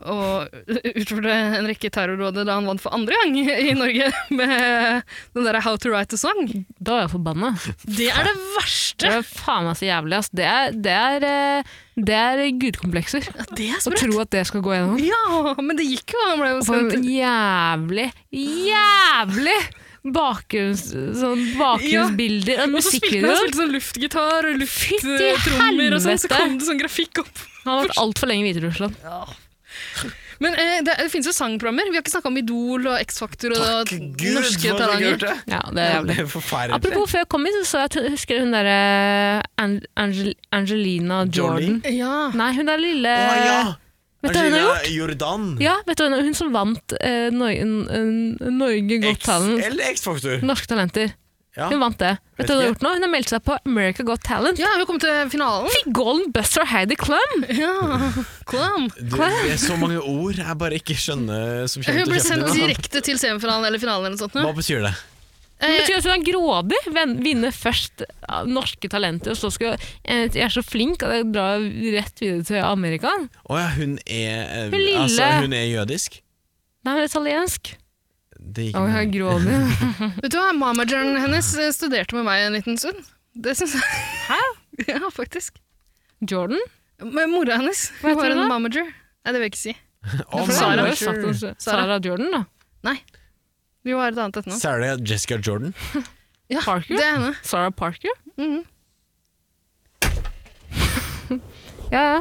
[SPEAKER 2] og utførte en rekke terrorråder da han vant for andre gang i Norge med den derre How to write a song.
[SPEAKER 3] Da var jeg forbanna.
[SPEAKER 2] (laughs) Det er det verste!
[SPEAKER 3] Det var faen meg så jævlig, ass. Det er, det er, eh, det er gudkomplekser.
[SPEAKER 2] Ja, det er
[SPEAKER 3] Å
[SPEAKER 2] sprøtt.
[SPEAKER 3] tro at det skal gå gjennom.
[SPEAKER 2] Ja, men det gikk jo, han ble jo
[SPEAKER 3] For en
[SPEAKER 2] sendt.
[SPEAKER 3] jævlig, jævlig bakgrunns, sånn bakgrunnsbilder og
[SPEAKER 2] Og så spilte han
[SPEAKER 3] musikkvideoer.
[SPEAKER 2] spilte sånn luftgitar og
[SPEAKER 3] Fytti
[SPEAKER 2] lufttrommer, og sånn, så
[SPEAKER 3] helvete!
[SPEAKER 2] kom det sånn grafikk opp.
[SPEAKER 3] Han har vært altfor lenge i Hviterussland.
[SPEAKER 2] Men eh, det, det finnes jo sangprogrammer. Vi har ikke snakka om Idol og X-Faktor og norske talanger.
[SPEAKER 1] det.
[SPEAKER 3] Ja, det er jævlig.
[SPEAKER 1] Det er forferdelig.
[SPEAKER 3] Apropos, før jeg kom hit, så så jeg at hun- husker hun derre eh, Ang- Angel Angelina Jordan.
[SPEAKER 2] Ja.
[SPEAKER 3] Nei, hun er lille
[SPEAKER 1] Å ja!
[SPEAKER 3] eh, Vet du hva hun har gjort?
[SPEAKER 1] Angelina Jordan.
[SPEAKER 3] Ja, vet du, hva hun er? hun som vant eh, Nor- n- n- Norge Got
[SPEAKER 1] X
[SPEAKER 3] Talent.
[SPEAKER 1] eller X-faktor.
[SPEAKER 3] Norske Talenter.
[SPEAKER 1] Ja.
[SPEAKER 3] Hun vant det. Vet
[SPEAKER 1] Vet
[SPEAKER 3] du hva hun har
[SPEAKER 1] ikke.
[SPEAKER 3] gjort nå? Hun har meldt seg på America Got Talent.
[SPEAKER 2] ja, vi kom til finalen.
[SPEAKER 3] Fikk Golden Buster Heidi Klum!
[SPEAKER 2] Ja, Klam.
[SPEAKER 1] Du, det er så mange ord jeg bare ikke skjønner som kommer
[SPEAKER 2] Hun
[SPEAKER 1] til
[SPEAKER 2] ble
[SPEAKER 1] å
[SPEAKER 2] sendt
[SPEAKER 1] kjenne det.
[SPEAKER 2] direkte til semifinalen eller finalen. eller noe sånt. nå.
[SPEAKER 1] Hva betyr det?
[SPEAKER 3] Det
[SPEAKER 2] Eh,
[SPEAKER 3] betyr at hun er grådig. Ven- Vinne først av Norske Talenter, og så skal eh, Jeg er så flink at jeg drar rett videre til Amerika.
[SPEAKER 1] Å ja, hun er eh,
[SPEAKER 3] Hun lille.
[SPEAKER 1] Altså, hun er jødisk?
[SPEAKER 3] Nei, hun er italiensk.
[SPEAKER 1] Det gikk
[SPEAKER 3] Og hun er
[SPEAKER 1] ikke. (laughs)
[SPEAKER 3] grådig.
[SPEAKER 2] vet du hva, Mamageren hennes eh, studerte med meg en liten stund. Det syns jeg.
[SPEAKER 3] Hæ?
[SPEAKER 2] (laughs) Ja, faktisk.
[SPEAKER 3] Jordan?
[SPEAKER 2] Men mora hennes
[SPEAKER 3] Hva
[SPEAKER 2] hun
[SPEAKER 3] heter
[SPEAKER 2] var
[SPEAKER 3] hun
[SPEAKER 2] en
[SPEAKER 3] da?
[SPEAKER 2] mamager. Nei, det vil jeg ikke si.
[SPEAKER 1] Å,
[SPEAKER 2] for Sarah
[SPEAKER 1] Sarah,
[SPEAKER 3] Jordan. Sarah. Sarah Jordan, da.
[SPEAKER 2] Vi har et annet etternavn.
[SPEAKER 1] Sarah Jessica Jordan.
[SPEAKER 2] Ja,
[SPEAKER 3] Parker?
[SPEAKER 2] det er henne.
[SPEAKER 3] Sarah Parker?
[SPEAKER 2] Mhm.
[SPEAKER 3] (laughs) Ja, ja.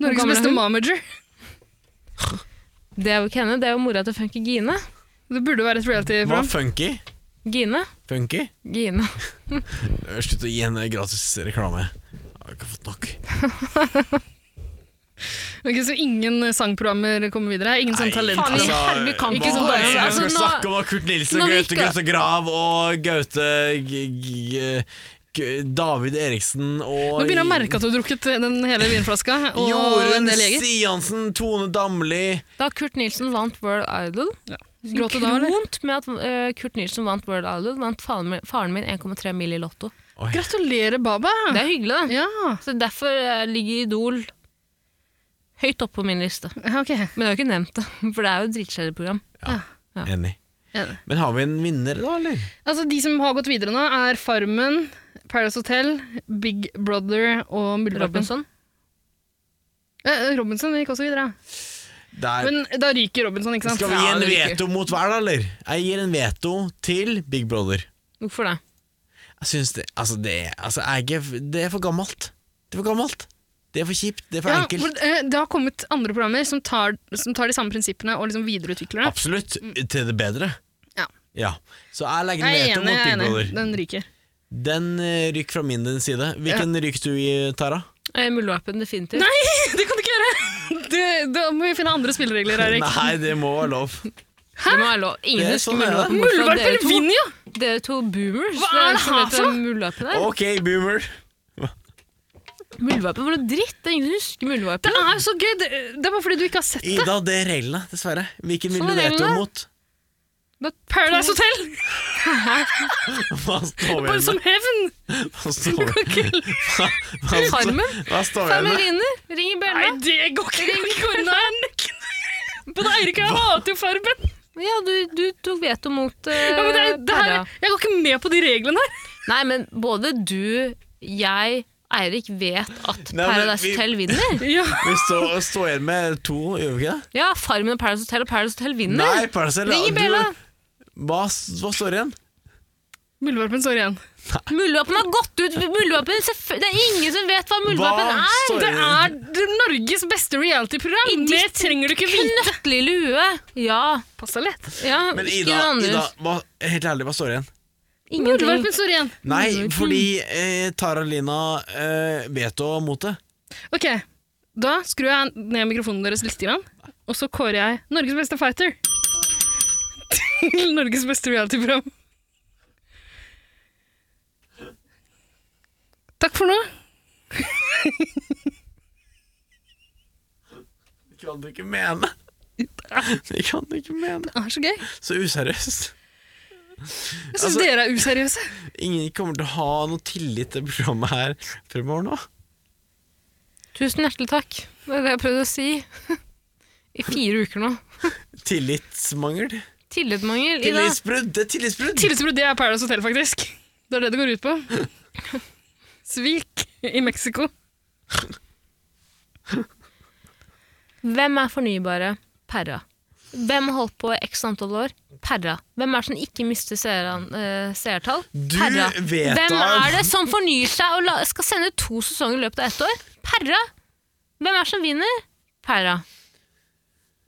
[SPEAKER 2] Norges
[SPEAKER 3] gammel er
[SPEAKER 2] beste
[SPEAKER 3] hun?
[SPEAKER 2] mamager.
[SPEAKER 3] Det er jo ikke henne, det er jo mora til Funky Gine.
[SPEAKER 2] Det burde være et
[SPEAKER 1] Hva
[SPEAKER 2] reality-program.
[SPEAKER 1] funky?
[SPEAKER 3] Gine?
[SPEAKER 1] Funky?
[SPEAKER 3] Gine.
[SPEAKER 1] Slutt å gi henne gratis reklame. Jeg har ikke fått nok.
[SPEAKER 2] Ok, så ingen eh, sangprogrammer kommer videre? Ingen sånn
[SPEAKER 1] Nei,
[SPEAKER 3] Faen i
[SPEAKER 1] Altså,
[SPEAKER 2] talentprogram?
[SPEAKER 3] helvete, kan
[SPEAKER 2] Ikke sånn
[SPEAKER 3] ikke
[SPEAKER 2] så
[SPEAKER 3] gå
[SPEAKER 1] Oi,
[SPEAKER 2] dårlig.
[SPEAKER 3] gjennom det.
[SPEAKER 1] Jeg
[SPEAKER 3] Altså,
[SPEAKER 1] skal snakke
[SPEAKER 3] nå-
[SPEAKER 1] om Kurt Nilsen
[SPEAKER 3] nå
[SPEAKER 1] og
[SPEAKER 3] gikk
[SPEAKER 1] Gaute
[SPEAKER 3] det-
[SPEAKER 1] Grøtte Grav og Gaute G- G- G- David Eriksen og
[SPEAKER 2] Nå begynner jeg å merke at du har drukket eh, den hele vinflaska og en
[SPEAKER 1] Jorunn
[SPEAKER 2] del jeger.
[SPEAKER 1] Stiansen, Tone Damli
[SPEAKER 3] Da Kurt Nilsen vant World Idol
[SPEAKER 2] Gråt du da, eller?
[SPEAKER 3] Kront med at eh, Kurt Nilsen vant World Idol, vant faren min, faren min 1,3 mill. i Lotto.
[SPEAKER 2] Gratulerer, Baba.
[SPEAKER 3] Det er hyggelig, da.
[SPEAKER 2] Ja,
[SPEAKER 3] Så derfor eh, ligger Idol høyt oppe på min liste.
[SPEAKER 2] ja, ok.
[SPEAKER 3] Men jeg har ikke nevnt det, (laughs) for det er jo et dritkjedelig program. Ja.
[SPEAKER 1] Enig.
[SPEAKER 2] Ja.
[SPEAKER 1] Men har vi en vinner, da, eller?
[SPEAKER 2] Altså, de som har gått videre nå, er Farmen, Paradise Hotel, Big Brother og Muldvarpen.
[SPEAKER 3] Robinson.
[SPEAKER 2] Eh, eh, Robinson gikk også videre. ja.
[SPEAKER 1] Der.
[SPEAKER 2] Men da ryker Robinson, ikke sant?
[SPEAKER 1] Skal vi gi
[SPEAKER 2] Ja,
[SPEAKER 1] en
[SPEAKER 2] det ryker.
[SPEAKER 1] veto mot hver, da, eller? Jeg gir en veto til Big Brother.
[SPEAKER 3] Hvorfor det?
[SPEAKER 1] Jeg synes det Altså, det er, altså, jeg er ikke, det er for gammelt. Det er for gammelt. Det er for kjipt. Det er for
[SPEAKER 2] Ja,
[SPEAKER 1] enkelt.
[SPEAKER 2] for, eh, det har kommet andre programmer som tar, som tar de samme prinsippene og liksom videreutvikler det.
[SPEAKER 1] Absolutt. Til det bedre.
[SPEAKER 2] Ja.
[SPEAKER 1] Så jeg legger en
[SPEAKER 2] Jeg er
[SPEAKER 1] veto
[SPEAKER 2] enig.
[SPEAKER 1] mot
[SPEAKER 2] Jeg
[SPEAKER 1] Big
[SPEAKER 2] er enig.
[SPEAKER 1] Brother.
[SPEAKER 2] Den ryker.
[SPEAKER 1] Den eh, ryker fra min side. Hvilken ryker du i, Tara?
[SPEAKER 3] Eh, Muldvarpen, definitivt.
[SPEAKER 2] Nei, det kan du ikke gjøre! (laughs) Det, da må vi finne andre spilleregler,
[SPEAKER 1] (laughs)
[SPEAKER 2] Eirik.
[SPEAKER 1] Nei, det må være lov.
[SPEAKER 3] Det må være lov. Ingen
[SPEAKER 1] Det er
[SPEAKER 3] husker
[SPEAKER 1] sånn det er.
[SPEAKER 3] Muldvarpen. bortsett fra
[SPEAKER 2] Muldvarpen
[SPEAKER 3] dere to.
[SPEAKER 2] vinner jo!
[SPEAKER 3] Dere to boomers. liksom
[SPEAKER 2] Hva er
[SPEAKER 3] dere
[SPEAKER 2] det
[SPEAKER 3] som
[SPEAKER 2] her
[SPEAKER 3] vet
[SPEAKER 2] for
[SPEAKER 3] hvem Muldvarpen er.
[SPEAKER 1] Ok, boomer.
[SPEAKER 3] Muldvarpen var noe dritt. Det er ingen som husker
[SPEAKER 2] Det
[SPEAKER 3] Muldvarpen.
[SPEAKER 2] er jo så gøy! Det, det er bare fordi du ikke har sett det.
[SPEAKER 1] Ida, det er reglene, dessverre. Hvilken vil
[SPEAKER 3] Sånn
[SPEAKER 1] du
[SPEAKER 3] er
[SPEAKER 1] veto
[SPEAKER 3] reglene.
[SPEAKER 1] mot?
[SPEAKER 2] Paradise Hotel!
[SPEAKER 1] Hva står vi
[SPEAKER 2] Bare sånn- som
[SPEAKER 1] igjen med?
[SPEAKER 2] hevn! (laughs)
[SPEAKER 1] Hva står vi- hva står-
[SPEAKER 3] Farmen.
[SPEAKER 1] Hva står vi igjen
[SPEAKER 3] Farmen
[SPEAKER 1] med?
[SPEAKER 3] vinner. Ring i
[SPEAKER 2] Nei,
[SPEAKER 3] bjella.
[SPEAKER 2] det går ikke! Det går ikke. Nei. Både Eirik og jeg hater jo Farmen.
[SPEAKER 3] Ja, du, du tok veto mot uh,
[SPEAKER 2] Ja, men det, er- det her,
[SPEAKER 3] Perra.
[SPEAKER 2] jeg går ikke med på de reglene her.
[SPEAKER 3] Nei, men både du, jeg, Eirik vet at
[SPEAKER 1] Nei, men
[SPEAKER 3] Paradise
[SPEAKER 1] vi-
[SPEAKER 3] Hotel vinner.
[SPEAKER 2] Ja.
[SPEAKER 1] Vi står står igjen med to, gjør vi ikke det?
[SPEAKER 3] Ja, Farmen og Paradise Hotel og Paradise Hotel vinner.
[SPEAKER 1] Nei, Paracel.
[SPEAKER 3] Ring i
[SPEAKER 1] du-
[SPEAKER 3] bjella.
[SPEAKER 1] Hva, hva står igjen?
[SPEAKER 2] Muldvarpen står igjen.
[SPEAKER 3] Muldvarpen har gått ut. Muldvarpen, selvfø- det er ingen som vet hva Muldvarpen
[SPEAKER 1] Hva
[SPEAKER 3] er.
[SPEAKER 1] står
[SPEAKER 2] Det
[SPEAKER 1] igjen?
[SPEAKER 2] er det Norges beste reality-program!
[SPEAKER 3] I
[SPEAKER 2] Det
[SPEAKER 3] ditt
[SPEAKER 2] trenger du ikke vite.
[SPEAKER 3] Knøttlille hue. Ja.
[SPEAKER 2] Pass deg lett.
[SPEAKER 3] ja
[SPEAKER 1] Men
[SPEAKER 3] ikke
[SPEAKER 1] Ida,
[SPEAKER 3] noe annet.
[SPEAKER 1] Ida hva, helt ærlig, hva står igjen?
[SPEAKER 3] Ingenting.
[SPEAKER 2] Muldvarpen står igjen.
[SPEAKER 1] Nei, fordi eh, Tara Lina eh, veto mot det.
[SPEAKER 2] Ok, Da skrur jeg ned mikrofonen deres litt, grann, og så kårer jeg Norges beste fighter til Norges beste reality-program. Takk for nå.
[SPEAKER 1] Det kan du ikke
[SPEAKER 2] (laughs)
[SPEAKER 1] mene! Det kan du ikke mene.
[SPEAKER 2] Det er Ah, så gøy.
[SPEAKER 1] Så useriøst.
[SPEAKER 2] Jeg syns
[SPEAKER 1] Altså-
[SPEAKER 2] dere er (laughs) useriøse.
[SPEAKER 1] Ingen kommer til å ha noe tillit til programmet her fremover nå.
[SPEAKER 3] Tusen hjertelig takk. Det er det jeg har prøvd å si (laughs) i fire uker nå.
[SPEAKER 1] Tillitsmangel.
[SPEAKER 3] Tillitsmangel. Ida.
[SPEAKER 1] Tillitsbrudd! Det er tillitsbrudd!
[SPEAKER 2] Tillitsbrudd det er Paradise Hotel, faktisk. Det er det det går
[SPEAKER 3] (laughs)
[SPEAKER 2] ut på. Svik i Mexico.
[SPEAKER 3] Hvem er fornybare? Perra. Hvem har holdt på i x antall år? Perra. Hvem er det som ikke mister seeran- eh, seertall?
[SPEAKER 1] Du
[SPEAKER 3] Perra.
[SPEAKER 1] vet
[SPEAKER 3] Hvem
[SPEAKER 1] av-
[SPEAKER 3] er det som fornyer seg og la, skal sende to sesonger i løpet av ett år? Perra. Hvem er det som vinner? Perra.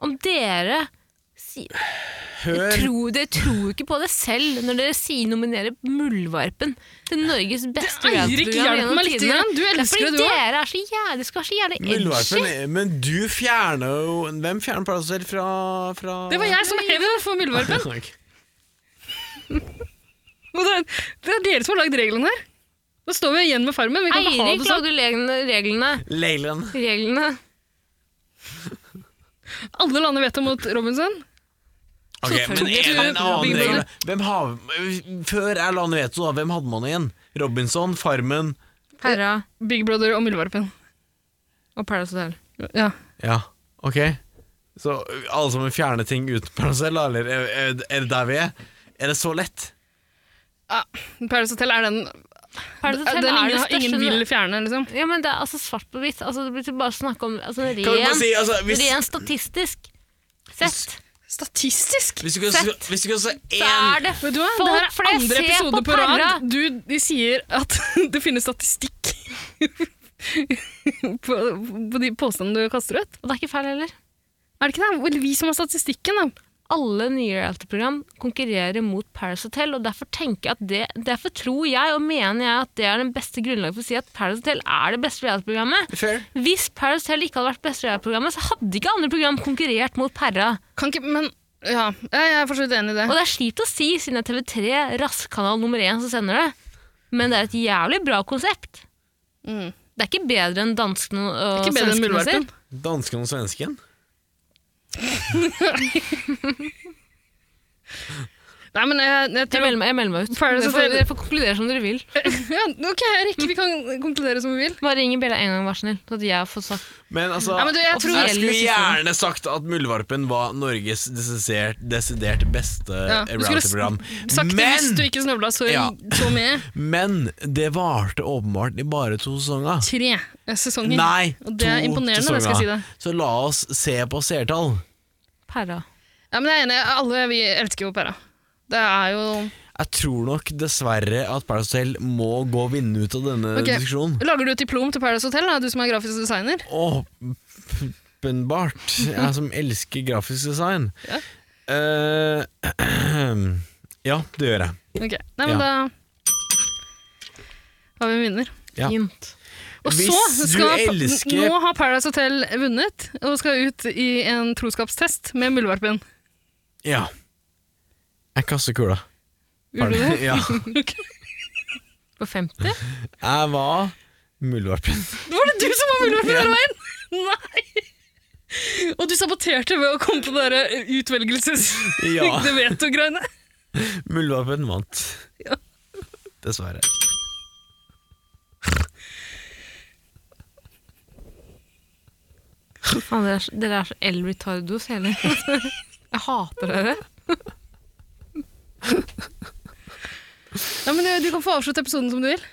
[SPEAKER 3] Om dere si,
[SPEAKER 1] Hør
[SPEAKER 3] tror, Dere tror jo ikke på det selv når dere sier nominerer Muldvarpen til Norges beste
[SPEAKER 2] Eirik,
[SPEAKER 3] reality-program
[SPEAKER 2] hjelp
[SPEAKER 3] gjennom
[SPEAKER 2] meg litt.
[SPEAKER 3] tidene.
[SPEAKER 2] Grann. Du
[SPEAKER 3] Det er
[SPEAKER 2] elsker
[SPEAKER 3] fordi
[SPEAKER 2] det, du òg.
[SPEAKER 3] dere er så jævlig, skal være så jævlig edgy.
[SPEAKER 1] Muldvarpen, men du fjerna jo Hvem fjerner Paracel fra, fra
[SPEAKER 2] Det
[SPEAKER 1] (laughs)
[SPEAKER 2] var jeg som hev det for muldvarpen.
[SPEAKER 1] Takk.
[SPEAKER 2] Og Det, er- det er dere som har lagd reglene her. Da står vi igjen med Farmen. Vi kan ikke ha
[SPEAKER 3] Eirik
[SPEAKER 2] det sånn.
[SPEAKER 3] lagde reglene, reglene.
[SPEAKER 1] Leyland.
[SPEAKER 3] reglene.
[SPEAKER 2] Alle lander veto mot Robinson.
[SPEAKER 1] Ok, men
[SPEAKER 3] Selvfølgelig.
[SPEAKER 1] en, en annen
[SPEAKER 2] Big
[SPEAKER 1] regel
[SPEAKER 2] Brother.
[SPEAKER 1] hvem har, Før er Lan Veto, da, hvem hadde man igjen? Robinson, Farmen
[SPEAKER 3] Perra
[SPEAKER 2] Big Brother og Muldvarpen.
[SPEAKER 3] og Paradise Hotel.
[SPEAKER 2] Ja.
[SPEAKER 1] Ja, ok Så ø, alle sammen fjerner ting uten Paracel, da? Eller er, er er det der vi er? Er det så lett?
[SPEAKER 2] Paradise Hotel er den,
[SPEAKER 3] Paradise
[SPEAKER 2] den
[SPEAKER 3] Hotel er det
[SPEAKER 2] ingen,
[SPEAKER 3] største
[SPEAKER 2] ingen vil fjerne, liksom.
[SPEAKER 3] Ja, men det er altså svart på hvitt. Altså, det blir til bare å snakke om altså, ren,
[SPEAKER 1] Kan vi bare si, altså, hvis,
[SPEAKER 3] ren statistisk sett.
[SPEAKER 2] Statistisk!
[SPEAKER 1] hvis du kan
[SPEAKER 3] Sett.
[SPEAKER 1] hvis du kan se
[SPEAKER 3] Så
[SPEAKER 1] én
[SPEAKER 3] er det
[SPEAKER 2] Vet du hva?
[SPEAKER 3] Folk
[SPEAKER 2] det her er
[SPEAKER 3] flest
[SPEAKER 2] andre
[SPEAKER 3] ser
[SPEAKER 2] episode
[SPEAKER 3] på
[SPEAKER 2] på rad.
[SPEAKER 3] Perra.
[SPEAKER 2] Du, de sier at (laughs) det finnes statistikk (laughs) på, på de påstandene du kaster ut.
[SPEAKER 3] Og det er ikke feil heller.
[SPEAKER 2] Er det ikke det? Vel, vi som har statistikken, da.
[SPEAKER 3] Alle nye reality-program konkurrerer mot Paradise Hotel, og derfor, tenker jeg at det, derfor tror jeg og mener jeg at det er den beste grunnlaget for å si at Paradise Hotel er det beste reality-programmet.
[SPEAKER 1] Fair.
[SPEAKER 3] Hvis Paradise Hotel ikke hadde vært beste reality-programmet, så hadde ikke andre program konkurrert mot Perra.
[SPEAKER 2] Kan ikke, men ja, jeg er for så vidt enig i det.
[SPEAKER 3] Og det er kjipt å si, siden det er TV3, rasskanal nummer én, som sender det. Men det er et jævlig bra konsept.
[SPEAKER 2] Mm.
[SPEAKER 3] Det er ikke bedre enn danskene
[SPEAKER 2] Det
[SPEAKER 3] og
[SPEAKER 2] er ikke bedre enn
[SPEAKER 3] svenskene
[SPEAKER 2] Muldvarpen.
[SPEAKER 3] sin.
[SPEAKER 1] Dansken og svensken?
[SPEAKER 2] Nei, men jeg, jeg
[SPEAKER 3] Jeg
[SPEAKER 2] tror
[SPEAKER 3] melder meg, jeg melder meg ut.
[SPEAKER 2] Paradise
[SPEAKER 3] Dere får,
[SPEAKER 2] Hotel-
[SPEAKER 3] dere får konkludere som dere vil.
[SPEAKER 2] (laughs) ja, Ok, Erik, vi kan konkludere som vi vil.
[SPEAKER 3] Bare ring Bella en gang, vær så snill. Så at jeg får sagt
[SPEAKER 1] Men altså
[SPEAKER 2] Ja, men du, jeg tror-
[SPEAKER 1] Jeg skulle
[SPEAKER 3] Offisielle
[SPEAKER 1] gjerne sagt at Muldvarpen var Norges desidert, desidert beste
[SPEAKER 2] Ja, du skulle
[SPEAKER 1] reality-program.
[SPEAKER 2] Sagt det hvis du
[SPEAKER 1] Men,
[SPEAKER 2] ikke snøvla så,
[SPEAKER 1] Ja.
[SPEAKER 2] så mye.
[SPEAKER 1] men det varte åpenbart i bare to sesonger.
[SPEAKER 2] Tre sesonger.
[SPEAKER 1] Nei,
[SPEAKER 2] Og det er
[SPEAKER 1] to
[SPEAKER 2] imponerende, det skal jeg si
[SPEAKER 1] sesonger.
[SPEAKER 2] deg.
[SPEAKER 1] Så la oss se på seertall.
[SPEAKER 3] Perra.
[SPEAKER 2] Ja, men jeg er enig. Alle vi elsker jo Perra. Det er jo
[SPEAKER 1] Jeg tror nok dessverre at Paradise Hotel må gå vinnende ut av denne
[SPEAKER 2] Ok.
[SPEAKER 1] diskusjonen.
[SPEAKER 2] Lager du et diplom til Paradise Hotel, da, du som er grafisk designer?
[SPEAKER 1] Åpenbart. Jeg som elsker grafisk design.
[SPEAKER 2] Ja.
[SPEAKER 1] Eh, (clears throat) ja, det gjør jeg.
[SPEAKER 2] Ok. Nei, men
[SPEAKER 1] Ja.
[SPEAKER 2] da har vi en vinner.
[SPEAKER 1] Ja.
[SPEAKER 3] Fint.
[SPEAKER 2] Og
[SPEAKER 1] Hvis
[SPEAKER 2] så
[SPEAKER 1] du
[SPEAKER 2] skal
[SPEAKER 1] elsker
[SPEAKER 2] Nå har Paradise Hotel vunnet, og skal ut i en troskapstest med muldvarpen.
[SPEAKER 1] Ja. Jeg kaster kula.
[SPEAKER 2] Gjorde du det? (laughs)
[SPEAKER 1] Ja.
[SPEAKER 2] Ok.
[SPEAKER 3] På 50?
[SPEAKER 1] Jeg var muldvarpen.
[SPEAKER 2] Var det du som var muldvarpen
[SPEAKER 1] Ja.
[SPEAKER 2] hele veien? Nei! Og du saboterte ved å komme på det der utvelgelses...
[SPEAKER 1] Ja.
[SPEAKER 2] (laughs) Det veto-greiene.
[SPEAKER 1] Muldvarpen vant.
[SPEAKER 2] Ja.
[SPEAKER 1] Dessverre.
[SPEAKER 3] Faen, dere er, så- dere er så El Retardos hele (laughs) Jeg hater dere.
[SPEAKER 2] Nei, men eh, Du kan få avslutte episoden som du vil.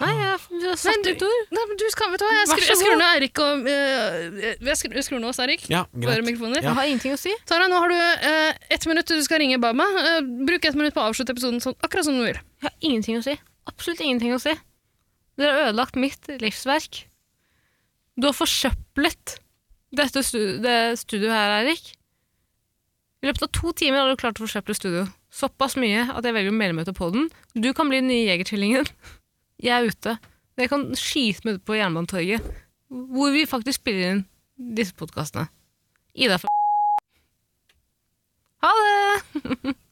[SPEAKER 3] Nei, jeg har
[SPEAKER 2] Men
[SPEAKER 3] satt
[SPEAKER 2] du-
[SPEAKER 3] ut ord.
[SPEAKER 2] Nei, men du skal, vet du hva, Jeg
[SPEAKER 3] Vær
[SPEAKER 2] skrur,
[SPEAKER 3] så
[SPEAKER 2] jeg skrur
[SPEAKER 3] god.
[SPEAKER 2] ned Eirik og eh, Jeg skrur, jeg skrur ned oss, Eirik.
[SPEAKER 1] Ja,
[SPEAKER 2] Bare
[SPEAKER 1] greit.
[SPEAKER 2] mikrofoner.
[SPEAKER 1] Ja.
[SPEAKER 3] Jeg har ingenting å si.
[SPEAKER 2] Tara, nå har du eh, ett minutt du skal ringe Baba. Eh, bruk ett minutt på å avslutte episoden sånn, akkurat som du vil.
[SPEAKER 3] Jeg har ingenting å si. Absolutt ingenting å si. Dere har ødelagt mitt livsverk. Du har forsøplet dette stu- det studioet her, Eirik. I løpet av to timer har du klart å forsøple studio. Såpass mye at jeg velger å melde meg til podden. Du (laughs) kan bli den nye jegertvillingen. Jeg er ute. Dere kan skyte meg ut på Jernbanetorget. hvor vi faktisk spiller inn disse podkastene. Ida fra Ha det!